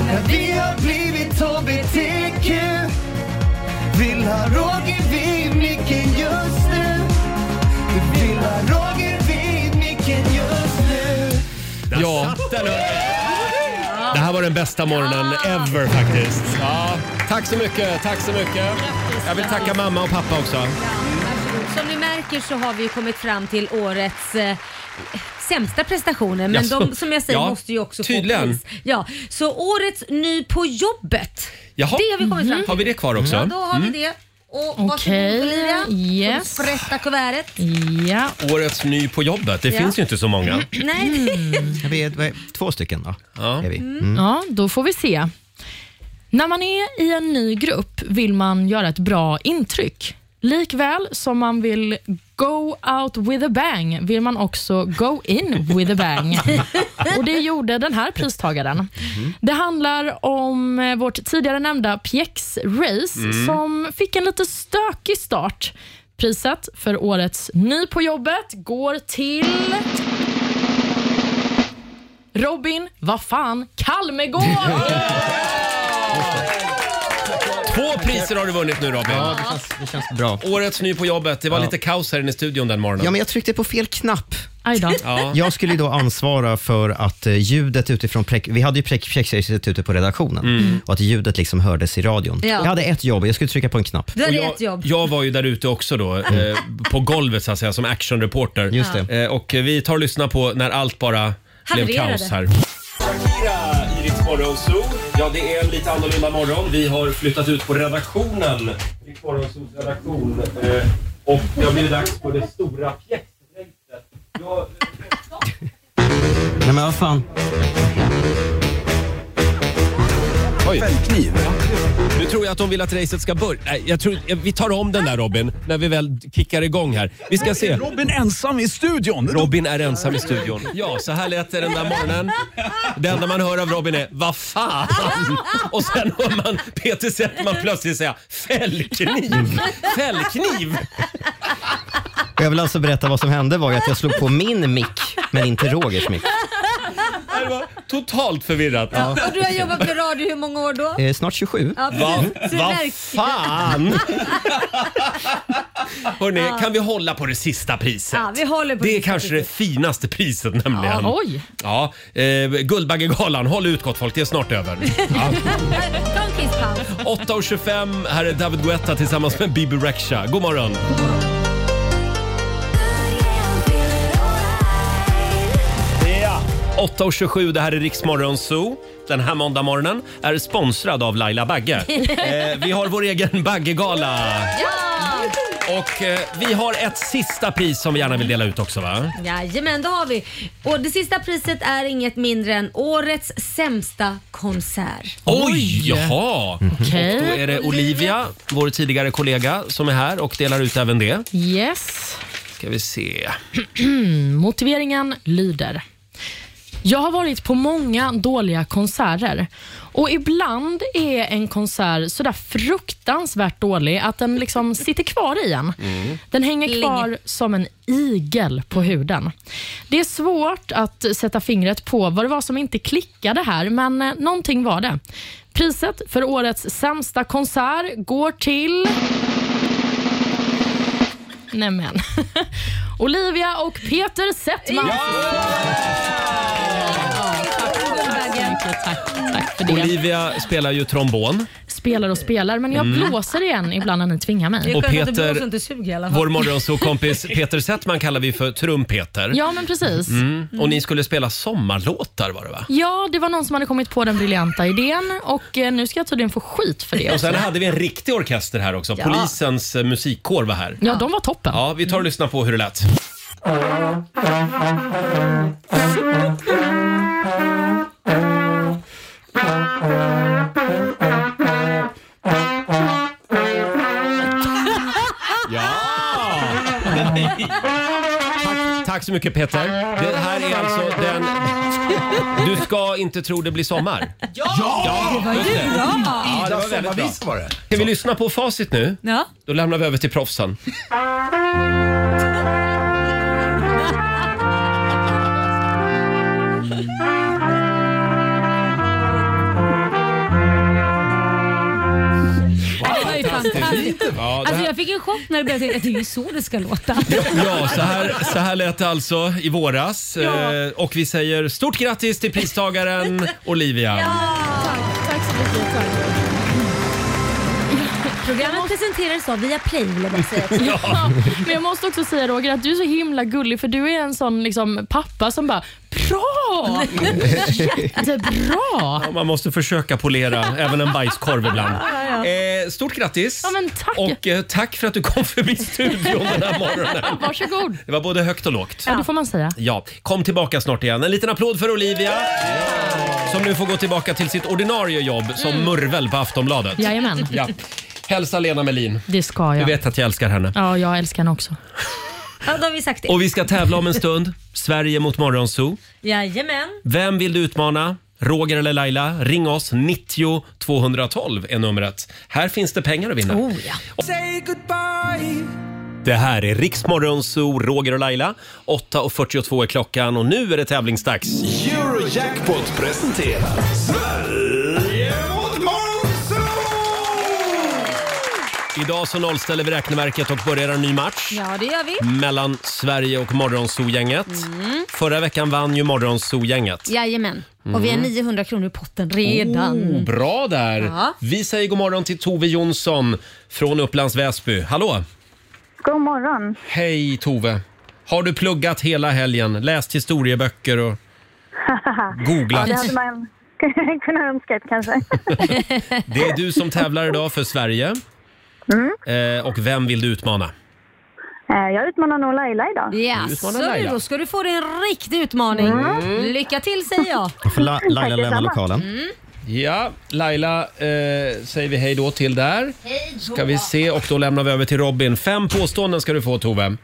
[SPEAKER 15] När vi har blivit HBTQ Vill ha Roger vid micken just nu Vi vill ha Roger vid micken just nu
[SPEAKER 1] Ja, det här var den bästa morgonen ever faktiskt. Ja, tack så mycket, tack så mycket. Jag vill tacka mamma och pappa också.
[SPEAKER 2] Som ni märker så har vi ju kommit fram till årets eh, sämsta prestationer men
[SPEAKER 1] Jaså?
[SPEAKER 2] de som jag säger
[SPEAKER 1] Ja,
[SPEAKER 2] måste ju också
[SPEAKER 1] tydligen.
[SPEAKER 2] få pris. Ja, så årets ny på jobbet.
[SPEAKER 1] Jaha.
[SPEAKER 2] Det har vi kommit fram till.
[SPEAKER 1] Mm. Har vi det kvar också?
[SPEAKER 2] Ja, då har
[SPEAKER 1] Mm.
[SPEAKER 2] vi det. Och
[SPEAKER 10] Okej,
[SPEAKER 2] varsågod Olivia.
[SPEAKER 10] yes.
[SPEAKER 2] Får du Sprätta kuvertet.
[SPEAKER 10] Ja.
[SPEAKER 1] Årets ny på jobbet, det
[SPEAKER 2] Ja. Mm.
[SPEAKER 1] finns ju inte så många.
[SPEAKER 2] Nej.
[SPEAKER 6] Vi är, vi är två stycken då.
[SPEAKER 1] Ja.
[SPEAKER 6] Är vi. Mm.
[SPEAKER 10] Ja, då får vi se. När man är i en ny grupp vill man göra ett bra intryck. Likväl som man vill go out with a bang vill man också go in with a bang. Och Det gjorde den här pristagaren. Det handlar om eh, vårt tidigare nämnda pjäxrace
[SPEAKER 15] Mm.
[SPEAKER 10] som fick en lite stökig start. Priset för årets ny på jobbet går till Robin, vad fan, Kalmegård!
[SPEAKER 1] Två priser har du vunnit nu Robin.
[SPEAKER 6] Ja, det känns, det känns bra.
[SPEAKER 1] Årets ny på jobbet, det var lite kaos här inne i studion den morgonen.
[SPEAKER 6] Ja, men jag tryckte på fel knapp.
[SPEAKER 10] Aj då.
[SPEAKER 1] Ja.
[SPEAKER 6] Jag skulle ju då ansvara för att eh, ljudet utifrån prek- Vi hade ju prek- Pjäxhuset ute på redaktionen och att ljudet liksom hördes i radion.
[SPEAKER 2] Ja.
[SPEAKER 6] Jag hade ett jobb, jag skulle trycka på en knapp.
[SPEAKER 2] Du hade
[SPEAKER 1] Och jag,
[SPEAKER 2] ett jobb.
[SPEAKER 1] Jag var ju där ute också då, eh, på golvet så att säga, som actionreporter.
[SPEAKER 6] Just
[SPEAKER 1] Eh, och vi tar och lyssnar på när allt bara blev
[SPEAKER 20] Havererade.
[SPEAKER 1] kaos här. Shakira i Rix Morgon Zoo. Ja, det är en lite annorlunda morgon. Vi har flyttat ut på redaktionen. Rix Morgon Zoos redaktion. Eh, och det har blivit dags för det stora pjäxracet. Jag-
[SPEAKER 6] Nej men vad fan.
[SPEAKER 1] Oj. Nu tror jag att de vill att racet ska börja. Nej, jag tror, vi tar om den där Robin, när vi väl kickar igång här. Vi ska se.
[SPEAKER 23] Robin ensam i studion.
[SPEAKER 1] Robin är ensam i studion. Ja, så här lät det den där morgonen. Det enda man hör av Robin är “Vad fan?” och sen hör man Peter Settman plötsligt säga “Fällkniv! Fällkniv!”
[SPEAKER 6] Och jag vill alltså berätta vad som hände var ju att jag slog på min mick, men inte Rogers mick.
[SPEAKER 1] Det var totalt förvirrat.
[SPEAKER 6] Ja.
[SPEAKER 2] Och du har jobbat med radio hur många år då?
[SPEAKER 6] Eh, snart 27.
[SPEAKER 2] Ja, precis. Så det
[SPEAKER 1] Vad
[SPEAKER 2] märks.
[SPEAKER 1] fan! Hörrni,
[SPEAKER 2] Ja.
[SPEAKER 1] kan vi hålla på det sista priset?
[SPEAKER 2] Ja, vi håller på
[SPEAKER 1] det är
[SPEAKER 2] sista
[SPEAKER 1] kanske det finaste priset nämligen.
[SPEAKER 2] Ja. Oj.
[SPEAKER 1] Ja, eh, Guldbaggegalan, håll ut gott folk, det är snart
[SPEAKER 2] (laughs)
[SPEAKER 1] över. Ja.
[SPEAKER 2] Ta en kiss, Paul.
[SPEAKER 1] 8.25, här är David Guetta tillsammans med Bibi Rexha. God morgon! Ja. 8.27, det här är Riksmorgon Zoo. Den här måndagmorgonen är sponsrad av Laila
[SPEAKER 2] (laughs)
[SPEAKER 1] Bagge. Eh, vi har vår egen Baggegala. Och eh, vi har ett sista pris som vi gärna vill dela ut också va?
[SPEAKER 2] Jajamän, det har vi. Och det sista priset är inget mindre än årets sämsta konsert.
[SPEAKER 1] Oj! Jaha!
[SPEAKER 10] Okej.
[SPEAKER 1] Och då är det Olivia, vår tidigare kollega, som är här och delar ut även det.
[SPEAKER 10] Yes.
[SPEAKER 1] Ska vi se.
[SPEAKER 10] Motiveringen lyder. Jag har varit på många dåliga konserter och ibland är en konsert så där fruktansvärt dålig att den liksom sitter kvar i en. Den hänger kvar som en igel på huden. Det är svårt att sätta fingret på vad det var som inte klickade här, men eh, någonting var det. Priset för årets sämsta konsert går till... Nämen. (laughs) Olivia och Peter Settman.
[SPEAKER 1] Olivia spelar ju trombon.
[SPEAKER 10] Spelar och spelar, men jag
[SPEAKER 1] Mm.
[SPEAKER 10] blåser igen ibland när ni tvingar mig.
[SPEAKER 1] Och Peter,
[SPEAKER 2] suger, i alla
[SPEAKER 1] vår
[SPEAKER 10] (laughs)
[SPEAKER 1] morgonsåkompis Peter Settman kallar vi för Trumpeter.
[SPEAKER 10] Ja, men precis.
[SPEAKER 1] Mm. Och ni skulle spela sommarlåtar var det va?
[SPEAKER 10] Ja, det var någon som hade kommit på den briljanta idén och eh, nu ska jag tydligen få skit för det.
[SPEAKER 1] Och sen
[SPEAKER 10] också.
[SPEAKER 1] hade vi en riktig orkester här också.
[SPEAKER 10] Ja.
[SPEAKER 1] Polisens eh, musikkår var här.
[SPEAKER 10] Ja, de var toppen.
[SPEAKER 1] Ja, vi tar och lyssnar på hur det lät. Tack, tack så mycket Peter. Det här är alltså den... Du ska inte tro det blir sommar.
[SPEAKER 15] Ja! Det var ju
[SPEAKER 1] just det.
[SPEAKER 15] bra.
[SPEAKER 1] Ja, det var väldigt bra.
[SPEAKER 15] Sommarvis var det.
[SPEAKER 1] Ska vi lyssna på facit nu?
[SPEAKER 2] Ja.
[SPEAKER 1] Då lämnar vi över till proffsen.
[SPEAKER 2] Det var ju fantastiskt.
[SPEAKER 1] Ja, det
[SPEAKER 2] Alltså
[SPEAKER 1] här,
[SPEAKER 2] jag fick en chock när det började tänka att det är ju så det ska låta.
[SPEAKER 1] ja så, här, så här lät det alltså i våras.
[SPEAKER 2] Ja.
[SPEAKER 1] Eh, och vi säger stort grattis till
[SPEAKER 10] (laughs)
[SPEAKER 1] pristagaren Olivia.
[SPEAKER 10] Tack så mycket.
[SPEAKER 2] Programmet presenterades av Viaplay vill jag bara säga. också.
[SPEAKER 10] Ja, (laughs) men jag måste också säga Roger att du är så himla gullig för du är en sån liksom, pappa som bara
[SPEAKER 1] (laughs)
[SPEAKER 10] Bra! Jättebra!
[SPEAKER 1] Ja, man måste försöka polera
[SPEAKER 10] (laughs)
[SPEAKER 1] även en bajskorv ibland. Eh, stort grattis!
[SPEAKER 10] tack.
[SPEAKER 1] Och eh, tack för att du kom förbi studion den här morgonen.
[SPEAKER 10] Varsågod.
[SPEAKER 1] Det var både högt och lågt.
[SPEAKER 10] Ja, det får man säga.
[SPEAKER 1] Ja, kom tillbaka snart igen. En liten applåd för Olivia som nu får gå tillbaka till sitt ordinarie jobb som murvel på Aftonbladet.
[SPEAKER 10] Mm. Jajamän.
[SPEAKER 1] Ja. Hälsa Lena Melin.
[SPEAKER 10] Det ska
[SPEAKER 1] Du
[SPEAKER 10] jag.
[SPEAKER 1] vet att jag älskar henne.
[SPEAKER 10] Ja, jag älskar henne också.
[SPEAKER 2] Ja, då har vi sagt det.
[SPEAKER 1] Och vi ska tävla om en stund. Sverige mot Morgonzoo.
[SPEAKER 2] Jajamän.
[SPEAKER 1] Vem vill du utmana? Roger eller Laila? Ring oss. 90 212 är numret. Här finns det pengar att vinna.
[SPEAKER 15] Say goodbye.
[SPEAKER 1] Det här är Riksmorgonzoo, Roger och Laila. 8.42 är klockan och nu är det tävlingsdags.
[SPEAKER 15] Eurojackpot presenterar Sverige mot Monzo!
[SPEAKER 1] Idag så nollställer vi räkneverket och börjar en ny match.
[SPEAKER 2] Ja, det gör vi.
[SPEAKER 1] mellan Sverige och Morgonzoo-gänget.
[SPEAKER 2] Mm.
[SPEAKER 1] Förra veckan vann ju Morgonzoo-gänget.
[SPEAKER 2] Jajamän. Och vi har
[SPEAKER 1] Mm.
[SPEAKER 2] 900 kronor i potten redan.
[SPEAKER 1] Oh, bra där!
[SPEAKER 2] Ja.
[SPEAKER 1] Vi säger god morgon till Tove Jonsson från Upplands Väsby. Hallå!
[SPEAKER 5] God morgon.
[SPEAKER 1] Hej Tove! Har du pluggat hela helgen? Läst historieböcker
[SPEAKER 5] (laughs)
[SPEAKER 1] och... Googlat.
[SPEAKER 5] Ja, det hade man (laughs) kunnat önskat kanske.
[SPEAKER 1] Det är du som tävlar idag för Sverige.
[SPEAKER 5] Mm.
[SPEAKER 1] Eh, och vem vill du utmana?
[SPEAKER 5] Eh, Jag utmanar nog Laila idag.
[SPEAKER 1] Du
[SPEAKER 2] Jaså
[SPEAKER 1] utmanar
[SPEAKER 2] du,
[SPEAKER 1] Laila.
[SPEAKER 2] då ska du få dig en riktig utmaning.
[SPEAKER 1] Mm.
[SPEAKER 2] Lycka till säger jag.
[SPEAKER 6] Får La- Laila lämna lokalen?
[SPEAKER 2] Mm.
[SPEAKER 1] Ja, Laila eh, säger vi hej då till där. Ska vi se och då lämnar vi över till Robin. Fem påståenden ska du få Tove.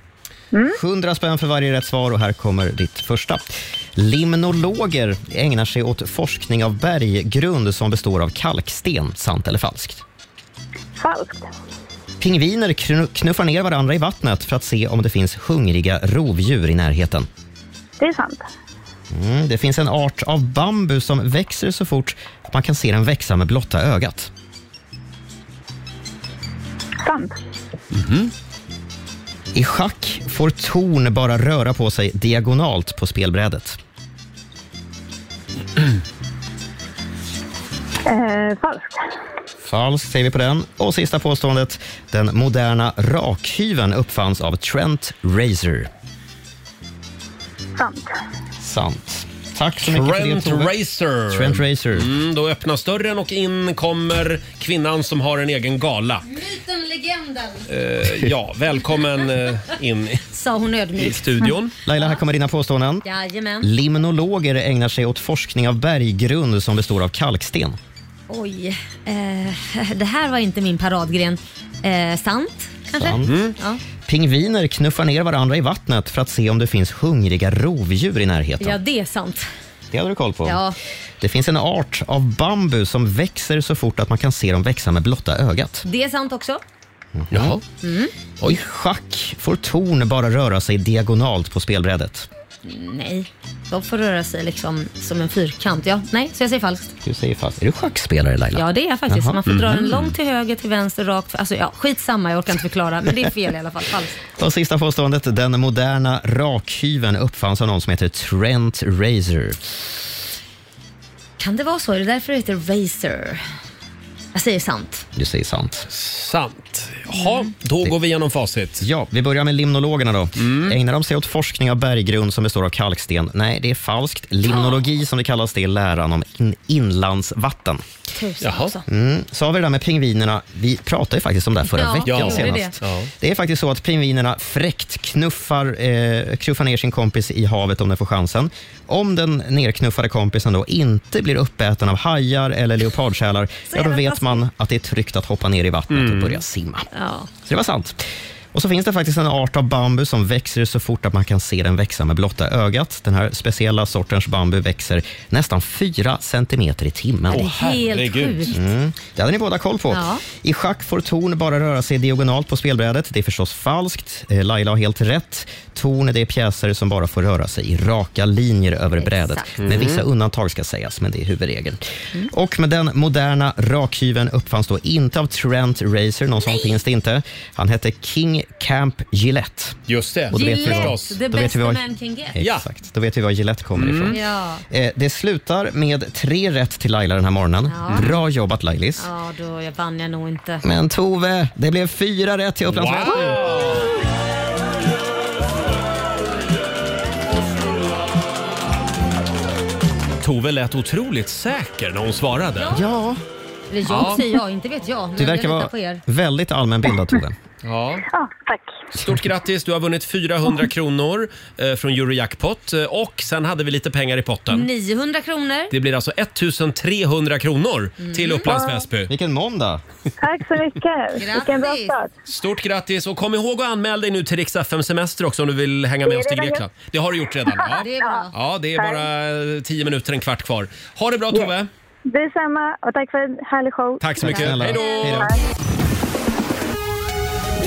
[SPEAKER 6] 100 spänn för varje rätt svar och här kommer ditt första. Limnologer ägnar sig åt forskning av berggrund som består av kalksten. Sant eller falskt?
[SPEAKER 5] Falskt.
[SPEAKER 6] Pingviner knu- knuffar ner varandra i vattnet för att se om det finns hungriga rovdjur i närheten.
[SPEAKER 5] Det är sant.
[SPEAKER 6] Mm, det finns en art av bambu som växer så fort att man kan se den växa med blotta ögat.
[SPEAKER 5] Sant.
[SPEAKER 6] I schack får torn bara röra på sig diagonalt på spelbrädet.
[SPEAKER 5] Eh, falskt.
[SPEAKER 6] Falskt säger vi på den. Och sista påståendet. Den moderna rakhyveln uppfanns av Trent Razor.
[SPEAKER 5] Sant.
[SPEAKER 6] Sant. Tack så mycket
[SPEAKER 1] Trent
[SPEAKER 6] för det, Tove.
[SPEAKER 1] Racer.
[SPEAKER 6] Trent Racer.
[SPEAKER 1] Mm, då öppnas dörren och in kommer kvinnan som har en egen gala.
[SPEAKER 2] Myten, legenden.
[SPEAKER 1] Eh,
[SPEAKER 6] (laughs)
[SPEAKER 1] ja, välkommen eh, in i-
[SPEAKER 2] Sa hon
[SPEAKER 1] i
[SPEAKER 2] ödmjukt.
[SPEAKER 1] studion.
[SPEAKER 6] Laila, här kommer dina påståenden.
[SPEAKER 2] Jajamän.
[SPEAKER 6] Limnologer ägnar sig åt forskning av berggrund som består av kalksten.
[SPEAKER 2] Oj, eh, (laughs) det här var inte min paradgren. Eh, sant, kanske?
[SPEAKER 6] Sant. Mm.
[SPEAKER 2] Ja.
[SPEAKER 6] Pingviner knuffar ner varandra i vattnet för att se om det finns hungriga rovdjur i närheten.
[SPEAKER 2] ja, det är sant.
[SPEAKER 6] Det hade du koll på.
[SPEAKER 2] Ja.
[SPEAKER 6] Det finns en art av bambu som växer så fort att man kan se dem växa med blotta ögat.
[SPEAKER 2] Det är sant också.
[SPEAKER 1] Jaha.
[SPEAKER 2] Mm.
[SPEAKER 6] Oj. Schack får torn bara röra sig diagonalt på spelbrädet.
[SPEAKER 2] Nej, de får röra sig liksom som en fyrkant. Ja, nej, så jag säger falskt.
[SPEAKER 6] Du säger fast. Är du schackspelare Laila?
[SPEAKER 2] Ja, Mm. det är jag faktiskt.
[SPEAKER 6] Jaha.
[SPEAKER 2] Man får dra den
[SPEAKER 6] Mhm.
[SPEAKER 2] långt till höger, till vänster, rakt. Alltså, ja, skitsamma, jag orkar inte förklara. Men det är fel i alla fall. Falskt.
[SPEAKER 6] Och sista påståendet. Den moderna rakhyveln uppfanns av någon som heter Trent Razor.
[SPEAKER 2] Kan det vara så? Är det därför det heter racer? Jag säger sant.
[SPEAKER 6] Du säger sant.
[SPEAKER 1] Sant. Jaha, då går vi igenom facit.
[SPEAKER 6] Mm. Ja, vi börjar med limnologerna då. Ägnar de sig åt forskning av berggrund som består av kalksten? Nej, det är falskt. Limnologi som det kallas, det är läran om in- inlandsvatten.
[SPEAKER 2] Tusen också.
[SPEAKER 6] Mm. Sa vi det där med pingvinerna? Vi pratade ju faktiskt om det här förra
[SPEAKER 2] Ja,
[SPEAKER 6] veckan
[SPEAKER 2] vi gjorde
[SPEAKER 6] senast.
[SPEAKER 2] det.
[SPEAKER 6] Det. är faktiskt så att pingvinerna fräckt knuffar, eh, knuffar ner sin kompis i havet om den får chansen. Om den nerknuffade kompisen då inte blir uppäten av hajar eller leopardsälar, ja, då
[SPEAKER 2] jävla
[SPEAKER 6] vet
[SPEAKER 2] taskigt.
[SPEAKER 6] man att det är tryggt att hoppa ner i vattnet och börja simma.
[SPEAKER 2] Ja.
[SPEAKER 6] Så det var sant. Och så finns det faktiskt en art av bambu som växer så fort att man kan se den växa med blotta ögat. Den här speciella sortens bambu växer nästan 4 centimeter i
[SPEAKER 2] Ja,
[SPEAKER 6] timmen.
[SPEAKER 2] det är Åh, helt herregud. sjukt.
[SPEAKER 6] Mm. Det hade ni båda koll på.
[SPEAKER 2] Ja.
[SPEAKER 6] I schack får torn bara röra sig diagonalt på spelbrädet. Det är förstås falskt. Eh, Laila har helt rätt. Torn det är pjäser som bara får röra sig i raka linjer över brädet. Med
[SPEAKER 1] Mm.
[SPEAKER 6] vissa undantag ska sägas, men det är huvudregeln.
[SPEAKER 2] Mm.
[SPEAKER 6] Och med den moderna rakhyveln uppfanns då inte av Trent Racer, någon sån finns det inte. Han hette King Camp Gillette.
[SPEAKER 1] Just det,
[SPEAKER 6] Och då vet vi vad-
[SPEAKER 2] Gillette, the
[SPEAKER 6] då vet
[SPEAKER 2] best
[SPEAKER 6] vi vad-
[SPEAKER 2] man can get.
[SPEAKER 6] Exakt, då vet vi var Gillette kommer
[SPEAKER 2] Mm.
[SPEAKER 6] ifrån.
[SPEAKER 2] Ja.
[SPEAKER 6] Eh, det slutar med tre rätt till Laila den här morgonen.
[SPEAKER 2] Ja.
[SPEAKER 6] Bra jobbat Lailis.
[SPEAKER 2] Ja, då jag vann jag nog inte.
[SPEAKER 6] Men Tove, det blev fyra rätt till Upplands Väsby.
[SPEAKER 1] Tove lät otroligt säker när hon svarade.
[SPEAKER 6] Ja.
[SPEAKER 2] Eller jag
[SPEAKER 1] Ja.
[SPEAKER 2] säger jag, inte vet jag. Men
[SPEAKER 1] Du verkar
[SPEAKER 2] jag litar
[SPEAKER 1] vara-
[SPEAKER 2] på er.
[SPEAKER 6] Väldigt allmänbildad Tove.
[SPEAKER 1] Ja.
[SPEAKER 5] tack.
[SPEAKER 1] Stort grattis, du har vunnit 400 kronor eh, från Eurojackpot eh, och sen hade vi lite pengar i potten.
[SPEAKER 2] 900 kronor.
[SPEAKER 1] Det blir alltså 1300 kronor till
[SPEAKER 2] Mm.
[SPEAKER 1] Upplands
[SPEAKER 2] Wow.
[SPEAKER 1] Väsby.
[SPEAKER 6] Vilken måndag!
[SPEAKER 5] Tack så mycket. Vilken bra start.
[SPEAKER 1] Stort grattis och kom ihåg att anmäla dig nu till Rix FM Semester också om du vill hänga med oss till Grekland. Det har du gjort redan. Ja,
[SPEAKER 5] Det är bra.
[SPEAKER 1] ja det är
[SPEAKER 5] Tack.
[SPEAKER 1] bara eh, 10 minuter, en kvart kvar. Ha det bra Tove!
[SPEAKER 5] Detsamma och tack för en härlig show.
[SPEAKER 1] Tack så mycket.
[SPEAKER 5] snälla.
[SPEAKER 1] Hej då!
[SPEAKER 5] Tack.